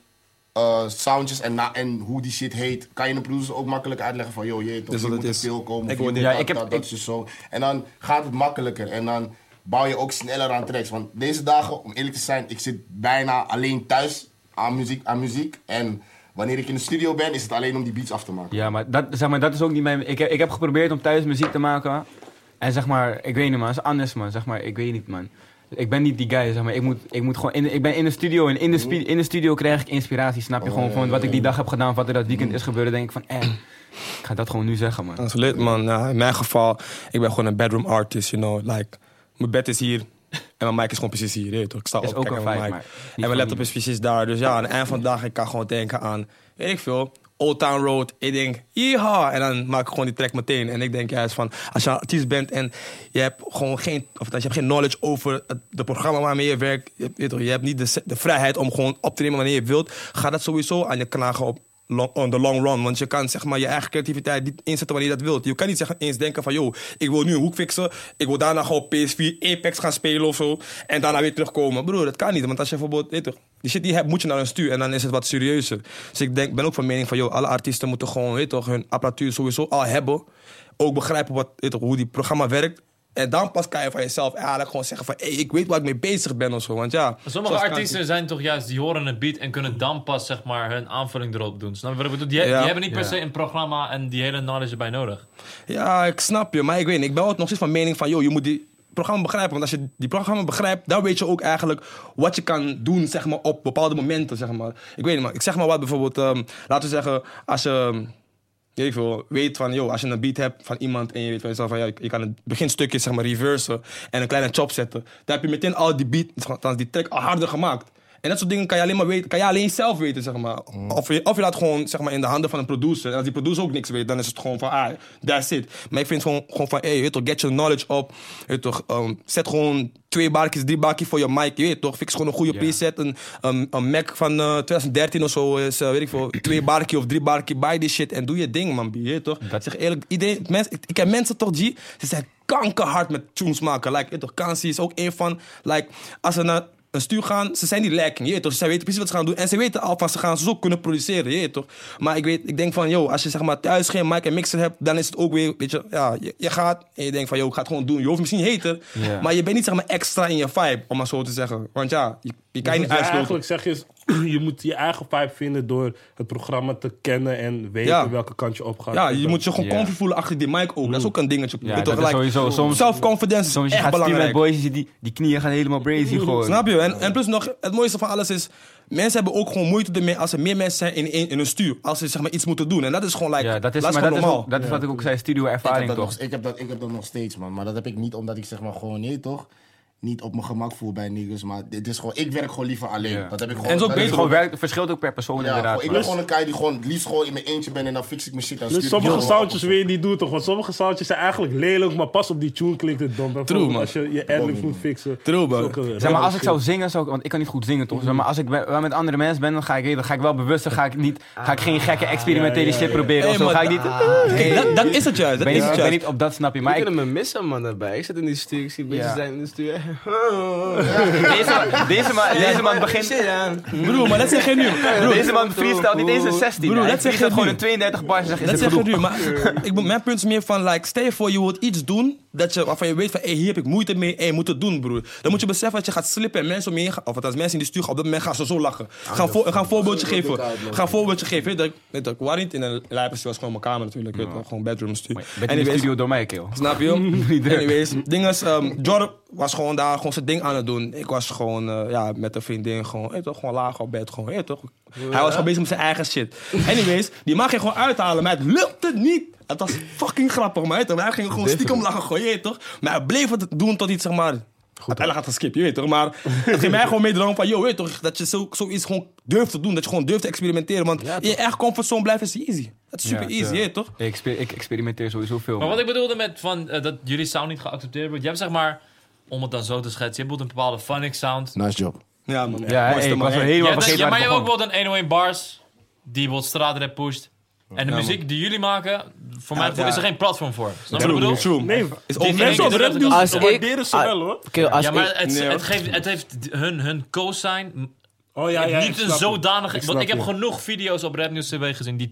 [SPEAKER 4] eh, soundjes en, na, en hoe die shit heet, kan je de producer ook makkelijk uitleggen van, joh, je weet toch,
[SPEAKER 2] Dit is
[SPEAKER 4] hier
[SPEAKER 2] wat
[SPEAKER 4] moet
[SPEAKER 2] het
[SPEAKER 4] een
[SPEAKER 2] is.
[SPEAKER 4] veel komen.
[SPEAKER 2] Ik
[SPEAKER 4] of hier
[SPEAKER 2] word
[SPEAKER 4] moet
[SPEAKER 5] dit.
[SPEAKER 4] dat,
[SPEAKER 5] Ja, ik heb-
[SPEAKER 4] dat, dat
[SPEAKER 5] ik-
[SPEAKER 4] is dus zo. En dan gaat het makkelijker en dan bouw je ook sneller aan tracks. Want deze dagen, om eerlijk te zijn, ik zit bijna alleen thuis aan muziek. Aan muziek. En wanneer ik in de studio ben, is het alleen om die beats af te maken.
[SPEAKER 5] Ja, maar dat, zeg maar, dat is ook niet mijn... Ik, heb- ik heb geprobeerd om thuis muziek te maken. En zeg maar, ik weet niet man, het is anders man. Zeg maar, ik weet niet man. Ik ben niet die guy, zeg maar. Ik, moet, ik, moet gewoon in, de- ik ben in de studio en in de, spi- in de studio krijg ik inspiratie. Snap je gewoon van wat ik die dag heb gedaan, of wat er dat weekend is gebeurd. Dan denk ik van, eh, ik ga dat gewoon nu zeggen man.
[SPEAKER 2] Dat is lit, man. Ja, in mijn geval, ik ben gewoon een bedroom artist, you know. Like, mijn bed is hier en mijn mic is gewoon precies hier. je weet toch? Ik sta
[SPEAKER 5] Is
[SPEAKER 2] op,
[SPEAKER 5] ook
[SPEAKER 2] kijk
[SPEAKER 5] een
[SPEAKER 2] naar mijn
[SPEAKER 5] vibe,
[SPEAKER 2] mic.
[SPEAKER 5] maar niet
[SPEAKER 2] En mijn
[SPEAKER 5] van
[SPEAKER 2] laptop is precies daar. Dus ja, aan het eind van de dag, ik kan gewoon denken aan, weet ik veel, Old Town Road. Ik denk, yeehaw! En dan maak ik gewoon die track meteen. En ik denk juist van, als je een artiest bent en je hebt gewoon geen, of als je hebt geen knowledge over het de programma waarmee je werkt. Je, weet toch, je hebt niet de, se- de vrijheid om gewoon op te nemen wanneer je wilt. Ga dat sowieso aan je knagen op long, on the long run. Want je kan zeg maar je eigen creativiteit niet inzetten wanneer je dat wilt. Je kan niet zeg, eens denken van, yo, ik wil nu een hoek fixen. Ik wil daarna gewoon PS4 Apex gaan spelen of zo. En daarna weer terugkomen. Broer, dat kan niet. Want als je bijvoorbeeld, weet toch, die shit die je hebt, moet je naar een stuur. En dan is het wat serieuzer. Dus ik denk, ben ook van mening van, yo, alle artiesten moeten gewoon, weet toch, hun apparatuur sowieso al hebben. Ook begrijpen wat, weet toch, hoe die programma werkt. En dan pas kan je van jezelf eigenlijk gewoon zeggen van... hé, ik weet waar ik mee bezig ben of zo. Want ja...
[SPEAKER 1] Sommige
[SPEAKER 2] zoals
[SPEAKER 1] artiesten zijn toch juist, die horen een beat en kunnen dan pas zeg maar hun aanvulling erop doen. Snap je wat ik bedoel? Die, die
[SPEAKER 2] Ja.
[SPEAKER 1] hebben niet per se een programma en die hele knowledge erbij nodig.
[SPEAKER 2] Ja, ik snap je, maar ik weet niet. Ik ben altijd nog steeds van mening van, joh, je moet die programma begrijpen. Want als je die programma begrijpt, dan weet je ook eigenlijk wat je kan doen, zeg maar, op bepaalde momenten, zeg maar. Ik weet niet, maar ik zeg maar wat bijvoorbeeld, ehm, laten we zeggen, als je, ehm, weet ik veel, weet van, joh, als je een beat hebt van iemand en je weet van jezelf van, ja, je kan het beginstukje, zeg maar, reversen en een kleine chop zetten. Dan heb je meteen al die beat, althans die track, al harder gemaakt. En dat soort dingen kan je alleen maar weten, kan je alleen zelf weten, zeg maar. Of je, of je laat gewoon zeg maar, in de handen van een producer. En als die producer ook niks weet, dan is het gewoon van, ah, that's it. Maar ik vind gewoon, gewoon van, hey, je weet toch, get your knowledge op. Je weet toch, ehm, zet gewoon twee barkjes, drie barkjes voor je mic. Je weet toch, fix gewoon een goede preset. Een, een, een Mac van eh, 2013 of zo is, eh, weet ik veel, twee barkjes of drie barkjes. Buy die shit en doe je ding, man. Je weet toch. Ik zeg eerlijk, iedereen, mensen ik, ik ken mensen toch, G, ze zijn kankerhard met tunes maken. Like, je weet toch, Kansi is ook een van, like, als ze naar een stuur gaan, ze zijn die lacking, je weet toch? Ze weten precies wat ze gaan doen en ze weten al van ze gaan zo kunnen produceren, je weet toch? Maar ik, weet, ik denk van, yo, als je zeg maar thuis geen mic en mixer hebt, dan is het ook weer, weet je, ja, je, je gaat en je denkt van, yo, ik ga het gewoon doen. Je hoeft misschien heter,
[SPEAKER 5] Ja.
[SPEAKER 2] maar je bent niet zeg maar extra in je vibe, om maar zo te zeggen. Want ja, je, je kan je niet
[SPEAKER 3] Wat je
[SPEAKER 2] uitsloten.
[SPEAKER 3] eigenlijk zeg je is, je moet je eigen vibe vinden door het programma te kennen en weten
[SPEAKER 2] Ja.
[SPEAKER 3] welke kant je op gaat.
[SPEAKER 2] Ja, je moet je gewoon
[SPEAKER 5] Ja.
[SPEAKER 2] comfy voelen achter die mic ook. Dat is ook een dingetje.
[SPEAKER 5] Ja,
[SPEAKER 2] weet
[SPEAKER 5] dat
[SPEAKER 2] toch?
[SPEAKER 5] is sowieso. Soms-
[SPEAKER 2] Self-confidence is
[SPEAKER 5] Soms je
[SPEAKER 2] echt
[SPEAKER 5] gaat streamen met
[SPEAKER 2] belangrijk.
[SPEAKER 5] boys, je ziet die, die knieën gaan helemaal brazy gewoon.
[SPEAKER 2] Snap je? En, en plus nog, het mooiste van alles is... Mensen hebben ook gewoon moeite ermee als er meer mensen zijn in, in, in een stuur. Als ze zeg maar iets moeten doen. En dat is gewoon like,
[SPEAKER 5] Ja, dat is,
[SPEAKER 2] dat is
[SPEAKER 5] maar dat
[SPEAKER 2] gewoon
[SPEAKER 5] is,
[SPEAKER 2] normaal.
[SPEAKER 5] ook- dat is wat ik ook zei, studio
[SPEAKER 4] Ik heb,
[SPEAKER 5] ervaring
[SPEAKER 4] dat
[SPEAKER 5] toch.
[SPEAKER 4] nog, ik, heb dat, ik heb dat nog steeds, man. Maar dat heb ik niet omdat ik zeg maar gewoon, nee toch? Niet op mijn gemak voel bij niggas. Maar dit is gewoon, ik werk gewoon liever alleen.
[SPEAKER 5] Ja.
[SPEAKER 4] Dat heb ik gewoon.
[SPEAKER 2] En zo
[SPEAKER 4] dat
[SPEAKER 2] beter
[SPEAKER 4] is
[SPEAKER 5] Het
[SPEAKER 4] gewoon-
[SPEAKER 5] gewoon werkt, verschilt ook per persoon
[SPEAKER 4] Ja,
[SPEAKER 5] inderdaad.
[SPEAKER 4] gewoon- ik
[SPEAKER 5] maar-
[SPEAKER 4] ben gewoon een guy die gewoon het liefst gewoon in mijn eentje ben en dan fix ik mijn shit. Dan
[SPEAKER 3] Dus
[SPEAKER 4] stuur ik
[SPEAKER 3] sommige
[SPEAKER 4] het gewoon
[SPEAKER 3] soundjes
[SPEAKER 4] op.
[SPEAKER 3] weer niet doen toch? Want sommige soundjes zijn eigenlijk lelijk, maar pas op die tune klinkt het dom. Bijvoorbeeld
[SPEAKER 2] man.
[SPEAKER 3] Als je je adlibs moet fixen.
[SPEAKER 2] True, man.
[SPEAKER 3] Zulke
[SPEAKER 5] Zeg maar,
[SPEAKER 3] rare
[SPEAKER 5] als ik
[SPEAKER 3] shit.
[SPEAKER 5] zou zingen, zou ik, want ik kan niet goed zingen
[SPEAKER 2] Mhm.
[SPEAKER 5] toch? Zeg maar, als ik ben- wel met andere mensen ben, dan ga ik, dan ga ik wel bewust, dan ga ik, niet, ga ik geen
[SPEAKER 2] Ah,
[SPEAKER 5] gekke experimentele
[SPEAKER 3] ja, ja,
[SPEAKER 5] shit
[SPEAKER 3] ja.
[SPEAKER 5] proberen
[SPEAKER 2] Hey,
[SPEAKER 5] of zo.
[SPEAKER 2] maar
[SPEAKER 5] Ga ik niet,
[SPEAKER 2] Kijk, dat, dat is het juist. Dat
[SPEAKER 5] ben,
[SPEAKER 2] is
[SPEAKER 5] niet,
[SPEAKER 2] het
[SPEAKER 5] ben
[SPEAKER 2] juist.
[SPEAKER 5] niet op dat snap je,
[SPEAKER 6] Maar
[SPEAKER 5] maar
[SPEAKER 6] ik
[SPEAKER 5] ik,
[SPEAKER 6] me missen, man, daarbij. Ik zit in die stuur, ik zie mensen
[SPEAKER 5] Ja.
[SPEAKER 6] zijn in de stuur.
[SPEAKER 5] Deze, deze, man, deze man begint...
[SPEAKER 8] Broer, maar dat zeg je nu. Broer,
[SPEAKER 5] Deze man freestylt niet eens een 16.
[SPEAKER 8] Broer,
[SPEAKER 5] Broer,
[SPEAKER 8] dat zeg
[SPEAKER 5] dat
[SPEAKER 8] je
[SPEAKER 5] freestylt gewoon
[SPEAKER 8] nu.
[SPEAKER 5] een 32 bars en zegt,
[SPEAKER 2] Dat
[SPEAKER 5] is
[SPEAKER 2] zeg
[SPEAKER 5] het
[SPEAKER 2] ik
[SPEAKER 5] genoeg?
[SPEAKER 2] nu, maar ik, ben- mijn punt is meer van, like, stel je voor je wilt iets doen dat je, waarvan je weet van, hey, hier heb ik moeite mee en je moet het doen, broer. Dan moet je beseffen dat je gaat slippen en mensen om je heen gaan, of als mensen in de stuur gaan, op dat moment gaan ze zo
[SPEAKER 5] Ah,
[SPEAKER 2] lachen. Gaan, voor, gaan een voorbeeldje geven. Gaan een voorbeeldje geven. Weet je, dat- weet je, ik was niet in een lijpers, was gewoon mijn kamer natuurlijk, weet je, wel, gewoon bedroom stuur.
[SPEAKER 5] Met in de
[SPEAKER 2] Anyways,
[SPEAKER 5] studio door mij, keel.
[SPEAKER 2] Snap je? Anyways, ding is, ehm, Jordan was gewoon daar gewoon zijn ding aan het doen. Ik was gewoon eh, ja, met een vriendin gewoon, eh, toch, gewoon laag op bed. Gewoon, eh, toch. Hij was gewoon bezig met zijn eigen shit. Anyways, die mag je gewoon uithalen, maar het lukte niet. Het was fucking grappig, maar, eh, toch, wij gingen gewoon stiekem lachen, gewoon, je weet toch? Maar hij bleef het doen tot iets, zeg maar. Uiteindelijk had geskipt, je weet toch? Maar het ging mij gewoon meedrang van, joh, weet toch? Dat je zo, zoiets gewoon durft te doen, dat je gewoon durft te experimenteren. Want in je echt comfortzone blijven is easy. Dat is super
[SPEAKER 5] Ja,
[SPEAKER 2] easy, je
[SPEAKER 5] ja.
[SPEAKER 2] weet toch?
[SPEAKER 5] Ik, exper- ik experimenteer sowieso veel.
[SPEAKER 1] Maar
[SPEAKER 5] man.
[SPEAKER 1] wat ik bedoelde met van, eh, dat jullie sound niet geaccepteerd wordt. Je hebt zeg maar, om het dan zo te schetsen, je hebt bijvoorbeeld een bepaalde phonic sound.
[SPEAKER 4] Nice job.
[SPEAKER 2] Ja, man.
[SPEAKER 5] ja, hè, ik was er helemaal
[SPEAKER 1] Ja, dat- ja,
[SPEAKER 5] vergeten
[SPEAKER 1] maar
[SPEAKER 5] waar
[SPEAKER 1] je
[SPEAKER 5] ik
[SPEAKER 1] hebt ook
[SPEAKER 5] begon.
[SPEAKER 1] wel een 101 bars die bijvoorbeeld straatrap pusht. En de muziek die jullie maken, voor mij
[SPEAKER 2] ja.
[SPEAKER 1] is er geen platform voor. Snap je wat ik
[SPEAKER 2] True,
[SPEAKER 1] bedoel?
[SPEAKER 2] true.
[SPEAKER 3] Nee,
[SPEAKER 2] Is
[SPEAKER 1] Die
[SPEAKER 2] overal
[SPEAKER 1] mensen
[SPEAKER 2] zo.
[SPEAKER 1] op rap doen-
[SPEAKER 7] Als ik...
[SPEAKER 3] waarderen ze wel, hoor.
[SPEAKER 7] Oké, als
[SPEAKER 1] Ja, maar
[SPEAKER 7] ik...
[SPEAKER 1] het,
[SPEAKER 2] Nee, hoor.
[SPEAKER 1] het, geeft, het heeft d- hun, hun co-sign
[SPEAKER 3] Oh ja, ja.
[SPEAKER 1] niet
[SPEAKER 3] ik
[SPEAKER 1] een
[SPEAKER 3] snap het.
[SPEAKER 1] zodanige... want
[SPEAKER 3] snap
[SPEAKER 1] ik heb
[SPEAKER 3] je.
[SPEAKER 1] genoeg video's op Rap News TV gezien die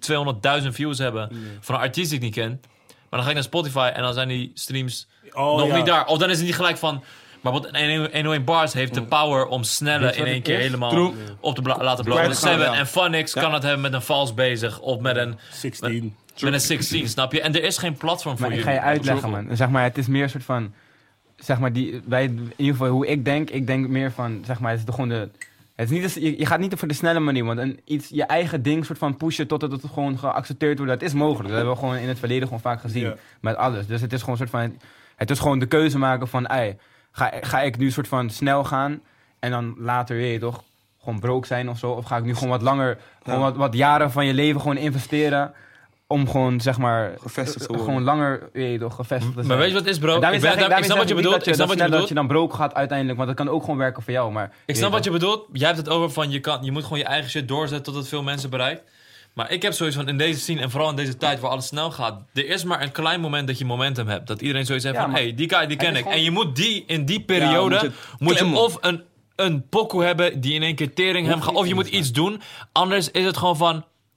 [SPEAKER 1] 200.000 views hebben van een artiest die ik niet ken. Maar dan ga ik naar Spotify en dan zijn die streams
[SPEAKER 3] Oh,
[SPEAKER 1] nog
[SPEAKER 3] ja.
[SPEAKER 1] niet daar. Of dan is het niet gelijk van... Maar wat 101 Bars heeft de power om snelle in één keer helemaal
[SPEAKER 2] True.
[SPEAKER 1] op te bla- laten blowen.
[SPEAKER 2] Kwijt te gaan,
[SPEAKER 1] Seven
[SPEAKER 2] ja.
[SPEAKER 1] en Funix kan het hebben met een vals bezig of met een,
[SPEAKER 3] 16.
[SPEAKER 1] met een 16, snap je? En er is geen platform voor
[SPEAKER 5] Maar ik
[SPEAKER 1] jullie.
[SPEAKER 5] ga je uitleggen, man. Zeg maar, het is meer een soort van... Zeg maar, die, wij, in ieder geval hoe ik denk, ik denk meer van, zeg maar, het is de- gewoon de... Het is niet, de- je, je gaat niet voor de snelle manier, want een, iets, je eigen ding soort van pushen totdat het gewoon geaccepteerd wordt. Dat is mogelijk. Dat hebben we gewoon in het verleden gewoon vaak gezien
[SPEAKER 3] Ja.
[SPEAKER 5] met alles. Dus het is gewoon een soort van, het is gewoon de keuze maken van, ei, ga, ga ik nu soort van snel gaan en dan later, weet je toch, gewoon broke zijn of zo? Of ga ik nu gewoon wat langer, gewoon wat, wat jaren van je leven gewoon investeren om gewoon, zeg maar,
[SPEAKER 2] Gevestigd te
[SPEAKER 5] eh,
[SPEAKER 2] worden.
[SPEAKER 5] gewoon langer, weet je toch, gevestigd te zijn.
[SPEAKER 1] Maar weet je wat het is, bro?
[SPEAKER 5] En
[SPEAKER 1] Ik, ben,
[SPEAKER 5] daarmee zeg
[SPEAKER 1] daar- ik
[SPEAKER 5] daarmee
[SPEAKER 1] snap wat
[SPEAKER 5] zeg
[SPEAKER 1] je
[SPEAKER 5] niet
[SPEAKER 1] bedoelt.
[SPEAKER 5] Dat je,
[SPEAKER 1] Ik snap
[SPEAKER 5] dat
[SPEAKER 1] wat je
[SPEAKER 5] snel
[SPEAKER 1] bedoelt.
[SPEAKER 5] dat je dan broke gaat uiteindelijk, want dat kan ook gewoon werken voor jou. Maar
[SPEAKER 1] Ik
[SPEAKER 5] weet
[SPEAKER 1] snap
[SPEAKER 5] toch.
[SPEAKER 1] wat je bedoelt. Jij hebt het over van je, kan, je moet gewoon je eigen shit doorzetten tot het veel mensen bereikt. Maar ik heb zoiets van in deze scene en vooral in deze tijd waar alles snel gaat. Er is maar een klein moment dat je momentum hebt. Dat iedereen zoiets heeft
[SPEAKER 5] Ja,
[SPEAKER 1] van
[SPEAKER 5] maar-
[SPEAKER 1] hey, die guy die ken
[SPEAKER 5] is
[SPEAKER 1] ik.
[SPEAKER 5] gewoon-
[SPEAKER 1] En je moet die in die
[SPEAKER 2] Ja,
[SPEAKER 1] periode.
[SPEAKER 2] moet je
[SPEAKER 1] moet je
[SPEAKER 2] klemmen.
[SPEAKER 1] of een, een pokoe hebben die in één keer tering hem gaat. Of je moet iets doen. Anders is het gewoon van.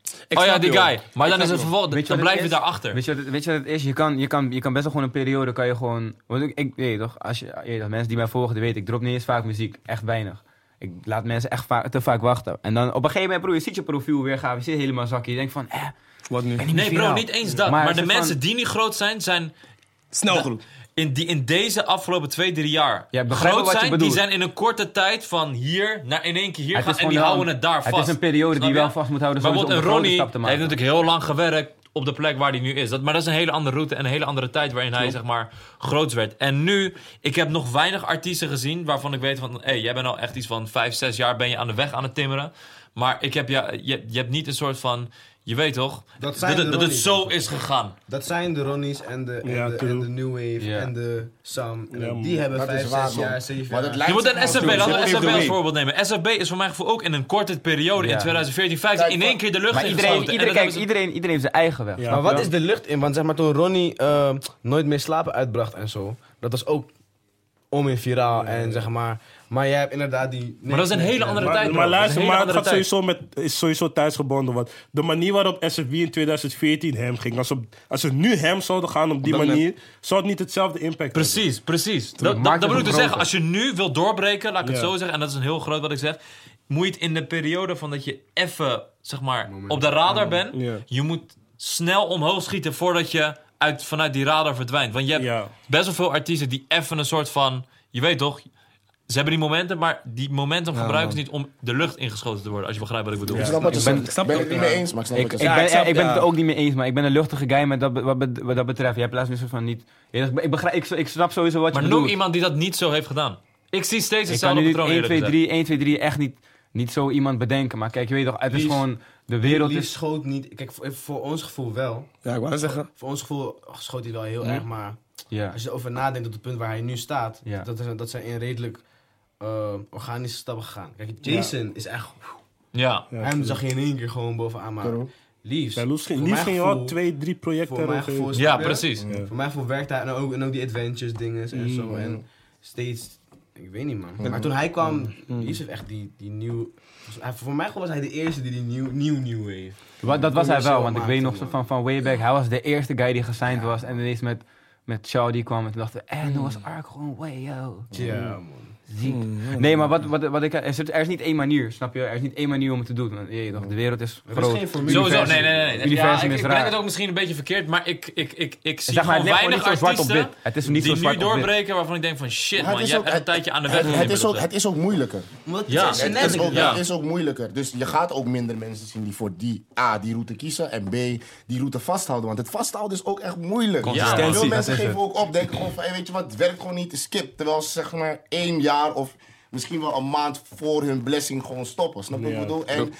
[SPEAKER 1] oh ja,
[SPEAKER 2] snap
[SPEAKER 1] die
[SPEAKER 2] je wel.
[SPEAKER 1] guy. Maar dan is het vervolgens.
[SPEAKER 5] Weet je
[SPEAKER 1] Dan
[SPEAKER 5] wat
[SPEAKER 1] blijf
[SPEAKER 5] het
[SPEAKER 1] je
[SPEAKER 5] is?
[SPEAKER 1] daarachter.
[SPEAKER 5] Weet je, wat, het- weet je wat het is? Je kan, je, kan, je kan best wel gewoon een periode, kan je gewoon... Want ik, ik weet je toch, als je, je weet toch, mensen die mij volgen, die weten, ik drop niet eens vaak muziek. Echt weinig. Ik laat mensen echt va- te vaak wachten. En dan op een gegeven moment, broer, je ziet je profiel weer gaan. Je zit helemaal zakje. Je denkt van, eh,
[SPEAKER 2] Wat nu?
[SPEAKER 1] Nee, bro,
[SPEAKER 5] viraal.
[SPEAKER 1] niet eens dat.
[SPEAKER 5] Maar
[SPEAKER 1] Maar,
[SPEAKER 5] het
[SPEAKER 1] de
[SPEAKER 5] is
[SPEAKER 1] mensen
[SPEAKER 5] van-
[SPEAKER 1] die niet groot zijn, zijn
[SPEAKER 2] Snel genoeg.
[SPEAKER 1] in, die in deze afgelopen twee, drie jaar
[SPEAKER 5] Ja, begrijp
[SPEAKER 1] groot
[SPEAKER 5] wat je
[SPEAKER 1] zijn, die
[SPEAKER 5] bedoelt.
[SPEAKER 1] zijn in een korte tijd van hier naar in één keer hier
[SPEAKER 5] Het
[SPEAKER 1] gaan
[SPEAKER 5] is
[SPEAKER 1] en
[SPEAKER 5] gewoon
[SPEAKER 1] die
[SPEAKER 5] wel-
[SPEAKER 1] houden het daar
[SPEAKER 5] het
[SPEAKER 1] vast.
[SPEAKER 5] is een periode
[SPEAKER 1] Snap
[SPEAKER 5] die je
[SPEAKER 1] je?
[SPEAKER 5] wel vast moet houden
[SPEAKER 1] Maar
[SPEAKER 5] sowieso om
[SPEAKER 1] bijvoorbeeld een Ronnie
[SPEAKER 5] een grote stap te
[SPEAKER 1] heeft
[SPEAKER 5] maken.
[SPEAKER 1] natuurlijk heel lang gewerkt op de plek waar hij nu is. Dat, maar dat is een hele andere route en een hele andere tijd waarin hij zeg maar groot werd. En nu, ik heb nog weinig artiesten gezien waarvan ik weet van... hé, hey, jij bent al echt iets van vijf, zes jaar ben je aan de weg aan het timmeren. Maar ik heb, ja, je, je hebt niet een soort van... Je weet toch,
[SPEAKER 6] Dat
[SPEAKER 1] dat,
[SPEAKER 6] zijn
[SPEAKER 1] dat,
[SPEAKER 6] de
[SPEAKER 1] dat het
[SPEAKER 6] Ronnies.
[SPEAKER 1] zo is gegaan.
[SPEAKER 6] Dat zijn de Ronnies en de, en
[SPEAKER 3] Ja,
[SPEAKER 6] de,
[SPEAKER 3] true.
[SPEAKER 6] en de New Wave
[SPEAKER 5] Ja.
[SPEAKER 6] en de Sam. En
[SPEAKER 3] Ja, man.
[SPEAKER 6] die hebben
[SPEAKER 4] Dat
[SPEAKER 6] vijf,
[SPEAKER 4] is waar,
[SPEAKER 6] zes
[SPEAKER 4] man.
[SPEAKER 6] jaar, zeven
[SPEAKER 4] Maar
[SPEAKER 6] jaar.
[SPEAKER 4] dat lijkt
[SPEAKER 1] Je moet een SFB,
[SPEAKER 4] Zo,
[SPEAKER 1] laten we
[SPEAKER 4] zo
[SPEAKER 1] SFB
[SPEAKER 4] geeft
[SPEAKER 1] als
[SPEAKER 4] het
[SPEAKER 1] voorbeeld nemen. SFB is voor mij gevoel ook in een korte periode
[SPEAKER 5] Ja.
[SPEAKER 1] in 2014, 15 in één keer de lucht
[SPEAKER 5] Maar
[SPEAKER 1] ingeschoten.
[SPEAKER 5] iedereen,
[SPEAKER 1] En dat
[SPEAKER 5] iedereen,
[SPEAKER 1] hebben
[SPEAKER 5] kijk,
[SPEAKER 1] ze-
[SPEAKER 5] iedereen, iedereen heeft zijn eigen weg.
[SPEAKER 3] Ja.
[SPEAKER 6] Maar wat is de lucht in? Want zeg maar toen Ronnie eh, Nooit meer slapen uitbracht en zo. Dat was ook om in viraal en zeg maar. Maar jij hebt inderdaad die...
[SPEAKER 1] Maar dat is een hele andere
[SPEAKER 3] Maar,
[SPEAKER 1] tijd,
[SPEAKER 3] maar
[SPEAKER 1] bro. Dat is een
[SPEAKER 3] luister,
[SPEAKER 1] hele
[SPEAKER 3] maar het
[SPEAKER 1] andere
[SPEAKER 3] gaat
[SPEAKER 1] tijd.
[SPEAKER 3] sowieso met, is sowieso thuisgebonden. Want de manier waarop SFW in 2014 hem ging, als ze, als ze nu hem zouden gaan op die
[SPEAKER 2] dat
[SPEAKER 3] manier, zou het niet hetzelfde impact
[SPEAKER 1] Precies, precies. Dat, dat,
[SPEAKER 5] maakt
[SPEAKER 1] dat
[SPEAKER 5] het
[SPEAKER 1] bedoel ik
[SPEAKER 5] ook
[SPEAKER 1] te
[SPEAKER 5] groter.
[SPEAKER 1] zeggen, als je nu wil doorbreken, laat ik het
[SPEAKER 3] Ja.
[SPEAKER 1] zo zeggen, en dat is een heel groot wat ik zeg, moet je het in de periode van dat je even, zeg maar, op de radar bent,
[SPEAKER 3] Ja.
[SPEAKER 1] je moet snel omhoog schieten voordat je uit, vanuit die radar verdwijnt. Want je hebt
[SPEAKER 3] Ja.
[SPEAKER 1] best wel veel artiesten die even een soort van, je weet toch, ze hebben die momenten, maar die momenten gebruiken ze niet om de lucht ingeschoten te worden, als je begrijpt wat ik bedoel.
[SPEAKER 4] Ik snap wat je
[SPEAKER 5] Ik ben-
[SPEAKER 4] zegt.
[SPEAKER 2] ik snap
[SPEAKER 4] Ik ben
[SPEAKER 2] het
[SPEAKER 4] het niet mee eens, maar ik snap
[SPEAKER 5] Ik,
[SPEAKER 4] wat je
[SPEAKER 5] ik,
[SPEAKER 4] zegt.
[SPEAKER 5] ben,
[SPEAKER 2] ik snap-
[SPEAKER 5] ik ben
[SPEAKER 2] ja.
[SPEAKER 5] het er ook niet mee eens, maar ik ben een luchtige guy met dat, be- wat, be- wat dat betreft. Je hebt laatst nu soort van niet. Ik begrijp, ik, ik snap sowieso wat
[SPEAKER 1] Maar
[SPEAKER 5] je
[SPEAKER 1] noem
[SPEAKER 5] bedoelt.
[SPEAKER 1] iemand die dat niet zo heeft gedaan. Ik zie steeds
[SPEAKER 5] Ik kan
[SPEAKER 1] hetzelfde
[SPEAKER 5] nu niet
[SPEAKER 1] patroon.
[SPEAKER 5] 1,
[SPEAKER 1] eerlijk
[SPEAKER 5] 2,
[SPEAKER 1] gezegd.
[SPEAKER 5] 3, 1, 2, 3 echt niet, niet zo iemand bedenken. Maar kijk, je weet toch, het is
[SPEAKER 6] Lies.
[SPEAKER 5] gewoon. De wereld
[SPEAKER 6] Lief
[SPEAKER 5] is.
[SPEAKER 6] schoot niet... Kijk, voor, voor ons gevoel wel.
[SPEAKER 2] Ja, ik wou net zeggen.
[SPEAKER 6] Voor ons gevoel schoot hij wel heel erg, maar...
[SPEAKER 5] Ja.
[SPEAKER 6] Als je erover nadenkt op het punt waar hij nu staat,
[SPEAKER 5] Ja.
[SPEAKER 6] dat, is, dat zijn in redelijk eh, organische stappen gegaan. Kijk, Jason is echt.
[SPEAKER 1] Ja.
[SPEAKER 6] hem zag je in één keer gewoon bovenaan maken.
[SPEAKER 4] Daarom.
[SPEAKER 6] Liefs.
[SPEAKER 3] Bij Loes ging,
[SPEAKER 6] voor
[SPEAKER 3] Lies
[SPEAKER 6] mijn
[SPEAKER 3] ging je
[SPEAKER 6] gevoel-
[SPEAKER 3] wel twee, drie projecten
[SPEAKER 6] voor mijn
[SPEAKER 3] over-
[SPEAKER 6] gevoel is-
[SPEAKER 1] ja,
[SPEAKER 6] Ja.
[SPEAKER 1] precies.
[SPEAKER 6] Voor mij voor werkt hij en ook, en ook die adventures dingen en zo. En steeds Ik weet niet, man. Maar toen hij kwam, Yusuf echt die, die nieuw... hij- Voor mij was hij de eerste die die nieuw, nieuw, nieuw heeft.
[SPEAKER 5] Wat, dat was hij wel, want ik weet nog
[SPEAKER 6] Maakte,
[SPEAKER 5] van, van way back. Hij was de eerste guy die gesigned was. En ineens met, met Shaw die kwam. En toen dachten we, en toen was Ark gewoon way, yo.
[SPEAKER 6] Ja, man.
[SPEAKER 5] Ziek. Nee, maar wat, wat, wat ik, er, is, er is niet één manier, snap je? Er is niet één manier om het te doen. Want, je, weet toch, de wereld is
[SPEAKER 6] Er
[SPEAKER 5] groot.
[SPEAKER 6] is geen formule.
[SPEAKER 1] Sowieso, nee, nee, nee. nee. Ja,
[SPEAKER 5] Universum
[SPEAKER 1] ik,
[SPEAKER 5] is
[SPEAKER 1] ik
[SPEAKER 5] raar.
[SPEAKER 1] breng het ook misschien een beetje verkeerd, maar ik, ik, ik, ik zie
[SPEAKER 5] Zeg maar, het
[SPEAKER 1] gewoon
[SPEAKER 5] ligt
[SPEAKER 1] weinig
[SPEAKER 5] gewoon niet zo zwart op
[SPEAKER 1] artiesten
[SPEAKER 5] wit. Het is niet
[SPEAKER 1] die
[SPEAKER 5] zo
[SPEAKER 1] nu
[SPEAKER 5] zwart op wit.
[SPEAKER 1] doorbreken waarvan ik denk van shit
[SPEAKER 4] Maar
[SPEAKER 1] man, je hebt echt een tijdje aan de weg
[SPEAKER 4] het, het, is ook, het is ook moeilijker.
[SPEAKER 6] Omdat het
[SPEAKER 1] Ja.
[SPEAKER 6] is
[SPEAKER 4] Het
[SPEAKER 6] generic,
[SPEAKER 4] is, ook,
[SPEAKER 1] Ja.
[SPEAKER 4] het is ook moeilijker. Dus je gaat ook minder mensen zien die voor die A, die route kiezen. En B, die route vasthouden. Want het vasthouden is ook echt moeilijk.
[SPEAKER 1] Consistentie,
[SPEAKER 4] Veel
[SPEAKER 8] dat
[SPEAKER 4] mensen
[SPEAKER 8] is
[SPEAKER 4] geven
[SPEAKER 8] het.
[SPEAKER 4] ook op. Denken gewoon van, hey, weet je wat, het werkt gewoon niet. Skip. Terwijl ze zeg maar één jaar of misschien wel een maand voor hun blessing gewoon stoppen. Snap je wat ik bedoel? En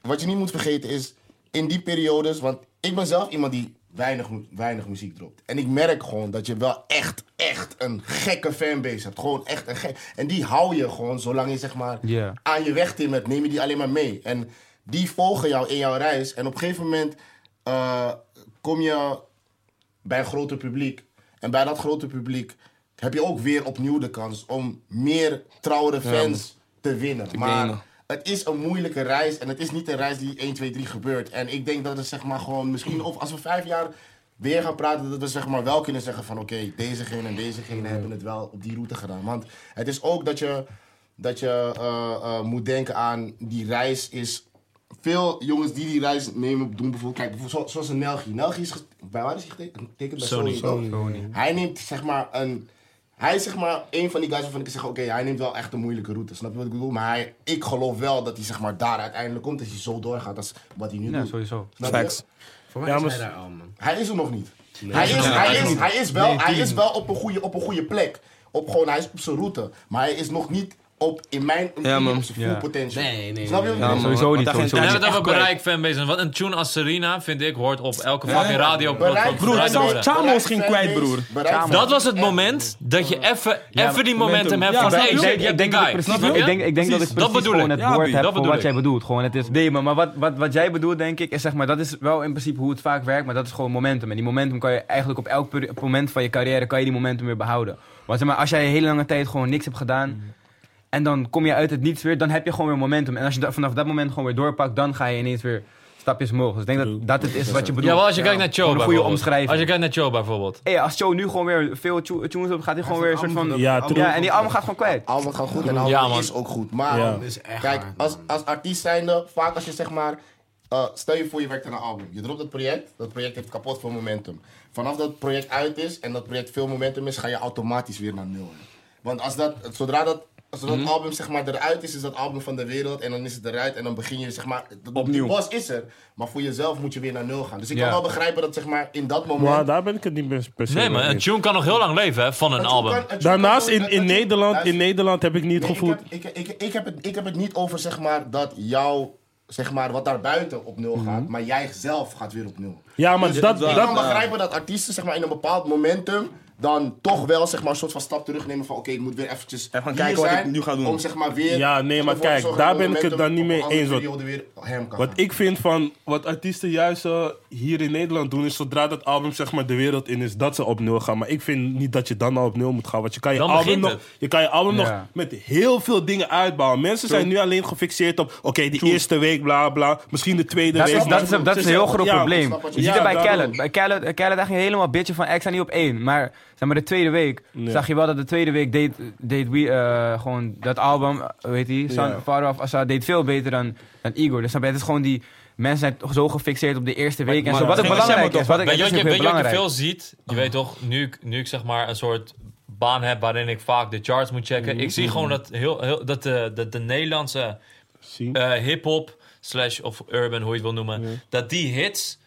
[SPEAKER 4] wat je niet moet vergeten is, in die periodes... Want ik ben zelf iemand die weinig, mu- weinig muziek dropt. En ik merk gewoon dat je wel echt, echt een gekke fanbase hebt. Gewoon echt een gek. En die hou je gewoon zolang je zeg maar
[SPEAKER 5] Ja.
[SPEAKER 4] aan je weg timmert, neem je die alleen maar mee. En die volgen jou in jouw reis. En op een gegeven moment eh, kom je bij een groter publiek. En bij dat grote publiek heb je ook weer opnieuw de kans om meer trouwere fans te winnen.
[SPEAKER 2] denk
[SPEAKER 4] Maar het is een moeilijke reis en het is niet een reis die 1, 2, 3 gebeurt. En ik denk dat het zeg maar gewoon misschien, of als we vijf jaar weer gaan praten, dat we zeg maar wel kunnen zeggen van oké, dezegene en dezegene hebben het wel op die route gedaan. Want het is ook dat je, dat je eh, eh, moet denken aan die reis is veel jongens die die reis nemen, doen bijvoorbeeld, kijk, bijvoorbeeld zo- zoals een Nelgi. Nelgi is, ges- bij waar is hij getekend? Getekend bij Sony. toch? Hij neemt zeg maar een, hij is zeg maar een van die guys waarvan ik zeg, oké, hij neemt wel echt een moeilijke route, snap je wat ik bedoel? Maar hij, ik geloof wel dat hij zeg maar daar uiteindelijk komt, dat hij zo doorgaat als wat hij nu
[SPEAKER 5] Ja,
[SPEAKER 4] doet.
[SPEAKER 5] sowieso.
[SPEAKER 4] Snap je?
[SPEAKER 2] Facts.
[SPEAKER 6] Voor mij
[SPEAKER 8] Ja,
[SPEAKER 6] is
[SPEAKER 8] maar-
[SPEAKER 6] hij daar al, man.
[SPEAKER 4] Hij is er nog niet. Hij is, hij, is, hij is wel, hij is wel op, een goede, op een goede plek. Op gewoon, hij is op zijn route. Maar hij is nog niet op, in mijn
[SPEAKER 2] Ja, man.
[SPEAKER 4] op zijn full
[SPEAKER 5] Ja.
[SPEAKER 4] potential.
[SPEAKER 6] Nee, nee,
[SPEAKER 4] Snap je?
[SPEAKER 6] nee,
[SPEAKER 4] wat ik bedoel?
[SPEAKER 5] Sowieso niet,
[SPEAKER 2] Want daar
[SPEAKER 5] sowieso
[SPEAKER 1] We
[SPEAKER 2] geen-
[SPEAKER 1] hebben het over bereik fanbase. Want een tune als Serena, vind ik, hoort op elke fucking radio.
[SPEAKER 4] Bereik-
[SPEAKER 2] Broer,
[SPEAKER 4] Bereik-
[SPEAKER 2] zelfs Chamos ging
[SPEAKER 4] Bereik-
[SPEAKER 2] kwijt, broer.
[SPEAKER 4] Bereik-
[SPEAKER 1] Dat was het moment dat je even even die momentum hebt
[SPEAKER 2] Ja,
[SPEAKER 1] van
[SPEAKER 2] snap
[SPEAKER 1] hey,
[SPEAKER 2] je?
[SPEAKER 1] shit,
[SPEAKER 5] Ik
[SPEAKER 1] je hebt
[SPEAKER 5] denk
[SPEAKER 1] die
[SPEAKER 5] dat ik
[SPEAKER 1] guy.
[SPEAKER 5] precies-
[SPEAKER 1] Snap je?
[SPEAKER 5] ik denk- ik denk dat ik
[SPEAKER 1] Dat
[SPEAKER 5] precies
[SPEAKER 1] bedoel
[SPEAKER 5] gewoon
[SPEAKER 1] ik.
[SPEAKER 5] het
[SPEAKER 1] Ja,
[SPEAKER 5] woord
[SPEAKER 1] Bi, dat
[SPEAKER 5] heb voor
[SPEAKER 1] bedoel
[SPEAKER 5] wat
[SPEAKER 1] ik.
[SPEAKER 5] jij bedoelt. Gewoon, het is, nee, maar, maar wat, wat, wat jij bedoelt, denk ik, is zeg maar, dat is wel in principe hoe het vaak werkt, maar dat is gewoon momentum. En die momentum kan je eigenlijk op elk peri- op moment van je carrière, kan je die momentum weer behouden. Want zeg maar, als jij een hele lange tijd gewoon niks hebt gedaan, en dan kom je uit het niets weer, dan heb je gewoon weer momentum. En als je da- vanaf dat moment gewoon weer doorpakt, dan ga je ineens weer stapjes omhoog. Dus ik denk dat dat het is wat je bedoelt.
[SPEAKER 1] Ja, wel als je kijkt naar
[SPEAKER 5] Gewoon
[SPEAKER 1] Cho
[SPEAKER 5] een goede
[SPEAKER 1] bijvoorbeeld.
[SPEAKER 5] omschrijving.
[SPEAKER 1] Als je kijkt naar Cho bijvoorbeeld.
[SPEAKER 5] Hey, als Joe nu gewoon weer veel tu- tunes op, gaat hij gewoon weer een soort van...
[SPEAKER 3] Ja, true.
[SPEAKER 5] Ja, en die album gaat gewoon kwijt.
[SPEAKER 4] Album gaat goed en Album
[SPEAKER 1] Ja, man.
[SPEAKER 4] is ook goed. Maar
[SPEAKER 3] Ja.
[SPEAKER 6] Dat is echt
[SPEAKER 4] kijk,
[SPEAKER 6] hard,
[SPEAKER 4] als,
[SPEAKER 6] man.
[SPEAKER 4] als artiest zijnde, vaak als je zeg maar... eh, stel je voor je werkt aan een album. Je dropt het project, dat project heeft kapot veel momentum. Vanaf dat het project uit is en dat project veel momentum is, ga je automatisch weer naar nul. hè. Want als dat, zodra dat, als dat album zeg maar eruit is, is dat album van de wereld en dan is het eruit en dan begin je zeg maar... de-
[SPEAKER 8] Opnieuw.
[SPEAKER 4] Die bas is er, maar voor jezelf moet je weer naar nul gaan. Dus ik
[SPEAKER 5] Ja.
[SPEAKER 4] kan wel begrijpen dat zeg maar in dat moment...
[SPEAKER 3] Maar daar ben ik het niet meer per se
[SPEAKER 1] Nee
[SPEAKER 3] mee
[SPEAKER 1] man, een
[SPEAKER 3] eens.
[SPEAKER 1] tune kan nog heel lang leven hè, van een
[SPEAKER 4] dat je
[SPEAKER 1] album.
[SPEAKER 4] kan- dat je
[SPEAKER 3] Daarnaast,
[SPEAKER 4] kan-
[SPEAKER 3] in,
[SPEAKER 4] dat
[SPEAKER 3] in,
[SPEAKER 4] je-
[SPEAKER 3] Nederland, in
[SPEAKER 4] Luister.
[SPEAKER 3] Nederland heb ik niet het
[SPEAKER 4] Nee,
[SPEAKER 3] gevoel...
[SPEAKER 4] Ik heb, ik, ik, ik, heb het, ik heb het niet over zeg maar, dat jou, zeg maar, wat daar buiten op nul gaat,
[SPEAKER 2] Mhm.
[SPEAKER 4] maar jij zelf gaat weer op nul.
[SPEAKER 3] Ja, maar dat-
[SPEAKER 4] ik
[SPEAKER 3] dat-
[SPEAKER 4] kan begrijpen dat artiesten zeg maar, in een bepaald momentum dan toch wel zeg maar, een soort van stap terugnemen van oké, ik moet weer eventjes
[SPEAKER 2] Even gaan
[SPEAKER 4] hier
[SPEAKER 2] kijken wat ik
[SPEAKER 4] zijn
[SPEAKER 2] nu ga doen.
[SPEAKER 4] Om zeg maar weer
[SPEAKER 3] Ja, nee, maar
[SPEAKER 4] ervoor te
[SPEAKER 3] kijk,
[SPEAKER 4] zorgen
[SPEAKER 3] daar
[SPEAKER 4] dat
[SPEAKER 3] ben ik het dan
[SPEAKER 4] momentum
[SPEAKER 3] niet
[SPEAKER 4] op
[SPEAKER 3] mee
[SPEAKER 4] een andere
[SPEAKER 3] eens, want-
[SPEAKER 4] periode weer hem kan
[SPEAKER 3] Wat
[SPEAKER 4] gaan.
[SPEAKER 3] ik vind van wat artiesten juist eh, hier in Nederland doen, is zodra dat album zeg maar de wereld in is, dat ze op nul gaan. Maar ik vind niet dat je dan al op nul moet gaan. Want je kan je
[SPEAKER 1] Dan
[SPEAKER 3] album,
[SPEAKER 1] begint
[SPEAKER 3] nog,
[SPEAKER 1] het.
[SPEAKER 3] je kan je album nog
[SPEAKER 5] Ja.
[SPEAKER 3] met heel veel dingen uitbouwen. Mensen zijn nu alleen gefixeerd op, oké, die eerste week, bla bla. Misschien de tweede
[SPEAKER 5] Dat
[SPEAKER 3] week.
[SPEAKER 5] is,
[SPEAKER 3] maar-
[SPEAKER 5] dat, is, dat is een heel groot
[SPEAKER 3] Ja,
[SPEAKER 5] probleem.
[SPEAKER 4] snap wat
[SPEAKER 5] Je
[SPEAKER 4] je-
[SPEAKER 5] ziet
[SPEAKER 3] ja,
[SPEAKER 5] het bij
[SPEAKER 3] daarom.
[SPEAKER 5] Khaled. Bij Khaled, eh, Khaled dacht je helemaal bitje van, eh, ik sta niet op één. Maar, zeg maar de tweede week zag je wel dat de tweede week deed, deed we, eh, gewoon dat album, weet je, Son,
[SPEAKER 3] Ja.
[SPEAKER 5] Father of Assad, deed veel beter dan, dan Igor. Dus snap je, het is gewoon die, mensen zijn zo gefixeerd op de eerste week en
[SPEAKER 8] maar
[SPEAKER 5] zo. Wat
[SPEAKER 8] dat
[SPEAKER 5] ook
[SPEAKER 8] ging
[SPEAKER 5] belangrijk
[SPEAKER 8] Sam
[SPEAKER 5] is. Wat ik,
[SPEAKER 1] Weet je
[SPEAKER 5] dat
[SPEAKER 1] wat
[SPEAKER 5] is
[SPEAKER 1] je,
[SPEAKER 5] weer
[SPEAKER 1] weet je wat je
[SPEAKER 5] belangrijk.
[SPEAKER 1] veel ziet? Je weet toch, nu, ik- nu ik zeg maar een soort baan heb waarin ik vaak de charts moet checken. Ik zie gewoon dat, heel, heel, dat, de, dat de Nederlandse
[SPEAKER 3] Zie.
[SPEAKER 1] eh, hip-hop slash of urban, hoe je het wil noemen, dat die hits.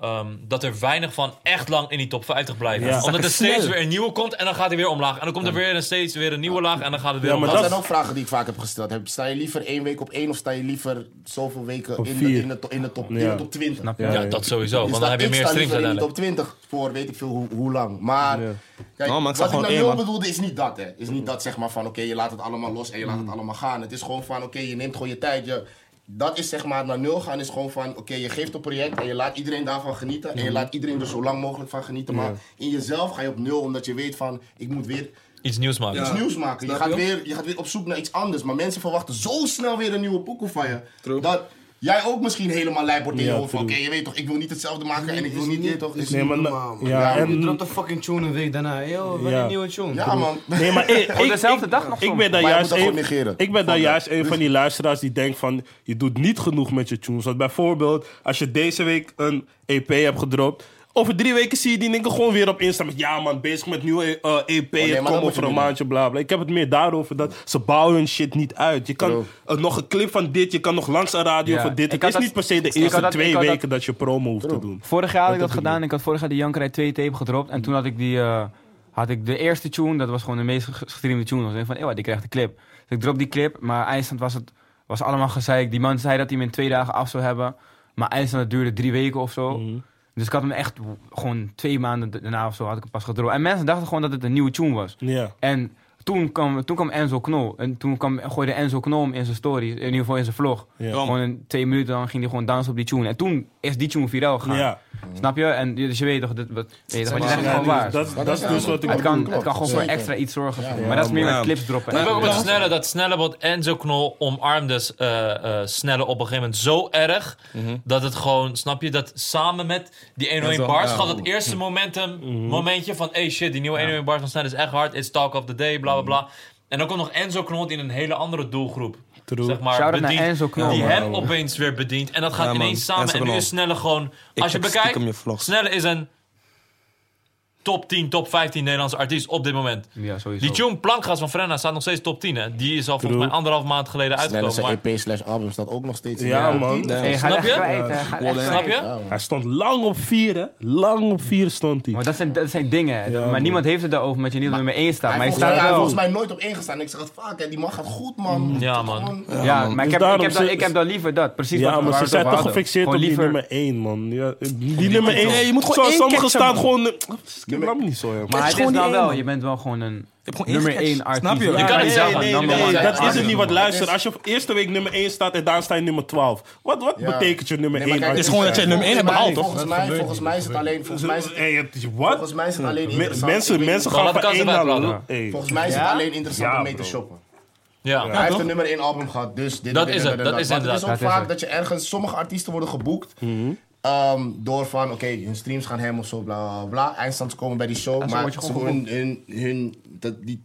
[SPEAKER 1] ehm, dat er weinig van echt lang in die top 50 blijven.
[SPEAKER 3] Ja.
[SPEAKER 1] Omdat er steeds
[SPEAKER 2] Snel.
[SPEAKER 1] weer een nieuwe komt en dan gaat hij weer omlaag. En dan komt er weer een steeds weer een nieuwe laag en dan gaat het weer
[SPEAKER 3] Ja, maar
[SPEAKER 1] omlaag.
[SPEAKER 4] Dat
[SPEAKER 3] dat-
[SPEAKER 4] zijn ook vragen die ik vaak heb gesteld. Heb, sta je liever één week op één of sta je liever zoveel weken
[SPEAKER 3] Op
[SPEAKER 4] in de,
[SPEAKER 3] vier.
[SPEAKER 4] in de, to- in de, top, in
[SPEAKER 3] Ja.
[SPEAKER 4] de top 20?
[SPEAKER 5] Snap je?
[SPEAKER 1] Ja, dat sowieso, want dan heb je
[SPEAKER 4] ik
[SPEAKER 1] meer
[SPEAKER 4] sta
[SPEAKER 1] streams
[SPEAKER 4] liever in de
[SPEAKER 1] uiteindelijk.
[SPEAKER 4] top 20 voor weet ik veel hoe, hoe lang. Maar
[SPEAKER 3] Ja.
[SPEAKER 4] kijk,
[SPEAKER 2] Nou, maar ik zag
[SPEAKER 4] wat ik
[SPEAKER 2] gewoon
[SPEAKER 4] nou
[SPEAKER 2] één,
[SPEAKER 4] heel
[SPEAKER 2] man.
[SPEAKER 4] bedoelde is niet dat. Hè. Is niet dat zeg maar van oké, je laat het allemaal los en je
[SPEAKER 2] Mm.
[SPEAKER 4] laat het allemaal gaan. Het is gewoon van oké, je neemt gewoon je tijd. Je, dat is zeg maar naar nul gaan is gewoon van oké, je geeft een project en je laat iedereen daarvan genieten.
[SPEAKER 2] Mm.
[SPEAKER 4] En je laat iedereen er zo lang mogelijk van genieten. Maar in jezelf ga je op nul omdat je weet van ik moet weer...
[SPEAKER 1] iets nieuws maken.
[SPEAKER 4] iets nieuws maken. Je
[SPEAKER 2] Snap
[SPEAKER 4] gaat,
[SPEAKER 2] je?
[SPEAKER 4] weer, je gaat weer op zoek naar iets anders. Maar mensen verwachten zo snel weer een nieuwe pokoe van je. Dat jij ook misschien helemaal lijp wordt in je
[SPEAKER 3] Ja,
[SPEAKER 4] hoofd. van, Oké,
[SPEAKER 3] true.
[SPEAKER 4] je weet toch, ik wil niet hetzelfde maken en ik wil niet, je weet toch. is-
[SPEAKER 3] Nee, maar na- ja,
[SPEAKER 4] Ja,
[SPEAKER 3] en-
[SPEAKER 6] Je dropt een fucking tune een week daarna. Yo, wat
[SPEAKER 3] Ja.
[SPEAKER 6] een nieuwe tune.
[SPEAKER 4] ja, man.
[SPEAKER 3] Nee, maar ik, ik,
[SPEAKER 5] dezelfde
[SPEAKER 3] ik-
[SPEAKER 5] dag nog
[SPEAKER 3] ik
[SPEAKER 5] soms.
[SPEAKER 3] ben dan
[SPEAKER 4] Maar je
[SPEAKER 3] juist
[SPEAKER 4] moet dat
[SPEAKER 3] een,
[SPEAKER 4] gewoon negeren. Dus
[SPEAKER 3] ik ben dan juist een van die luisteraars die denkt van je doet niet genoeg met je tunes. Want bijvoorbeeld als je deze week een EP hebt gedropt, over drie weken zie je die dingen gewoon weer op Insta met ja man bezig met nieuwe eh, EP,
[SPEAKER 4] Oh, maar
[SPEAKER 3] het komt
[SPEAKER 4] dat moet je
[SPEAKER 3] over een
[SPEAKER 4] niet
[SPEAKER 3] maandje bla bla. Ik heb het meer daarover dat ze bouwen hun shit niet uit. Je kan
[SPEAKER 4] Bro.
[SPEAKER 3] eh, nog een clip van dit, je kan nog langs een radio
[SPEAKER 5] Ja.
[SPEAKER 3] van dit.
[SPEAKER 5] Ik
[SPEAKER 3] Het
[SPEAKER 5] had
[SPEAKER 3] is
[SPEAKER 5] dat-
[SPEAKER 3] niet per se de
[SPEAKER 5] ik had
[SPEAKER 3] eerste
[SPEAKER 5] dat- ik
[SPEAKER 3] twee
[SPEAKER 5] had dat-
[SPEAKER 3] weken dat je promo hoeft te doen.
[SPEAKER 5] Vorig jaar had ik
[SPEAKER 3] Dat
[SPEAKER 5] dat
[SPEAKER 3] heb ik
[SPEAKER 5] gedaan. Ik had vorig jaar de Jankerij 2 tape gedropt. En toen had ik die... eh, had ik de eerste tune, dat was gewoon de meest ges- gestreamde tune. was. Ik van, eeuw, die krijgt de clip. Dus ik drop die clip, maar eindstand was het was allemaal gezeik. Die man zei dat hij hem in twee dagen af zou hebben. Maar eindstand het duurde drie weken of zo.
[SPEAKER 3] Mhm.
[SPEAKER 5] Dus ik had hem echt w- gewoon twee maanden da- daarna of zo had ik hem pas gedropt. En mensen dachten gewoon dat het een nieuwe tune was.
[SPEAKER 3] Ja.
[SPEAKER 5] En toen kwam, toen kwam Enzo Knol. En toen kwam, gooide Enzo Knol hem in zijn story, in ieder geval in zijn vlog.
[SPEAKER 3] Ja.
[SPEAKER 5] Gewoon in twee minuten, dan ging hij gewoon dansen op die tune. En toen is die tune viraal gegaan.
[SPEAKER 3] Ja.
[SPEAKER 5] Snap je? En je- dus je weet toch, dit, wat, weet je, toch, wat je
[SPEAKER 4] maar-
[SPEAKER 5] zegt is
[SPEAKER 3] Ja,
[SPEAKER 5] gewoon waar.
[SPEAKER 3] dus dat, dat is dus wat ik
[SPEAKER 5] het, kan,
[SPEAKER 4] klopt,
[SPEAKER 5] het kan gewoon voor
[SPEAKER 4] zeker.
[SPEAKER 5] extra iets zorgen.
[SPEAKER 4] Ja,
[SPEAKER 5] voor je.
[SPEAKER 4] ja,
[SPEAKER 5] maar dat is meer
[SPEAKER 2] ja.
[SPEAKER 5] met clips droppen.
[SPEAKER 1] Dat
[SPEAKER 5] en-
[SPEAKER 1] heb ik ook met Snelle. Dat Snelle, wat Enzo Knol omarmde eh, eh, Snelle op een gegeven moment zo erg.
[SPEAKER 5] Mhm.
[SPEAKER 1] Dat het gewoon, snap je, dat samen met die 101 bars gaat het eerste momentum,
[SPEAKER 2] Mhm.
[SPEAKER 1] momentje van... Hey shit, die nieuwe 101 bars van Snelle is echt hard. It's talk of the day, bla bla
[SPEAKER 2] Mhm.
[SPEAKER 1] bla. En dan komt nog Enzo Knol die in een hele andere doelgroep.
[SPEAKER 3] True.
[SPEAKER 1] Zeg maar,
[SPEAKER 5] Shout-out naar
[SPEAKER 1] bedient,
[SPEAKER 5] Enzo Knol,
[SPEAKER 1] die
[SPEAKER 5] man.
[SPEAKER 1] hem opeens weer bedient. En dat gaat
[SPEAKER 2] Ja, man.
[SPEAKER 1] ineens samen.
[SPEAKER 2] Enzo
[SPEAKER 1] en nu
[SPEAKER 2] Knol.
[SPEAKER 1] is Snelle gewoon...
[SPEAKER 2] Ik
[SPEAKER 1] als je
[SPEAKER 2] heb
[SPEAKER 1] bekijkt,
[SPEAKER 2] stiekem je vlogs.
[SPEAKER 1] Snelle is een top 10, top 15 Nederlandse artiest op dit moment.
[SPEAKER 5] Ja, sowieso.
[SPEAKER 1] Die tune Plankgas van Frenna staat nog steeds top 10, hè? Die is al volgens mij anderhalf maand geleden
[SPEAKER 4] Sneller
[SPEAKER 1] uitgekomen.
[SPEAKER 4] zijn
[SPEAKER 1] Maar,
[SPEAKER 4] EP E slash album staat ook nog steeds. in
[SPEAKER 3] Ja,
[SPEAKER 4] de
[SPEAKER 3] man.
[SPEAKER 4] tien.
[SPEAKER 5] Hey, ga
[SPEAKER 1] Snap
[SPEAKER 5] echt
[SPEAKER 1] je?
[SPEAKER 5] kwijt, hè. Ga echt
[SPEAKER 1] snap
[SPEAKER 5] kwijt.
[SPEAKER 1] je?
[SPEAKER 3] Hij stond lang op vier, hè? Lang op vier stond hij.
[SPEAKER 5] Maar dat zijn, dat zijn dingen. hè.
[SPEAKER 3] Ja,
[SPEAKER 5] maar
[SPEAKER 3] man.
[SPEAKER 5] niemand heeft het daarover met je niet op nummer 1 staat.
[SPEAKER 4] Hij
[SPEAKER 5] Maar je
[SPEAKER 4] volgens mij-
[SPEAKER 5] staat
[SPEAKER 4] hij heeft volgens
[SPEAKER 5] wel.
[SPEAKER 4] mij nooit op één gestaan. Ik zeg het vaak, hè. die man gaat goed, man.
[SPEAKER 3] Mm.
[SPEAKER 1] Ja, man.
[SPEAKER 4] Gewoon-
[SPEAKER 5] Ja, maar ik
[SPEAKER 3] Dus
[SPEAKER 5] heb, ik,
[SPEAKER 3] daarom
[SPEAKER 5] heb dan,
[SPEAKER 3] ze-
[SPEAKER 5] ik heb dan liever dat. Precies
[SPEAKER 3] Ja,
[SPEAKER 5] wat we
[SPEAKER 3] maar
[SPEAKER 5] waar
[SPEAKER 3] ze
[SPEAKER 5] we het
[SPEAKER 3] zijn
[SPEAKER 5] over
[SPEAKER 3] toch
[SPEAKER 5] hadden.
[SPEAKER 3] gefixeerd op
[SPEAKER 5] Gewoon
[SPEAKER 3] die
[SPEAKER 5] liever-
[SPEAKER 3] nummer 1, man. Ja, eh, die nummer 1.
[SPEAKER 2] Nee, je moet gewoon één
[SPEAKER 3] Sommigen
[SPEAKER 2] catchen,
[SPEAKER 3] staan
[SPEAKER 2] man.
[SPEAKER 3] gewoon... Ik laat me niet zo, joh.
[SPEAKER 5] Maar
[SPEAKER 2] Het
[SPEAKER 5] het
[SPEAKER 2] is
[SPEAKER 5] is
[SPEAKER 2] gewoon
[SPEAKER 5] dan
[SPEAKER 2] die één,
[SPEAKER 5] wel,
[SPEAKER 2] man.
[SPEAKER 5] je bent wel gewoon een
[SPEAKER 2] Ik heb gewoon
[SPEAKER 5] nummer
[SPEAKER 2] ingeketcht.
[SPEAKER 5] 1 artiest.
[SPEAKER 2] Snap je?
[SPEAKER 5] Ja,
[SPEAKER 1] kan niet
[SPEAKER 5] nee,
[SPEAKER 1] zeggen,
[SPEAKER 5] nee,
[SPEAKER 1] number
[SPEAKER 5] nee,
[SPEAKER 1] one.
[SPEAKER 5] nee,
[SPEAKER 3] Dat is het niet wat
[SPEAKER 4] man.
[SPEAKER 3] luister. Als je op eerste week nummer 1 staat en daar sta je nummer 12. Wat, wat
[SPEAKER 4] Ja.
[SPEAKER 3] betekent je nummer
[SPEAKER 4] Nee, maar
[SPEAKER 3] 1?
[SPEAKER 4] kijk,
[SPEAKER 2] Het is gewoon dat jij nummer één hebt behaald, toch?
[SPEAKER 4] Volgens mij, volgens mij is het alleen... Volgens mij is het-
[SPEAKER 3] Wat?
[SPEAKER 4] volgens mij is het alleen
[SPEAKER 3] Me-
[SPEAKER 4] interessant. ik
[SPEAKER 3] Mensen,
[SPEAKER 4] weet niet.
[SPEAKER 3] mensen
[SPEAKER 1] Maar
[SPEAKER 3] gaan
[SPEAKER 1] dat
[SPEAKER 3] van
[SPEAKER 1] kan
[SPEAKER 3] 1
[SPEAKER 1] ze wel,
[SPEAKER 3] naar...
[SPEAKER 1] bro.
[SPEAKER 3] Hey.
[SPEAKER 4] Volgens mij is het alleen interessant
[SPEAKER 3] Ja,
[SPEAKER 4] om mee te
[SPEAKER 3] bro.
[SPEAKER 4] shoppen.
[SPEAKER 1] Ja.
[SPEAKER 4] Hij heeft een nummer 1 album gehad, dus dit
[SPEAKER 1] Dat
[SPEAKER 4] dit,
[SPEAKER 1] is
[SPEAKER 4] dit,
[SPEAKER 1] het,
[SPEAKER 4] dit,
[SPEAKER 1] dat
[SPEAKER 4] dit.
[SPEAKER 1] is inderdaad,
[SPEAKER 4] Want
[SPEAKER 1] Mhm.
[SPEAKER 4] Het is
[SPEAKER 5] dat
[SPEAKER 4] ook
[SPEAKER 5] is
[SPEAKER 4] vaak
[SPEAKER 5] het.
[SPEAKER 4] dat je ergens, sommige artiesten worden geboekt ehm, door van, oké, hun streams gaan hem of zo, bla bla bla. Eindstands komen bij die show,
[SPEAKER 5] zo
[SPEAKER 4] maar
[SPEAKER 5] word je
[SPEAKER 4] ze-
[SPEAKER 5] gewoon
[SPEAKER 4] hun, hun, hun- dat, die,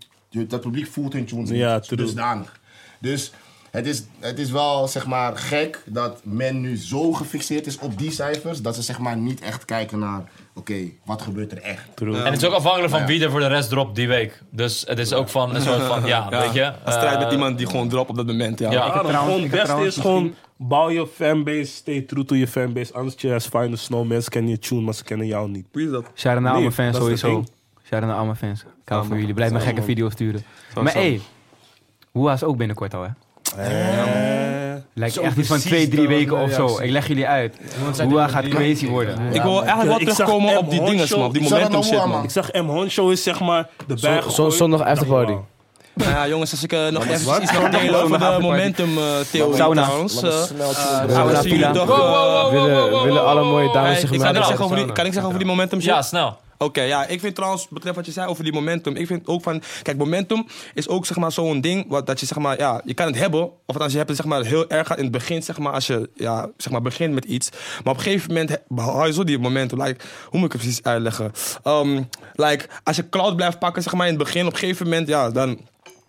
[SPEAKER 4] dat publiek voelt hun tunes
[SPEAKER 3] Ja,
[SPEAKER 4] niet
[SPEAKER 3] true.
[SPEAKER 4] dusdanig. Dus het is, het is wel, zeg maar, gek dat men nu zo gefixeerd is op die cijfers, dat ze, zeg maar, niet echt kijken naar, oké, wat gebeurt er echt?
[SPEAKER 1] En het is ook afhankelijk van wie er voor de rest dropt die week. Dus het is ook van een soort van, ja, weet je.
[SPEAKER 2] Een strijd met
[SPEAKER 1] eh,
[SPEAKER 2] iemand die gewoon drop op dat moment. Ja.
[SPEAKER 1] Ja.
[SPEAKER 5] Ik heb
[SPEAKER 3] Daarom,
[SPEAKER 5] trouwens-
[SPEAKER 3] gewoon
[SPEAKER 5] ik heb
[SPEAKER 3] het beste
[SPEAKER 5] trouwens
[SPEAKER 3] is gewoon bouw je fanbase, stay true to je fanbase. Anders je as fine as snow. Mensen kennen je tune, maar ze kennen jou niet.
[SPEAKER 2] Wie is dat?
[SPEAKER 5] Shout out naar
[SPEAKER 3] Nee,
[SPEAKER 5] al mijn fans
[SPEAKER 3] dat is het
[SPEAKER 5] sowieso.
[SPEAKER 3] ding.
[SPEAKER 5] Shout out naar al mijn fans. Ik hou van jullie. Blijf me gekke video's sturen. maar
[SPEAKER 2] zo.
[SPEAKER 5] hé, Hoa is ook binnenkort al hè?
[SPEAKER 3] Eh,
[SPEAKER 5] Lijkt
[SPEAKER 1] Zo
[SPEAKER 5] echt iets van
[SPEAKER 1] precies,
[SPEAKER 5] twee, drie
[SPEAKER 1] dat
[SPEAKER 5] weken
[SPEAKER 1] was
[SPEAKER 5] of
[SPEAKER 1] mijn
[SPEAKER 5] zo.
[SPEAKER 1] reactie.
[SPEAKER 5] Ik leg jullie uit.
[SPEAKER 6] zei
[SPEAKER 5] Hoa
[SPEAKER 6] dat
[SPEAKER 5] gaat
[SPEAKER 6] die-
[SPEAKER 5] crazy worden.
[SPEAKER 2] Ik wil eigenlijk wel
[SPEAKER 3] ik zag
[SPEAKER 2] terugkomen op die
[SPEAKER 3] Emma
[SPEAKER 2] dingen,
[SPEAKER 3] Honshow.
[SPEAKER 2] man. Die
[SPEAKER 4] Ik zag dat
[SPEAKER 2] momentum
[SPEAKER 4] nou
[SPEAKER 2] shit,
[SPEAKER 4] hoe,
[SPEAKER 2] man.
[SPEAKER 3] ik zag M. Honshow is zeg maar de berg.
[SPEAKER 7] Zo'n zondag afterparty.
[SPEAKER 2] Nou ja, jongens, als ik eh, nog even
[SPEAKER 3] wat?
[SPEAKER 2] iets kan delen over de momentum-theorie
[SPEAKER 5] Sauna.
[SPEAKER 2] trouwens. eh,
[SPEAKER 7] Sauna,
[SPEAKER 2] als jullie
[SPEAKER 7] villa.
[SPEAKER 2] toch,
[SPEAKER 1] Wow,
[SPEAKER 2] eh,
[SPEAKER 1] wow, wow, wow, wow, wow,
[SPEAKER 7] Willen, willen
[SPEAKER 1] wow,
[SPEAKER 7] alle
[SPEAKER 1] wow,
[SPEAKER 7] mooie
[SPEAKER 1] wow.
[SPEAKER 7] dames
[SPEAKER 2] hey,
[SPEAKER 7] zich
[SPEAKER 2] ik kan,
[SPEAKER 7] melden?
[SPEAKER 2] niks zeggen over die, kan ik zeggen over die momentum shit?
[SPEAKER 1] Ja, snel.
[SPEAKER 2] Oké, ja, ik vind trouwens, betreft wat je zei over die momentum, ik vind ook van, kijk, momentum is ook zeg maar zo'n ding, wat, dat je zeg maar, ja, je kan het hebben, of als je hebt het zeg maar heel erg gaat in het begin, zeg maar, als je, ja, zeg maar begint met iets, maar op een gegeven moment he- hou je zo die momentum, like, hoe moet ik het precies uitleggen? Ehm, like, als je cloud blijft pakken, zeg maar, in het begin, op een gegeven moment, ja, dan...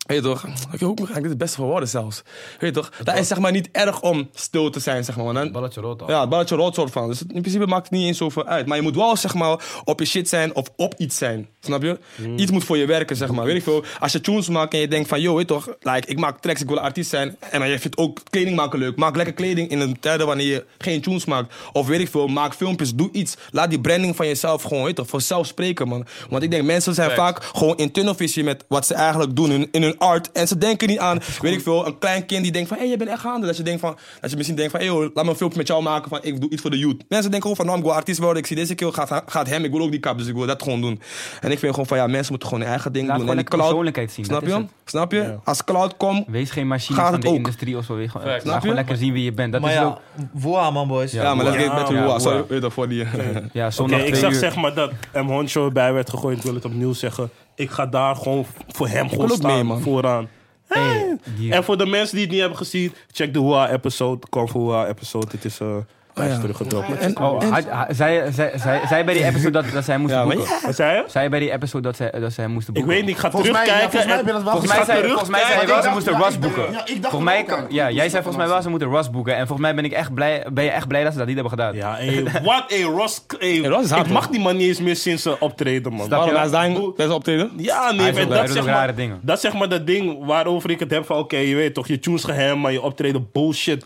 [SPEAKER 2] Weet je toch? Ik hoop eigenlijk dit het beste voor worden zelfs. Weet je toch? Dat is zeg maar niet erg om stil te zijn, zeg maar. want Dan,
[SPEAKER 6] Balletje rood al.
[SPEAKER 2] ja, het balletje rood soort van. Dus het- in principe maakt het niet eens zoveel uit. Maar je moet wel zeg maar op je shit zijn of op iets zijn. Snap je?
[SPEAKER 6] Hmm.
[SPEAKER 2] Iets moet voor je werken, zeg maar. Weet ik veel. Als je tunes maakt en je denkt van, yo, weet je toch, like, ik maak tracks, ik wil een artiest zijn. En maar je vindt ook kleding maken leuk. Maak lekker kleding in een tijden wanneer je geen tunes maakt. Of weet ik veel, maak filmpjes, doe iets. Laat die branding van jezelf gewoon, weet je toch, vanzelf spreken, man. Want ik denk, mensen zijn vaak gewoon in tunnelvisie met wat ze eigenlijk doen in, in hun art. En ze denken niet aan, weet ik veel, een klein kind die denkt van, hé, hey, je bent echt gaande. Dat je, denkt van, dat je misschien denkt van, hé, hey, laat me een filmpje met jou maken van, ik doe iets voor de youth. Mensen denken gewoon van, nou, ik wil artiest worden. Ik zie deze keel, gaat, gaat hem, ik wil ook die kap, dus ik wil dat gewoon doen. En ik vind gewoon van, ja, mensen moeten gewoon hun eigen ding
[SPEAKER 5] Laat
[SPEAKER 2] doen.
[SPEAKER 5] gewoon
[SPEAKER 2] en die
[SPEAKER 5] lekker persoonlijkheid zien,
[SPEAKER 2] Snap
[SPEAKER 5] dat is
[SPEAKER 2] je?
[SPEAKER 5] het.
[SPEAKER 2] Snap je? Als cloud komt,
[SPEAKER 5] Wees geen machine
[SPEAKER 2] Gaat
[SPEAKER 5] van
[SPEAKER 2] het
[SPEAKER 5] de
[SPEAKER 2] ook?
[SPEAKER 5] industrie of zo. Wees gewoon-
[SPEAKER 1] Snap
[SPEAKER 5] Laat
[SPEAKER 2] je?
[SPEAKER 5] gewoon lekker zien wie je bent. Dat
[SPEAKER 1] Maar
[SPEAKER 5] is
[SPEAKER 1] ja,
[SPEAKER 5] ook...
[SPEAKER 1] woa Dus man boys. Ja,
[SPEAKER 2] ja, maar let's
[SPEAKER 3] Ja,
[SPEAKER 2] get back to
[SPEAKER 5] ja,
[SPEAKER 2] Woa. Sorry,
[SPEAKER 5] Woa.
[SPEAKER 2] weet je, voor die...
[SPEAKER 5] Ja,
[SPEAKER 3] Oké,
[SPEAKER 5] zondag
[SPEAKER 3] ik
[SPEAKER 5] twee
[SPEAKER 3] zag
[SPEAKER 5] uur.
[SPEAKER 3] zeg maar dat M. Honshow erbij werd gegooid. Ik wil het opnieuw zeggen. Ik ga daar gewoon voor hem gewoon
[SPEAKER 2] wil ook
[SPEAKER 3] staan,
[SPEAKER 2] mee, man.
[SPEAKER 3] vooraan. Hey.
[SPEAKER 5] die-
[SPEAKER 3] En voor de mensen die het niet hebben gezien, check de Hoa-episode. Kom voor Hoa-episode. Het is eh hij is
[SPEAKER 2] Oh, ja.
[SPEAKER 3] teruggetrokken.
[SPEAKER 2] En,
[SPEAKER 5] Oh,
[SPEAKER 2] en-
[SPEAKER 5] had- ha- zei, zei, zei, zei bij die episode dat, dat zij moest
[SPEAKER 2] Ja, maar
[SPEAKER 5] boeken?
[SPEAKER 3] Wat zei je?
[SPEAKER 5] Zei bij die episode dat zij, dat zij moest
[SPEAKER 3] Ik
[SPEAKER 5] boeken?
[SPEAKER 3] weet niet, ik ga
[SPEAKER 4] Volgens mij, ja,
[SPEAKER 3] terugkijken.
[SPEAKER 4] volgens mij
[SPEAKER 3] en-
[SPEAKER 4] ben dat wel
[SPEAKER 5] Volgens mij
[SPEAKER 4] gezegd.
[SPEAKER 5] zei,
[SPEAKER 3] terug.
[SPEAKER 5] volgens mij zei
[SPEAKER 4] Ja,
[SPEAKER 5] hij wel,
[SPEAKER 4] ik
[SPEAKER 5] ze
[SPEAKER 4] dacht-
[SPEAKER 5] moesten
[SPEAKER 4] ja,
[SPEAKER 5] Ras
[SPEAKER 4] ik dacht-
[SPEAKER 5] boeken.
[SPEAKER 4] ja, ik dacht
[SPEAKER 5] Volgens mij,
[SPEAKER 4] ook aan-
[SPEAKER 5] ja, jij zei volgens mij wel, ze moeten Ras boeken. En volgens mij ben ik echt blij, ben je echt blij dat ze dat niet hebben gedaan.
[SPEAKER 3] Ja, hey, wat een Ross. Hey,
[SPEAKER 2] Ross is hard,
[SPEAKER 3] ik mag
[SPEAKER 2] man.
[SPEAKER 3] die man niet eens meer sinds zijn optreden, man.
[SPEAKER 5] Snap je?
[SPEAKER 2] waarom, hij is daarin best wel optreden?
[SPEAKER 3] Ja, nee,
[SPEAKER 5] Hij
[SPEAKER 3] maar
[SPEAKER 5] doet- hij
[SPEAKER 3] dat,
[SPEAKER 5] doet
[SPEAKER 3] zeg
[SPEAKER 5] ook
[SPEAKER 3] maar,
[SPEAKER 5] rare dingen.
[SPEAKER 3] dat zeg maar dat ding waarover ik het heb van... Oké, je weet toch, je tunes geheim, maar je optreden bullshit.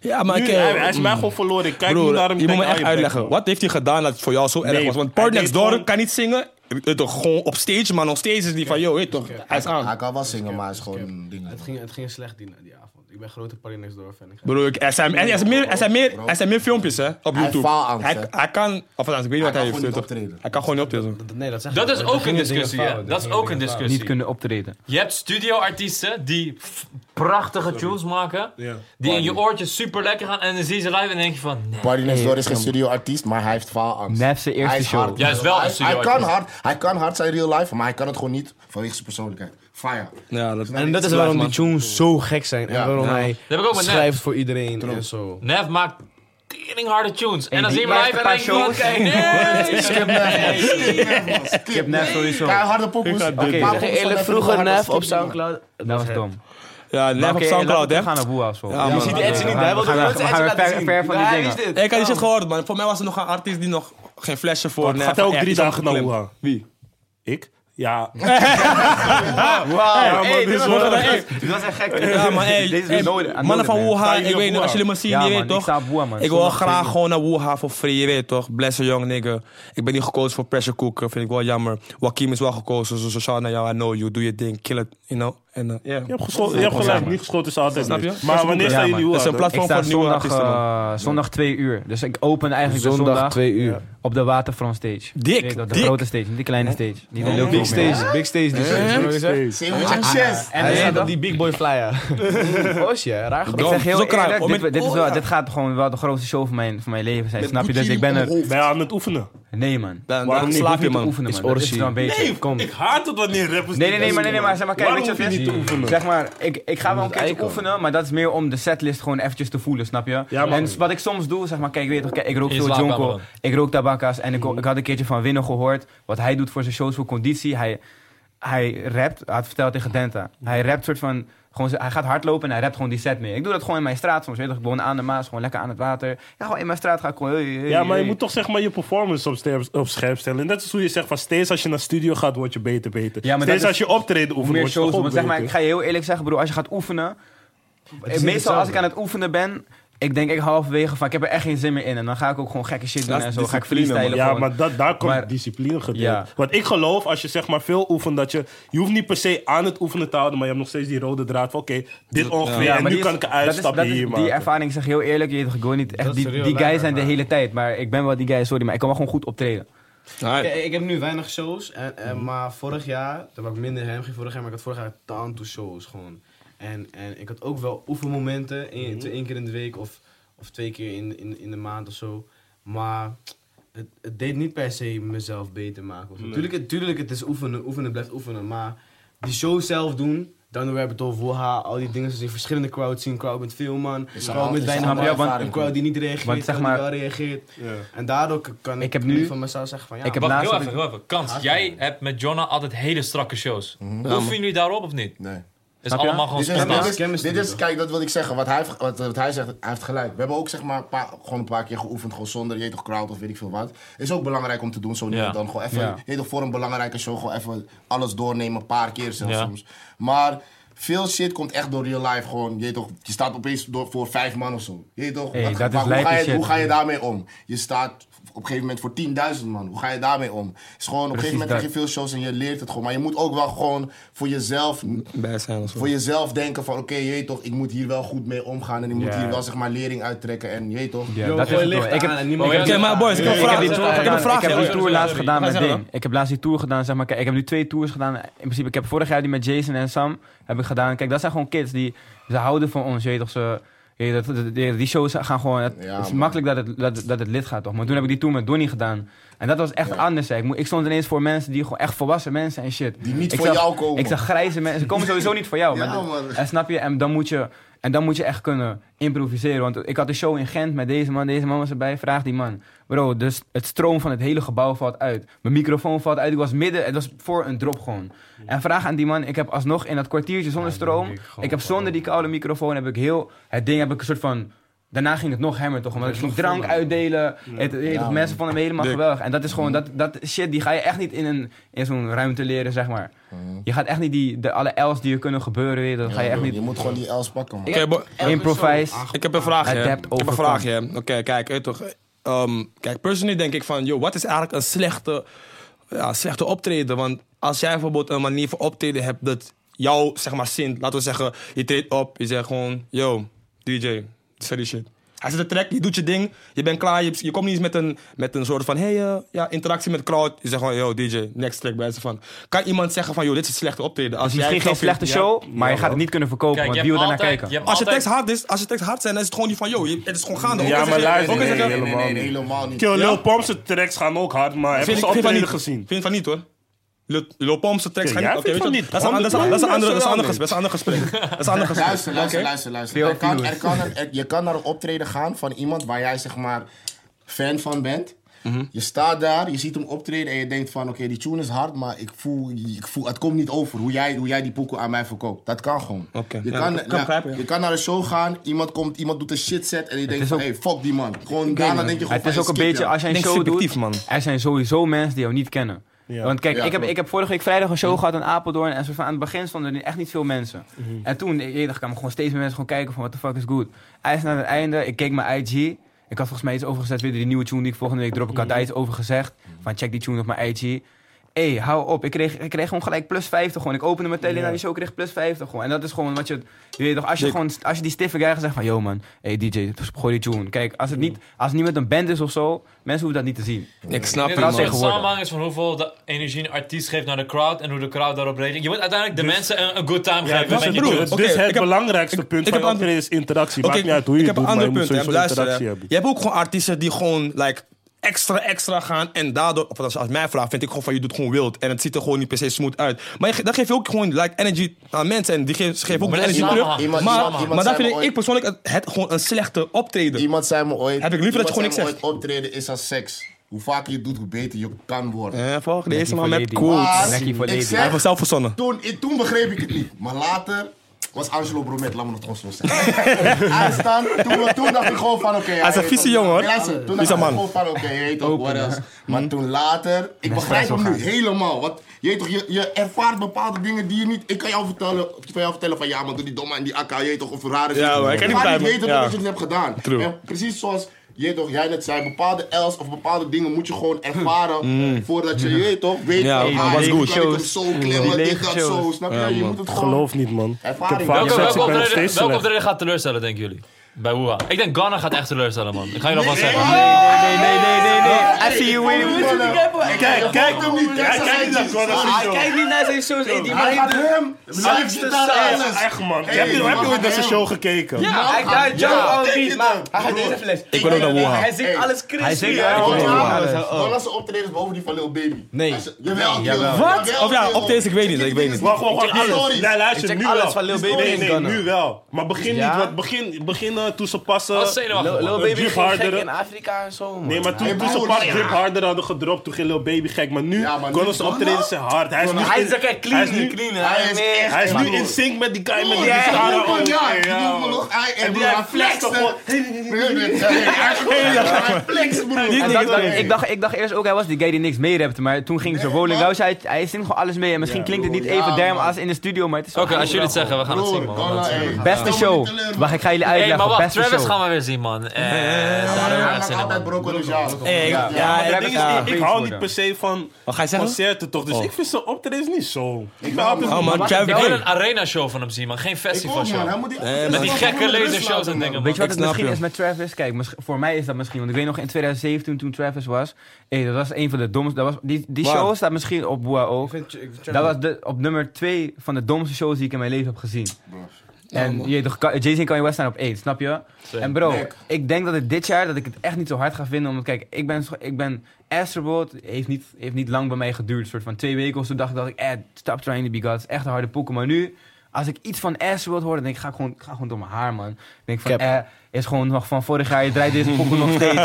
[SPEAKER 2] Ja, maar
[SPEAKER 3] Nu,
[SPEAKER 2] ik...
[SPEAKER 3] hij,
[SPEAKER 2] eh,
[SPEAKER 3] hij is mij gewoon verloren. Ik kijk nu naar hem.
[SPEAKER 2] Broer, je moet
[SPEAKER 3] ik
[SPEAKER 2] me
[SPEAKER 3] denk,
[SPEAKER 2] echt
[SPEAKER 3] ah, je bent
[SPEAKER 2] uitleggen.
[SPEAKER 3] man.
[SPEAKER 2] Wat heeft hij gedaan dat het voor jou zo erg
[SPEAKER 3] Nee,
[SPEAKER 2] was? Want
[SPEAKER 3] hij
[SPEAKER 2] Part Next
[SPEAKER 3] deed
[SPEAKER 2] Door
[SPEAKER 3] gewoon-
[SPEAKER 2] kan niet zingen. eh, toch, gewoon op stage, maar nog steeds is die van, joh, weet toch, hij is aan.
[SPEAKER 4] Hij kan wel zingen, maar hij is gewoon dingen.
[SPEAKER 6] Het ging, het ging slecht die, die avond. Ik ben grote Parinex door fan. Ik ga-
[SPEAKER 2] Broer, ik- er zijn, er, er zijn meer, er, zijn meer, er zijn meer filmpjes hè, op YouTube.
[SPEAKER 4] faalangst,
[SPEAKER 2] hij,
[SPEAKER 4] hè.
[SPEAKER 2] hij kan, of althans, ik weet niet wat hij
[SPEAKER 4] kan
[SPEAKER 2] heeft.
[SPEAKER 4] gewoon niet
[SPEAKER 2] weet toch.
[SPEAKER 4] optreden.
[SPEAKER 2] Hij kan gewoon niet optreden.
[SPEAKER 6] Dat- Nee, dat zeg
[SPEAKER 1] Dat
[SPEAKER 6] ik.
[SPEAKER 1] is
[SPEAKER 6] Er
[SPEAKER 1] ook
[SPEAKER 6] gingen
[SPEAKER 1] een
[SPEAKER 6] dingen
[SPEAKER 1] discussie,
[SPEAKER 6] fout.
[SPEAKER 1] hè?
[SPEAKER 6] Er
[SPEAKER 1] Dat is
[SPEAKER 6] gingen
[SPEAKER 1] ook een
[SPEAKER 6] dingen fout.
[SPEAKER 1] discussie.
[SPEAKER 5] Niet kunnen optreden.
[SPEAKER 1] Je hebt studioartiesten die f- prachtige tunes maken, die in je oortjes super lekker gaan en dan zie je ze live en dan denk je van, nee.
[SPEAKER 4] Party Next Door is geen studioartiest, maar hij heeft faalangst.
[SPEAKER 5] Nef zijn eerste
[SPEAKER 4] Hij is
[SPEAKER 5] show.
[SPEAKER 4] hard.
[SPEAKER 1] Ja, hij is wel een
[SPEAKER 4] hij, hij kan
[SPEAKER 1] studioartiest.
[SPEAKER 4] hard, hij kan hard zijn real life, maar hij kan het gewoon niet vanwege zijn persoonlijkheid. Fire.
[SPEAKER 2] Ja, dat,
[SPEAKER 6] En dat is waarom die tunes zo gek zijn.
[SPEAKER 4] Ja.
[SPEAKER 6] En waarom hij
[SPEAKER 1] heb ik ook met Nef.
[SPEAKER 6] schrijft voor iedereen en zo.
[SPEAKER 1] Nev maakt tering harde tunes. En dan
[SPEAKER 5] die
[SPEAKER 1] zien we live en dan denk
[SPEAKER 5] eerste
[SPEAKER 1] je van,
[SPEAKER 5] paar
[SPEAKER 1] kijk, nee.
[SPEAKER 4] Skip Nef, man. Skip
[SPEAKER 5] Nef sowieso.
[SPEAKER 4] Keiharde pokoes.
[SPEAKER 5] dit
[SPEAKER 4] Maar
[SPEAKER 5] doen.
[SPEAKER 4] pokoes van
[SPEAKER 7] eerlijk,
[SPEAKER 4] Nef
[SPEAKER 7] vroeger
[SPEAKER 4] doen we
[SPEAKER 7] Nef
[SPEAKER 4] harder.
[SPEAKER 7] op Soundcloud.
[SPEAKER 5] Dat was dom.
[SPEAKER 2] ja Nef op Soundcloud, hè.
[SPEAKER 5] We gaan naar Boe af, zo.
[SPEAKER 2] Ja, man.
[SPEAKER 7] ziet Edson niet, hij wil
[SPEAKER 5] We gaan
[SPEAKER 7] de
[SPEAKER 5] we
[SPEAKER 7] mensen
[SPEAKER 5] gaan
[SPEAKER 7] Edson
[SPEAKER 5] ver-
[SPEAKER 7] laten
[SPEAKER 5] ver
[SPEAKER 7] zien.
[SPEAKER 5] van die dingen.
[SPEAKER 2] Hey, Ik had die shit gehoord, man. Voor mij was er nog een artiest die nog geen flesje voor Nef.
[SPEAKER 3] Gaat hij ook
[SPEAKER 2] echt
[SPEAKER 3] drie
[SPEAKER 2] iets had
[SPEAKER 3] dagen naar
[SPEAKER 2] geklemd.
[SPEAKER 3] Wuhan?
[SPEAKER 2] Wie?
[SPEAKER 3] Ik? Ja.
[SPEAKER 5] Wauw,
[SPEAKER 3] Hey,
[SPEAKER 5] hey, dit
[SPEAKER 3] dit
[SPEAKER 5] was
[SPEAKER 3] was-
[SPEAKER 5] echt- dit was echt gek.
[SPEAKER 2] Ja, maar hey,
[SPEAKER 5] Deze is
[SPEAKER 2] hey,
[SPEAKER 5] nooit- aan
[SPEAKER 2] mannen van
[SPEAKER 5] nodig, man.
[SPEAKER 2] Wuha, ik
[SPEAKER 3] Staan jullie op
[SPEAKER 2] weet niet, als
[SPEAKER 3] Wuha?
[SPEAKER 2] jullie me zien,
[SPEAKER 5] Ja,
[SPEAKER 2] je
[SPEAKER 5] man,
[SPEAKER 2] weet
[SPEAKER 5] ik
[SPEAKER 2] toch?
[SPEAKER 5] sta op Wuha, man.
[SPEAKER 2] Ik wil
[SPEAKER 5] Zondag
[SPEAKER 2] graag
[SPEAKER 5] zeven.
[SPEAKER 2] gewoon naar Wuha voor free, je weet toch? Bless a young nigga. Ik ben niet gekozen voor pressure cooker, vind ik wel jammer. Joachim is wel gekozen, zo sociaal naar jou, I know you, doe je ding, kill it, you know? En, eh, yeah.
[SPEAKER 3] Je hebt, geschoten, je hebt gelijk, niet geschoten is altijd
[SPEAKER 2] Snap je?
[SPEAKER 3] mis. Maar wanneer
[SPEAKER 5] Ja,
[SPEAKER 3] zijn jullie
[SPEAKER 5] man.
[SPEAKER 3] hoe
[SPEAKER 2] Dat is een
[SPEAKER 3] hard,
[SPEAKER 5] Ik
[SPEAKER 2] platform
[SPEAKER 5] sta
[SPEAKER 2] voor nieuwe
[SPEAKER 5] zondag,
[SPEAKER 2] artiesten, man.
[SPEAKER 5] eh, zondag twee uur. Dus ik open eigenlijk de
[SPEAKER 7] Zondag
[SPEAKER 5] zondag
[SPEAKER 7] twee uur.
[SPEAKER 5] op de waterfront stage.
[SPEAKER 2] Dik,
[SPEAKER 5] Je weet dat, De
[SPEAKER 2] dik.
[SPEAKER 5] grote stage, niet de kleine stage. Niet de leuke
[SPEAKER 7] Big
[SPEAKER 5] meer.
[SPEAKER 7] stage, big stage. die stage. Wat wil je zeggen?
[SPEAKER 4] Zeeuwtje chest.
[SPEAKER 5] En
[SPEAKER 7] Hij
[SPEAKER 5] weet je
[SPEAKER 7] staat
[SPEAKER 5] dat-
[SPEAKER 7] op die big boy flyer. Osje, raar
[SPEAKER 5] Ik
[SPEAKER 2] Dom.
[SPEAKER 5] zeg heel
[SPEAKER 2] Zo kraai,
[SPEAKER 5] eerlijk,
[SPEAKER 2] om
[SPEAKER 5] dit,
[SPEAKER 2] het-
[SPEAKER 5] dit, is
[SPEAKER 2] oh,
[SPEAKER 5] wel,
[SPEAKER 2] ja.
[SPEAKER 5] dit gaat gewoon wel de grootste show van mijn, van mijn leven zijn. Snap je? Dus ik ben er...
[SPEAKER 3] Ben je aan het oefenen?
[SPEAKER 5] Nee man.
[SPEAKER 2] Dan,
[SPEAKER 3] Waarom
[SPEAKER 2] dan
[SPEAKER 3] niet?
[SPEAKER 2] slaap
[SPEAKER 5] Niet
[SPEAKER 2] je,
[SPEAKER 5] te
[SPEAKER 2] man.
[SPEAKER 5] oefenen man.
[SPEAKER 7] Is
[SPEAKER 5] Dat is
[SPEAKER 7] Orsi.
[SPEAKER 5] wel beter. Kom.
[SPEAKER 3] Ik haat het wanneer rappers
[SPEAKER 5] Nee, nee,
[SPEAKER 3] dit
[SPEAKER 5] nee,
[SPEAKER 3] doen,
[SPEAKER 5] maar, nee, nee, maar zeg maar, kijk,
[SPEAKER 3] Waarom
[SPEAKER 5] weet je
[SPEAKER 3] hoef
[SPEAKER 5] wat
[SPEAKER 3] je
[SPEAKER 5] het
[SPEAKER 3] niet te
[SPEAKER 5] is?
[SPEAKER 3] oefenen?
[SPEAKER 5] Zeg maar, ik, ik ga wel een keertje
[SPEAKER 7] eikel.
[SPEAKER 5] oefenen, maar dat is meer om de setlist gewoon eventjes te voelen, snap je?
[SPEAKER 3] Ja, man.
[SPEAKER 5] en wat ik soms doe, zeg maar, kijk, weet je toch, kijk, ik rook
[SPEAKER 1] Je
[SPEAKER 5] veel
[SPEAKER 1] slaapt
[SPEAKER 5] jonko,
[SPEAKER 1] babbelen.
[SPEAKER 5] ik rook tabakka's en ik, ik had een keertje van Winnen gehoord, wat hij doet voor zijn shows, voor conditie. Hij, hij rapt, hij had verteld tegen Denta, hij rapt soort van, gewoon, zo- hij gaat hardlopen en hij rapt gewoon die set mee. Ik doe dat gewoon in mijn straat soms, weet je toch, ik woon aan de Maas, gewoon lekker aan het water. Ja, gewoon in mijn straat ga ik gewoon... hey, hey,
[SPEAKER 3] Ja, maar je
[SPEAKER 5] hey.
[SPEAKER 3] moet toch zeg maar je performance op, scherp- op scherp stellen. En dat is hoe je zegt van steeds als je naar studio gaat, word je beter, beter.
[SPEAKER 5] Ja, maar dat
[SPEAKER 3] steeds
[SPEAKER 5] is-
[SPEAKER 3] als je optreden oefent,
[SPEAKER 5] hoe meer
[SPEAKER 3] word je toch
[SPEAKER 5] shows doen.
[SPEAKER 3] ook
[SPEAKER 5] Want zeg maar, ik
[SPEAKER 3] beter.
[SPEAKER 5] ga je heel eerlijk zeggen, broer, als je gaat oefenen.
[SPEAKER 6] is niet
[SPEAKER 5] Meestal als ik
[SPEAKER 6] hetzelfde.
[SPEAKER 5] aan het oefenen ben, ik denk ik halverwege van ik heb er echt geen zin meer in. En dan ga ik ook gewoon gekke shit doen
[SPEAKER 2] Dat is
[SPEAKER 5] en zo. Ga ik
[SPEAKER 2] discipline, man.
[SPEAKER 5] freestylen.
[SPEAKER 3] Ja,
[SPEAKER 5] gewoon.
[SPEAKER 3] maar dat, daar komt
[SPEAKER 5] Maar-
[SPEAKER 3] het discipline gedeelte.
[SPEAKER 5] Ja.
[SPEAKER 3] Want ik geloof, als je zeg maar veel oefent, dat je... Je hoeft niet per se aan het oefenen te houden, maar je hebt nog steeds die rode draad van... Oké, dit ongeveer,
[SPEAKER 5] Ja,
[SPEAKER 3] en
[SPEAKER 5] maar
[SPEAKER 3] nu
[SPEAKER 5] die
[SPEAKER 3] kan
[SPEAKER 5] is-
[SPEAKER 3] ik een
[SPEAKER 5] dat is-
[SPEAKER 3] uitstapje
[SPEAKER 5] dat is-
[SPEAKER 3] hier maken.
[SPEAKER 5] Die ervaring, ik zeg heel eerlijk, je weet toch, ik wil niet echt,
[SPEAKER 6] is
[SPEAKER 5] die,
[SPEAKER 6] de real
[SPEAKER 5] die guys
[SPEAKER 6] leider,
[SPEAKER 5] zijn de
[SPEAKER 6] maar-
[SPEAKER 5] hele tijd. Maar ik ben wel die guy, sorry, maar ik kan wel gewoon goed optreden.
[SPEAKER 2] Alright.
[SPEAKER 6] Ik, ik heb nu weinig shows, en, en, maar vorig jaar, dat was ik minder hem, vorig jaar, maar ik had vorig jaar tanto shows gewoon. En, en ik had ook wel oefenmomenten, één één keer in de week of, of twee keer in, in, in de maand of zo. Maar het, het deed niet per se mezelf beter maken. of zo. Tuurlijk, het- tuurlijk, het is oefenen, oefenen blijft oefenen, maar die show zelf doen... Dan hebben we het over WOHA, al die dingen. Dus in verschillende crowds zien. Crowd met veel man,
[SPEAKER 4] Is
[SPEAKER 6] crowd
[SPEAKER 4] allemaal-
[SPEAKER 6] met
[SPEAKER 4] is
[SPEAKER 6] weinig
[SPEAKER 4] allemaal
[SPEAKER 5] Ja, want-
[SPEAKER 6] man. Een crowd die niet reageert,
[SPEAKER 5] want zeg
[SPEAKER 6] crowd die
[SPEAKER 5] maar-
[SPEAKER 6] wel reageert.
[SPEAKER 3] Ja.
[SPEAKER 6] En daardoor k- kan
[SPEAKER 5] Ik heb
[SPEAKER 6] nu
[SPEAKER 5] nu-
[SPEAKER 6] van mezelf zeggen van ja,
[SPEAKER 5] Ik heb
[SPEAKER 1] Wacht,
[SPEAKER 5] naast
[SPEAKER 1] heel
[SPEAKER 5] dat
[SPEAKER 1] even,
[SPEAKER 5] ik-
[SPEAKER 1] heel even. Kans, jij hebt met Jonna altijd hele strakke shows.
[SPEAKER 2] Ja,
[SPEAKER 1] Oefen
[SPEAKER 2] man.
[SPEAKER 1] jullie daarop of niet?
[SPEAKER 4] Nee.
[SPEAKER 1] Is
[SPEAKER 5] je?
[SPEAKER 1] allemaal gewoon
[SPEAKER 4] Dit is,
[SPEAKER 1] spontaan.
[SPEAKER 4] dit is-
[SPEAKER 6] Chemistry
[SPEAKER 4] dit is-
[SPEAKER 6] toch?
[SPEAKER 4] kijk, dat wil ik zeggen. Wat hij, heeft- wat, wat hij zegt, hij heeft gelijk. We hebben ook zeg maar, een paar, gewoon een paar keer geoefend, gewoon zonder je weet toch crowd of weet ik veel wat. Is ook belangrijk om te doen, zo nu en
[SPEAKER 1] Ja.
[SPEAKER 4] dan. Gewoon even,
[SPEAKER 5] Ja.
[SPEAKER 4] je weet toch, voor een belangrijke show, gewoon even alles doornemen, een paar keer zelfs
[SPEAKER 1] Ja.
[SPEAKER 4] soms. Maar veel shit komt echt door real life. Gewoon, je, weet toch, je staat opeens door, voor vijf man of zo. Je weet toch,
[SPEAKER 5] Hey,
[SPEAKER 4] wat-
[SPEAKER 5] dat is
[SPEAKER 4] maar hoe,
[SPEAKER 5] lijpe
[SPEAKER 4] ga je,
[SPEAKER 5] shit,
[SPEAKER 4] hoe ga je daarmee om? Je staat op een gegeven moment voor 10.000 man. Hoe ga je daarmee om? Is gewoon, op een gegeven
[SPEAKER 5] Precies
[SPEAKER 4] moment
[SPEAKER 5] dat.
[SPEAKER 4] krijg je veel shows en je leert het gewoon. Maar je moet ook wel gewoon voor jezelf
[SPEAKER 2] Bij zijn of zo.
[SPEAKER 4] voor jezelf denken van oké, je weet toch, ik moet hier wel goed mee omgaan en ik moet
[SPEAKER 5] Ja.
[SPEAKER 4] hier wel zeg maar lering uittrekken en je weet toch.
[SPEAKER 5] Ja,
[SPEAKER 6] Yo,
[SPEAKER 5] dat is
[SPEAKER 6] gooi
[SPEAKER 5] het wel.
[SPEAKER 6] licht
[SPEAKER 5] Ik heb,
[SPEAKER 6] aan en
[SPEAKER 5] ik
[SPEAKER 6] niemand
[SPEAKER 5] heb
[SPEAKER 6] kan-
[SPEAKER 2] Oké, maar boys, ik heb een
[SPEAKER 5] Ik heb
[SPEAKER 2] vraag.
[SPEAKER 5] die tour
[SPEAKER 2] Ik heb
[SPEAKER 5] gedaan-
[SPEAKER 2] een vraag.
[SPEAKER 5] Ik heb
[SPEAKER 2] ja.
[SPEAKER 5] die tour laatst
[SPEAKER 1] sorry.
[SPEAKER 5] gedaan
[SPEAKER 2] Ga
[SPEAKER 5] met
[SPEAKER 2] zeggen
[SPEAKER 5] Ding. Ik heb laatst die tour gedaan, zeg maar. Kijk, ik heb nu twee tours gedaan. In principe, ik heb vorig jaar die met Jason en Sam heb ik gedaan. Kijk, dat zijn gewoon kids die ze houden van ons. Je weet toch, ze, Ja, dat, dat- die die shows gaan gewoon... Het
[SPEAKER 4] Ja,
[SPEAKER 5] is
[SPEAKER 4] man.
[SPEAKER 5] makkelijk dat het, dat, dat het lid gaat, toch? Maar toen heb ik die toen met Donnie gedaan. En dat was echt anders, hè. Ik, mo- ik stond ineens voor mensen die gewoon echt volwassen mensen en shit.
[SPEAKER 4] Die niet
[SPEAKER 5] ik
[SPEAKER 4] voor
[SPEAKER 5] zag,
[SPEAKER 4] jou komen.
[SPEAKER 5] Ik zag grijze mensen. Ze komen sowieso niet voor jou.
[SPEAKER 4] Ja,
[SPEAKER 5] maar de-
[SPEAKER 4] man.
[SPEAKER 5] en snap je? En dan moet je... En dan moet je echt kunnen improviseren. Want ik had een show in Gent met deze man. Deze man was erbij. Vraag die man. Bro, dus het stroom van het hele gebouw valt uit. Mijn microfoon valt uit. Ik was midden. Het was voor een drop gewoon. En vraag aan die man. Ik heb alsnog in dat kwartiertje zonder stroom. Ik heb zonder die koude microfoon. Heb ik heel... Het ding heb ik een soort van... Daarna ging het nog hammer toch. Omdat ik ging drank uitdelen. Het, het- mensen vonden me helemaal geweldig. En dat is gewoon... Dat, dat shit, die ga je echt niet in, een, in zo'n ruimte leren, zeg maar. Je gaat echt niet die, de, alle L's die er kunnen gebeuren. weet je, Dat ga Mm. je echt niet...
[SPEAKER 4] Je moet gewoon die L's pakken, man.
[SPEAKER 5] Ik-
[SPEAKER 2] Oké, bo-
[SPEAKER 5] Improvise.
[SPEAKER 2] Ik heb een vraagje. hè.
[SPEAKER 5] Adapt
[SPEAKER 2] Ik heb een
[SPEAKER 5] overcome.
[SPEAKER 2] vraagje. hè. Oké, kijk, eh, toch. ehm, kijk, personally denk ik van, joh, wat is eigenlijk een slechte, ja, slechte optreden? Want als jij bijvoorbeeld een manier voor optreden hebt dat jou, zeg maar, zint. Laten we zeggen, je treedt op, je zegt gewoon, yo, DJ, sorry shit. Hij zet de track, je doet je ding, je bent klaar, je, je komt niet eens met een, met een soort van, hey, eh, ja, interactie met crowd. Je zegt gewoon, yo, DJ, next track, bij ze van. Kan iemand zeggen van, joh, dit is een slechte optreden? Als jij
[SPEAKER 5] Misschien geen
[SPEAKER 2] zelf-
[SPEAKER 5] slechte
[SPEAKER 2] Ja.
[SPEAKER 5] show, maar je gaat het niet kunnen verkopen,
[SPEAKER 1] Kijk, je
[SPEAKER 5] want wie
[SPEAKER 1] hebt
[SPEAKER 5] wil daarnaar
[SPEAKER 1] altijd...
[SPEAKER 5] kijken?
[SPEAKER 1] Je hebt
[SPEAKER 2] Als je
[SPEAKER 1] altijd-
[SPEAKER 2] tekst hard is, als je tekst hard zijn, dan is het gewoon niet van, joh, je- het is gewoon gaande. Ook
[SPEAKER 3] Ja,
[SPEAKER 2] al zeg
[SPEAKER 3] maar
[SPEAKER 2] je-
[SPEAKER 3] luister,
[SPEAKER 2] ook al zeg je-
[SPEAKER 3] nee, nee,
[SPEAKER 4] nee, nee, helemaal niet.
[SPEAKER 3] Kill, Lil Pomp's tracks gaan ook hard, maar heb je
[SPEAKER 2] Vind
[SPEAKER 3] ze
[SPEAKER 2] ik- vind van
[SPEAKER 3] optreden
[SPEAKER 2] niet
[SPEAKER 3] gezien?
[SPEAKER 2] Vind van niet hoor. Lil- Lil Pomp's tracks
[SPEAKER 3] Ja,
[SPEAKER 2] gaan
[SPEAKER 3] jij
[SPEAKER 2] niet. Oké,
[SPEAKER 3] vindt
[SPEAKER 2] weet je
[SPEAKER 3] van
[SPEAKER 2] wat? Dat is een-
[SPEAKER 3] niet.
[SPEAKER 2] dat is een- dat is een ander- dat is een ander
[SPEAKER 3] Honderd-
[SPEAKER 2] gesprek. Dat is een ander gesprek. Dat is een ander gesprek.
[SPEAKER 4] Luister, luister, luister, luister. Er kan, er kan een- er- je kan naar een optreden gaan van iemand waar jij zeg maar fan van bent. Je staat daar, je ziet hem optreden en je denkt van oké, die tune is hard, maar ik voel, ik voel, het komt niet over hoe jij, hoe jij die pokoe aan mij verkoopt. Dat kan gewoon.
[SPEAKER 2] Oké.
[SPEAKER 4] Je,
[SPEAKER 2] Ja,
[SPEAKER 4] kan,
[SPEAKER 2] dat kan begrijpen, ja.
[SPEAKER 4] je kan naar een show gaan, iemand komt, iemand doet een shit set en je denkt
[SPEAKER 5] is
[SPEAKER 4] van
[SPEAKER 5] ook-
[SPEAKER 4] hey, fuck die man. Gewoon
[SPEAKER 5] Ik weet
[SPEAKER 4] daarna
[SPEAKER 5] niet.
[SPEAKER 4] denk je gewoon
[SPEAKER 5] het is
[SPEAKER 4] van,
[SPEAKER 5] ook een
[SPEAKER 4] hey, skip
[SPEAKER 5] beetje,
[SPEAKER 4] hem.
[SPEAKER 5] als jij een
[SPEAKER 2] Ik denk
[SPEAKER 5] show doet,
[SPEAKER 2] subjectief, man.
[SPEAKER 5] er zijn sowieso mensen die jou niet kennen. Want kijk, ik,
[SPEAKER 4] Ja,
[SPEAKER 5] heb,
[SPEAKER 4] klopt. Mm.
[SPEAKER 5] ik heb vorige week vrijdag een show gehad in Apeldoorn en soort van aan het begin stonden er echt niet veel mensen.
[SPEAKER 4] Mm-hmm.
[SPEAKER 5] En toen, ik, ik kwam gewoon steeds meer mensen gewoon kijken van what the fuck is good. IJs naar het einde, ik keek mijn IG. Ik had volgens mij iets overgezet, weer die nieuwe tune die ik volgende week drop. Ik
[SPEAKER 4] Mm-hmm.
[SPEAKER 5] had daar iets over gezegd, van check die tune op mijn IG. Hé, hou op. Ik kreeg, ik kreeg gewoon gelijk plus 50 gewoon. Ik opende mijn tele naar die show, ik kreeg plus 50 gewoon. En dat is gewoon wat je... Weet je toch, als je, gewoon, als je die stiffe guy zegt van... Yo man, hey DJ, gooi die tune. Kijk,
[SPEAKER 4] Mm.
[SPEAKER 5] als het niet, als het niet met een band is of zo... Mensen hoeven dat niet te zien.
[SPEAKER 2] Ik snap
[SPEAKER 1] Ik denk
[SPEAKER 2] het,
[SPEAKER 1] dat het
[SPEAKER 2] man.
[SPEAKER 1] een
[SPEAKER 5] tegenwoordig.
[SPEAKER 1] samenhang is van hoeveel de energie een artiest geeft naar de crowd en hoe de crowd daarop reageert. Je moet uiteindelijk de mensen een, een good time
[SPEAKER 3] Ja,
[SPEAKER 1] geven.
[SPEAKER 3] dat is
[SPEAKER 1] met
[SPEAKER 3] het,
[SPEAKER 1] je
[SPEAKER 2] broer.
[SPEAKER 1] tune.
[SPEAKER 3] dus
[SPEAKER 2] Oké, ik
[SPEAKER 3] het
[SPEAKER 2] heb-
[SPEAKER 3] belangrijkste
[SPEAKER 2] ik-
[SPEAKER 3] punt
[SPEAKER 2] ik
[SPEAKER 3] van
[SPEAKER 2] heb
[SPEAKER 3] je
[SPEAKER 2] een-
[SPEAKER 3] optreden is interactie.
[SPEAKER 2] Oké,
[SPEAKER 3] Maakt niet uit hoe je
[SPEAKER 2] ik
[SPEAKER 3] het
[SPEAKER 2] heb
[SPEAKER 3] doet,
[SPEAKER 2] een
[SPEAKER 3] maar je
[SPEAKER 2] ander punt.
[SPEAKER 3] moet
[SPEAKER 2] hè.
[SPEAKER 3] sowieso
[SPEAKER 2] Luister,
[SPEAKER 3] interactie
[SPEAKER 2] hè.
[SPEAKER 3] hebben.
[SPEAKER 2] je hebt ook gewoon artiesten die gewoon like, extra extra gaan. En daardoor, of als, als mij vraagt, vind ik gewoon van je doet gewoon wild. En het ziet er gewoon niet per se smooth uit. Maar je, ge- dan geef je ook gewoon like, energy aan mensen. En die geven, ze geven ook
[SPEAKER 1] Maar
[SPEAKER 2] weer
[SPEAKER 1] dat is
[SPEAKER 2] energy terug.
[SPEAKER 1] samenhang.
[SPEAKER 4] Iemand-
[SPEAKER 2] maar
[SPEAKER 4] iemand- iemand
[SPEAKER 2] maar dan
[SPEAKER 4] zei me
[SPEAKER 2] vind ik,
[SPEAKER 4] ooit-
[SPEAKER 2] ik persoonlijk het, het gewoon een slechte optreden.
[SPEAKER 4] Iemand zei me ooit,
[SPEAKER 2] Heb ik liever dat je
[SPEAKER 4] iemand
[SPEAKER 2] gewoon
[SPEAKER 4] zei
[SPEAKER 2] niks
[SPEAKER 4] me ooit, optreden is als seks. Hoe vaker je doet, hoe beter je kan worden.
[SPEAKER 2] Eh, volg de eerste
[SPEAKER 5] die
[SPEAKER 2] man met
[SPEAKER 5] verleden.
[SPEAKER 2] quotes.
[SPEAKER 4] Maar
[SPEAKER 5] Lekkie voor
[SPEAKER 4] ik
[SPEAKER 5] lady.
[SPEAKER 4] zeg-
[SPEAKER 2] Hij heeft hem zelf verzonnen.
[SPEAKER 4] Toen, ik- toen begreep ik het niet. Maar later was Angelo Bromet, laat me dat gewoon zo zeggen. Hij is dan, toen, toen dacht ik gewoon van oké.
[SPEAKER 2] Hij is een vieze jongen, hoor.
[SPEAKER 4] Nee, luister,
[SPEAKER 2] Vieze
[SPEAKER 4] Toen dacht ik
[SPEAKER 2] man.
[SPEAKER 4] gewoon van oké, je weet toch, what else. Maar toen later, ik begrijp hem nu helemaal. Want je weet toch, je, je ervaart bepaalde dingen die je niet... Ik kan jou vertellen van, jou vertellen van ja, maar doe die domme en die akka, je weet toch, of rare
[SPEAKER 2] Ja,
[SPEAKER 4] shit.
[SPEAKER 2] maar ik kan niet
[SPEAKER 4] ga
[SPEAKER 2] begrijpen,
[SPEAKER 4] weten
[SPEAKER 2] ja.
[SPEAKER 4] dat je het hebt gedaan.
[SPEAKER 2] True.
[SPEAKER 4] En precies zoals... Je weet toch, jij net zei, bepaalde L's of bepaalde dingen moet je gewoon ervaren voordat je, je weet toch, weet
[SPEAKER 2] Mm. Ja,
[SPEAKER 4] van,
[SPEAKER 2] maar
[SPEAKER 4] ah,
[SPEAKER 2] was
[SPEAKER 4] hier
[SPEAKER 2] goed.
[SPEAKER 4] kan ik hem
[SPEAKER 5] Shows.
[SPEAKER 4] zo
[SPEAKER 5] Die
[SPEAKER 4] klimmen, dit,
[SPEAKER 5] lege
[SPEAKER 4] dat,
[SPEAKER 5] shows.
[SPEAKER 4] zo. Snap je? je moet het gewoon...
[SPEAKER 3] Geloof niet, man. Ik
[SPEAKER 4] Ervaring.
[SPEAKER 3] heb vaak
[SPEAKER 4] Welke-
[SPEAKER 1] Welke,
[SPEAKER 3] seks,
[SPEAKER 1] welke,
[SPEAKER 3] ik ben nog
[SPEAKER 1] optreden,
[SPEAKER 3] steeds
[SPEAKER 1] welke
[SPEAKER 3] slecht.
[SPEAKER 1] optreden gaat teleurstellen, denken jullie? Bij Woeha. Ik denk Ghana gaat echt teleurstellen, man. Ik ga je alvast zeggen.
[SPEAKER 5] Nee, nee, nee, nee, nee. I see you
[SPEAKER 4] Kijk,
[SPEAKER 5] waiting.
[SPEAKER 4] Kijk, kijk hem niet. Kijk,
[SPEAKER 3] Kijk
[SPEAKER 4] kijk
[SPEAKER 3] naar Gordon Sito.
[SPEAKER 5] Kijk niet naar zijn shows. Hey, die man
[SPEAKER 4] Hij
[SPEAKER 5] heeft...
[SPEAKER 4] gaat hem. Live zit daar
[SPEAKER 3] Echt,
[SPEAKER 4] alles.
[SPEAKER 3] Echt, man.
[SPEAKER 4] Hey,
[SPEAKER 3] Heb je heb
[SPEAKER 4] man,
[SPEAKER 3] je ooit naar
[SPEAKER 4] hem.
[SPEAKER 3] zijn show gekeken?
[SPEAKER 5] Hij gaat jou
[SPEAKER 4] Ja,
[SPEAKER 5] al
[SPEAKER 4] kijk
[SPEAKER 5] beat,
[SPEAKER 4] dit
[SPEAKER 5] maar
[SPEAKER 4] dan.
[SPEAKER 5] hij gaat
[SPEAKER 4] Broer.
[SPEAKER 5] deze fles.
[SPEAKER 2] Ik ben ook naar Woeha.
[SPEAKER 7] Hij zingt
[SPEAKER 4] Hey.
[SPEAKER 7] alles Chris.
[SPEAKER 5] Hij zingt
[SPEAKER 7] Ja,
[SPEAKER 5] alles.
[SPEAKER 7] ja.
[SPEAKER 5] Ja,
[SPEAKER 4] Ja,
[SPEAKER 5] dat is-
[SPEAKER 4] Gordon zijn optredens boven die van Lil Baby.
[SPEAKER 7] Nee.
[SPEAKER 4] Hij zegt, Jawel, jawel.
[SPEAKER 2] Wat? Of ja, op deze, ik weet niet. Ik weet niet.
[SPEAKER 3] Wacht, wacht, wacht.
[SPEAKER 4] Ik check
[SPEAKER 3] Nee,
[SPEAKER 4] alles.
[SPEAKER 3] Nee,
[SPEAKER 7] Ik
[SPEAKER 3] luister,
[SPEAKER 7] check
[SPEAKER 3] nu
[SPEAKER 7] alles
[SPEAKER 3] wel.
[SPEAKER 7] van Lil Baby
[SPEAKER 3] Nee,
[SPEAKER 7] en
[SPEAKER 3] nee,
[SPEAKER 7] Gunna.
[SPEAKER 3] nu wel. Maar begin niet,
[SPEAKER 7] Ja.
[SPEAKER 3] want begin, begin eh, toetse passen.
[SPEAKER 1] Als zenuwachtig,
[SPEAKER 7] Lil
[SPEAKER 1] man.
[SPEAKER 7] Baby
[SPEAKER 3] Drip
[SPEAKER 7] ging gek
[SPEAKER 3] harderen.
[SPEAKER 7] in Afrika en zo. man.
[SPEAKER 3] Nee, maar toen,
[SPEAKER 4] Hij
[SPEAKER 3] toen ze
[SPEAKER 4] broer,
[SPEAKER 3] pas
[SPEAKER 4] ja.
[SPEAKER 3] Drip harder hadden gedropt, toen ging Lil Baby gek. Maar nu,
[SPEAKER 4] Ja, maar nu
[SPEAKER 3] Gunna's optredens zijn hard. Hij is nu
[SPEAKER 7] Hij
[SPEAKER 3] in-
[SPEAKER 7] is lekker
[SPEAKER 3] hij
[SPEAKER 7] clean,
[SPEAKER 3] is nu-
[SPEAKER 7] nu, clean.
[SPEAKER 4] hij is
[SPEAKER 7] meer-
[SPEAKER 4] echt-
[SPEAKER 3] Hij is nu
[SPEAKER 4] Broer.
[SPEAKER 3] in sync met die guy met die
[SPEAKER 4] Ja,
[SPEAKER 3] gitaren.
[SPEAKER 4] die doet me- ja, die
[SPEAKER 3] Ja,
[SPEAKER 4] doet me
[SPEAKER 3] man.
[SPEAKER 4] nog. Hij- En broer,
[SPEAKER 3] hij
[SPEAKER 4] hij
[SPEAKER 3] flext
[SPEAKER 4] flext,
[SPEAKER 3] toch
[SPEAKER 4] hè.
[SPEAKER 3] gewoon.
[SPEAKER 4] Hij flext,
[SPEAKER 5] En
[SPEAKER 4] broer.
[SPEAKER 5] dat- dat- ik, dacht, ik dacht eerst ook, hij was die guy die niks meerapte, maar toen ging ze Rolling Loud, hij, hij zingt gewoon alles mee. En misschien klinkt het niet
[SPEAKER 4] Ja,
[SPEAKER 5] even derm
[SPEAKER 4] man.
[SPEAKER 5] als in de studio, maar het is wel
[SPEAKER 1] Oké, als jullie het zeggen, we gaan het zien,
[SPEAKER 4] Broer,
[SPEAKER 1] man.
[SPEAKER 4] Ghana, hey.
[SPEAKER 5] Beste
[SPEAKER 4] Stel me
[SPEAKER 5] show.
[SPEAKER 4] niet teleur, man.
[SPEAKER 5] Wacht, ik ga jullie
[SPEAKER 1] Hey,
[SPEAKER 5] uitleggen.
[SPEAKER 1] maar wacht,
[SPEAKER 5] beste
[SPEAKER 1] Travis
[SPEAKER 5] show.
[SPEAKER 1] gaan we weer zien, man. Eh, daar
[SPEAKER 4] Hij
[SPEAKER 1] gaan we
[SPEAKER 4] maakt
[SPEAKER 1] zin in,
[SPEAKER 4] altijd
[SPEAKER 1] man.
[SPEAKER 4] brokkelis, ja.
[SPEAKER 2] Hey,
[SPEAKER 4] Ja.
[SPEAKER 2] ik- Ja,
[SPEAKER 3] Het
[SPEAKER 2] het
[SPEAKER 3] ding
[SPEAKER 2] ding
[SPEAKER 3] is,
[SPEAKER 5] Ja.
[SPEAKER 3] ik, ik hou niet per se van
[SPEAKER 2] Wat ga je zeggen?
[SPEAKER 3] concerten toch, dus ik vind zijn optredens niet zo. Ik ben altijd
[SPEAKER 2] Oh man,
[SPEAKER 1] Ik wil een
[SPEAKER 2] Travis.
[SPEAKER 1] arena show van hem zien, man. Geen
[SPEAKER 4] Ik ook,
[SPEAKER 1] festival
[SPEAKER 4] man. Hij
[SPEAKER 1] show.
[SPEAKER 4] moet die-
[SPEAKER 2] Nee,
[SPEAKER 1] Met
[SPEAKER 2] man.
[SPEAKER 1] die
[SPEAKER 4] Hij moet
[SPEAKER 1] gekke
[SPEAKER 4] hem rust
[SPEAKER 1] lasershows
[SPEAKER 4] laten,
[SPEAKER 1] en
[SPEAKER 4] man.
[SPEAKER 1] dingen, man.
[SPEAKER 5] Weet je wat het
[SPEAKER 2] snap
[SPEAKER 5] misschien
[SPEAKER 2] je.
[SPEAKER 5] is met Travis? Kijk, mis- voor mij is dat misschien, want ik weet nog in 2017 toen Travis was. Hey, dat was een van de domste. Dat was, die die
[SPEAKER 2] Waar?
[SPEAKER 5] show staat misschien op Boa ook.
[SPEAKER 6] vind- ik vind
[SPEAKER 5] Dat was de, op nummer 2 van de domste shows die ik in mijn leven heb gezien. En je weet toch, Ka- Jay-Z en Kanye West staan op één, snap je? En bro, ik denk dat het dit jaar dat ik het echt niet zo hard ga vinden. Omdat kijk, ik ben, zo- ik ben Astro World heeft niet, heeft niet lang bij mij geduurd. soort van twee weken of zo dacht ik, dat ik, eh, stop trying to be God. is echt een harde poeken. Maar nu, als ik iets van Astro World hoor, dan denk ik, ga ik gewoon, ik ga gewoon door mijn haar, man. Dan denk ik van,
[SPEAKER 7] Cap.
[SPEAKER 5] eh, is gewoon nog van vorig jaar, je draait deze pokken nog steeds.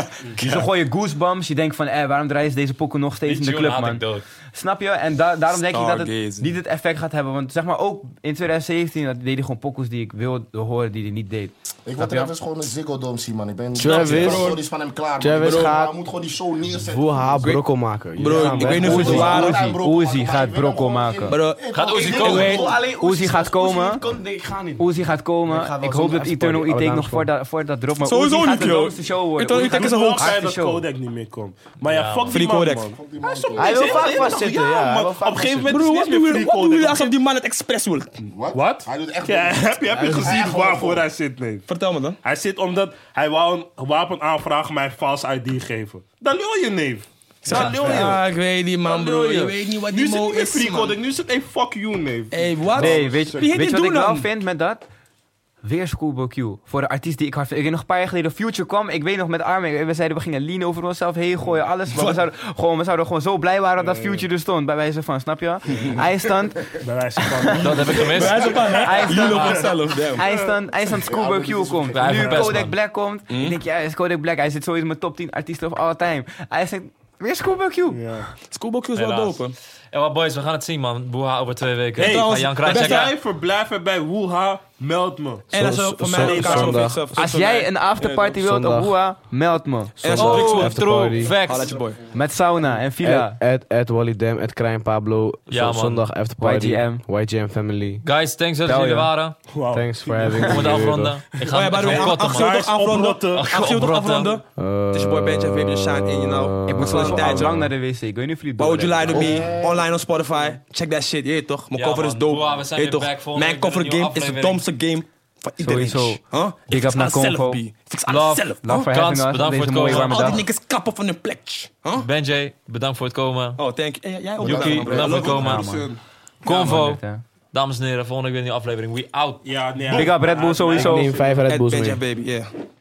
[SPEAKER 5] Zo gooi je goosebumps, je denkt van, eh, waarom draaien ze deze pokken nog steeds
[SPEAKER 1] Die
[SPEAKER 5] in de
[SPEAKER 1] tune
[SPEAKER 5] club,
[SPEAKER 1] had
[SPEAKER 5] man?
[SPEAKER 1] ik dood.
[SPEAKER 5] Snap je? En da- daarom denk ik dat het
[SPEAKER 8] Stargazing.
[SPEAKER 5] niet het effect gaat hebben. Want zeg maar ook in 2017 dat deed hij gewoon pokkels die ik wilde horen die hij niet deed.
[SPEAKER 4] Ik wil
[SPEAKER 5] Snap
[SPEAKER 4] er net
[SPEAKER 5] je?
[SPEAKER 4] eens gewoon een Ziggo Dome zien, man. Ik ben
[SPEAKER 7] Travis.
[SPEAKER 4] ik ben gewoon iets van hem klaar. man.
[SPEAKER 7] Travis
[SPEAKER 4] Ik bedoel,
[SPEAKER 7] gaat-
[SPEAKER 4] Hij moet gewoon die show neerzetten.
[SPEAKER 7] Hoe haar brokkel maken. Je
[SPEAKER 8] Bro,
[SPEAKER 7] gaat
[SPEAKER 8] ik
[SPEAKER 7] weg.
[SPEAKER 8] weet niet of het
[SPEAKER 7] Oezie.
[SPEAKER 8] waar is.
[SPEAKER 4] Laat hij
[SPEAKER 5] Uzi
[SPEAKER 4] brokkel maken, maar
[SPEAKER 5] gaat
[SPEAKER 4] ik wil hem
[SPEAKER 5] brokkel
[SPEAKER 4] gewoon
[SPEAKER 5] maken.
[SPEAKER 4] in-
[SPEAKER 8] Bro,
[SPEAKER 4] in-
[SPEAKER 1] Gaat
[SPEAKER 4] in-
[SPEAKER 1] Uzi
[SPEAKER 4] in-
[SPEAKER 1] komen?
[SPEAKER 4] in-
[SPEAKER 1] Ik
[SPEAKER 6] Oh, alleen
[SPEAKER 5] Uzi gaat
[SPEAKER 6] zegt,
[SPEAKER 5] komen.
[SPEAKER 6] niet komt, nee, ik ga niet.
[SPEAKER 5] Uzi gaat komen.
[SPEAKER 6] Ik ga
[SPEAKER 5] Ik,
[SPEAKER 6] wel
[SPEAKER 5] hoop
[SPEAKER 6] zonder
[SPEAKER 5] dat Eternal
[SPEAKER 7] F-spoiling,
[SPEAKER 6] Oh,
[SPEAKER 7] alle
[SPEAKER 5] E-Take nog
[SPEAKER 7] namen
[SPEAKER 5] voor, da- voor dat drop. Maar
[SPEAKER 8] Sowieso
[SPEAKER 5] Uzi gaat
[SPEAKER 8] niet,
[SPEAKER 5] de
[SPEAKER 8] joh.
[SPEAKER 5] grootste show worden.
[SPEAKER 8] Eternal
[SPEAKER 5] Uzi
[SPEAKER 8] E-Take
[SPEAKER 5] gaat
[SPEAKER 8] is een
[SPEAKER 5] de
[SPEAKER 3] Ook
[SPEAKER 8] hoax.
[SPEAKER 5] hardste
[SPEAKER 3] zei dat
[SPEAKER 5] show.
[SPEAKER 3] Kodak niet meer komt. Maar ja, fuck
[SPEAKER 2] Free
[SPEAKER 3] die man,
[SPEAKER 2] Kodak.
[SPEAKER 3] man.
[SPEAKER 4] die man komen.
[SPEAKER 7] Hij wil
[SPEAKER 3] Hij
[SPEAKER 7] vaak
[SPEAKER 3] wil
[SPEAKER 7] vastzitten,
[SPEAKER 3] nog-
[SPEAKER 7] ja.
[SPEAKER 3] man.
[SPEAKER 7] hij wil
[SPEAKER 3] Op een
[SPEAKER 7] vaak
[SPEAKER 3] gegeven moment
[SPEAKER 2] Bro,
[SPEAKER 3] is
[SPEAKER 2] wat
[SPEAKER 3] het
[SPEAKER 2] doen
[SPEAKER 3] niet meer
[SPEAKER 2] jullie-
[SPEAKER 3] free
[SPEAKER 2] wat doen jullie
[SPEAKER 3] Kodak.
[SPEAKER 2] alsof die man het expres wil?
[SPEAKER 4] Wat?
[SPEAKER 3] Wat?
[SPEAKER 4] Hij doet echt
[SPEAKER 3] Ja,
[SPEAKER 4] wel-
[SPEAKER 3] heb je, heb je gezien waarvoor hij zit? Nee.
[SPEAKER 2] Vertel me dan.
[SPEAKER 3] Hij zit omdat hij wou een wapen aanvragen, maar hij vals ID geven. Dan lul je, neef. Dan lul je.
[SPEAKER 2] Ah, ik weet niet, man, bro. Je weet niet wat
[SPEAKER 3] Nu
[SPEAKER 2] die
[SPEAKER 3] zit
[SPEAKER 2] mo
[SPEAKER 3] niet meer
[SPEAKER 2] is,
[SPEAKER 3] free
[SPEAKER 2] man. Eh.
[SPEAKER 3] codec, nu zit een fuck you, neef.
[SPEAKER 2] Hey, wat?
[SPEAKER 5] Nee, weet je,
[SPEAKER 2] Wie gaat
[SPEAKER 5] weet je
[SPEAKER 2] dit
[SPEAKER 5] wat ik
[SPEAKER 2] doen
[SPEAKER 5] wel
[SPEAKER 2] dan?
[SPEAKER 5] vind met dat? Weer Schoolboy Q. Voor de artiest die ik hard vind. Ik weet nog een paar jaar geleden Future kwam. Ik weet nog met Armin. We zeiden we gingen lean over onszelf heen gooien. Alles. Maar we zouden, gewoon, we zouden gewoon zo blij waren dat Future er stond. Bij wijze van, snap je? IJsland.
[SPEAKER 3] Bij wijze van.
[SPEAKER 1] Dat heb ik gemist.
[SPEAKER 5] IJsland.
[SPEAKER 8] zelf, damn.
[SPEAKER 5] IJsland, IJsland Schoolboy Q komt.
[SPEAKER 1] Wij
[SPEAKER 5] Nu
[SPEAKER 1] verpesten,
[SPEAKER 5] Kodak
[SPEAKER 1] man.
[SPEAKER 5] Black komt. Ik denk, ja, is Kodak Black. Hij zit sowieso in mijn top 10 artiesten of all time. Hij zegt, weer Schoolboy Q.
[SPEAKER 3] Ja.
[SPEAKER 2] Schoolboy Q is wel
[SPEAKER 1] Helaas.
[SPEAKER 2] dope.
[SPEAKER 1] Ja, maar boys, we gaan het zien, man. Boeha over twee weken.
[SPEAKER 3] Hey,
[SPEAKER 1] Hey,
[SPEAKER 2] trouwens,
[SPEAKER 1] Jan
[SPEAKER 3] Als
[SPEAKER 1] Kruijs
[SPEAKER 3] jij verblijf hebt bij Woeha, meld me.
[SPEAKER 2] En als we voor mij
[SPEAKER 7] zo-
[SPEAKER 2] elkaar zo
[SPEAKER 7] zondag.
[SPEAKER 2] fixen, fixen
[SPEAKER 5] Als
[SPEAKER 2] wij-
[SPEAKER 5] jij een afterparty wilt op
[SPEAKER 7] Zondag.
[SPEAKER 5] Hoa, meld me.
[SPEAKER 2] En als
[SPEAKER 7] Oh,
[SPEAKER 2] je drugs
[SPEAKER 1] Oh,
[SPEAKER 2] hebt,
[SPEAKER 7] After party.
[SPEAKER 1] true
[SPEAKER 2] haal uit
[SPEAKER 1] facts.
[SPEAKER 2] je boy.
[SPEAKER 5] Met sauna en villa.
[SPEAKER 7] At, at Wally Dam, at Krijn Pablo.
[SPEAKER 1] Ja,
[SPEAKER 7] Zo-
[SPEAKER 1] man.
[SPEAKER 7] Zondag after party.
[SPEAKER 5] YGM.
[SPEAKER 7] YGM family.
[SPEAKER 1] Guys, thanks dat jullie
[SPEAKER 5] Tel,
[SPEAKER 1] er
[SPEAKER 5] ja.
[SPEAKER 1] waren.
[SPEAKER 3] Wow.
[SPEAKER 7] Thanks for having me.
[SPEAKER 1] Om het
[SPEAKER 7] Je weet
[SPEAKER 1] afronden. Ik ga
[SPEAKER 2] Oh ja,
[SPEAKER 1] ik
[SPEAKER 2] by
[SPEAKER 1] ga
[SPEAKER 2] the way,
[SPEAKER 1] kotten, man.
[SPEAKER 2] Axel toch
[SPEAKER 3] Guys, oprotten.
[SPEAKER 2] afronden?
[SPEAKER 1] Ach,
[SPEAKER 2] Axel toch
[SPEAKER 1] oprotten.
[SPEAKER 2] afronden?
[SPEAKER 7] wel.
[SPEAKER 2] Het is je boy Benji, even je shine in, you know.
[SPEAKER 5] Ik
[SPEAKER 2] Zo'n
[SPEAKER 5] moet sowieso al
[SPEAKER 2] tijdje.
[SPEAKER 5] lang naar de wc. Ik weet niet of jullie
[SPEAKER 2] Why would
[SPEAKER 5] door
[SPEAKER 2] you lie
[SPEAKER 5] hebben.
[SPEAKER 2] to me? Online op Spotify. Check that shit, je weet toch? Mijn
[SPEAKER 1] Ja,
[SPEAKER 2] cover
[SPEAKER 1] man.
[SPEAKER 2] is dope.
[SPEAKER 1] Boah, we zijn
[SPEAKER 2] Je weet
[SPEAKER 1] weer
[SPEAKER 2] toch?
[SPEAKER 1] back volgende week met
[SPEAKER 2] Mijn cover
[SPEAKER 1] een nieuwe
[SPEAKER 2] game is de
[SPEAKER 1] aflevering.
[SPEAKER 2] domste game van iedereen.
[SPEAKER 5] Sowieso.
[SPEAKER 2] Huh?
[SPEAKER 5] Ik heb naar Convo.
[SPEAKER 2] Fix alles
[SPEAKER 1] Love,
[SPEAKER 2] zelf.
[SPEAKER 5] Love
[SPEAKER 2] huh?
[SPEAKER 5] for
[SPEAKER 1] Kans,
[SPEAKER 5] having us.
[SPEAKER 1] bedankt
[SPEAKER 5] op
[SPEAKER 1] voor
[SPEAKER 5] Deze
[SPEAKER 1] het
[SPEAKER 5] mooie
[SPEAKER 1] komen.
[SPEAKER 5] warme
[SPEAKER 2] Al die
[SPEAKER 5] dag.
[SPEAKER 2] niggas kappen van hun plek. Huh?
[SPEAKER 1] Benjay, bedankt voor het komen.
[SPEAKER 2] Oh, thank you. Eh, Jij ook
[SPEAKER 1] Yuki,
[SPEAKER 2] bedankt, man, bro.
[SPEAKER 1] bedankt voor het komen. Convo.
[SPEAKER 5] Ja, man,
[SPEAKER 1] Dames en heren, volgende week weer een nieuwe aflevering. We out.
[SPEAKER 3] Ja, nee.
[SPEAKER 5] dit, hè. Big up Red Bull
[SPEAKER 7] Ik
[SPEAKER 5] sowieso.
[SPEAKER 7] neem vijf Red
[SPEAKER 2] At
[SPEAKER 7] Bulls
[SPEAKER 2] Benji
[SPEAKER 7] mee.
[SPEAKER 2] Baby, yeah.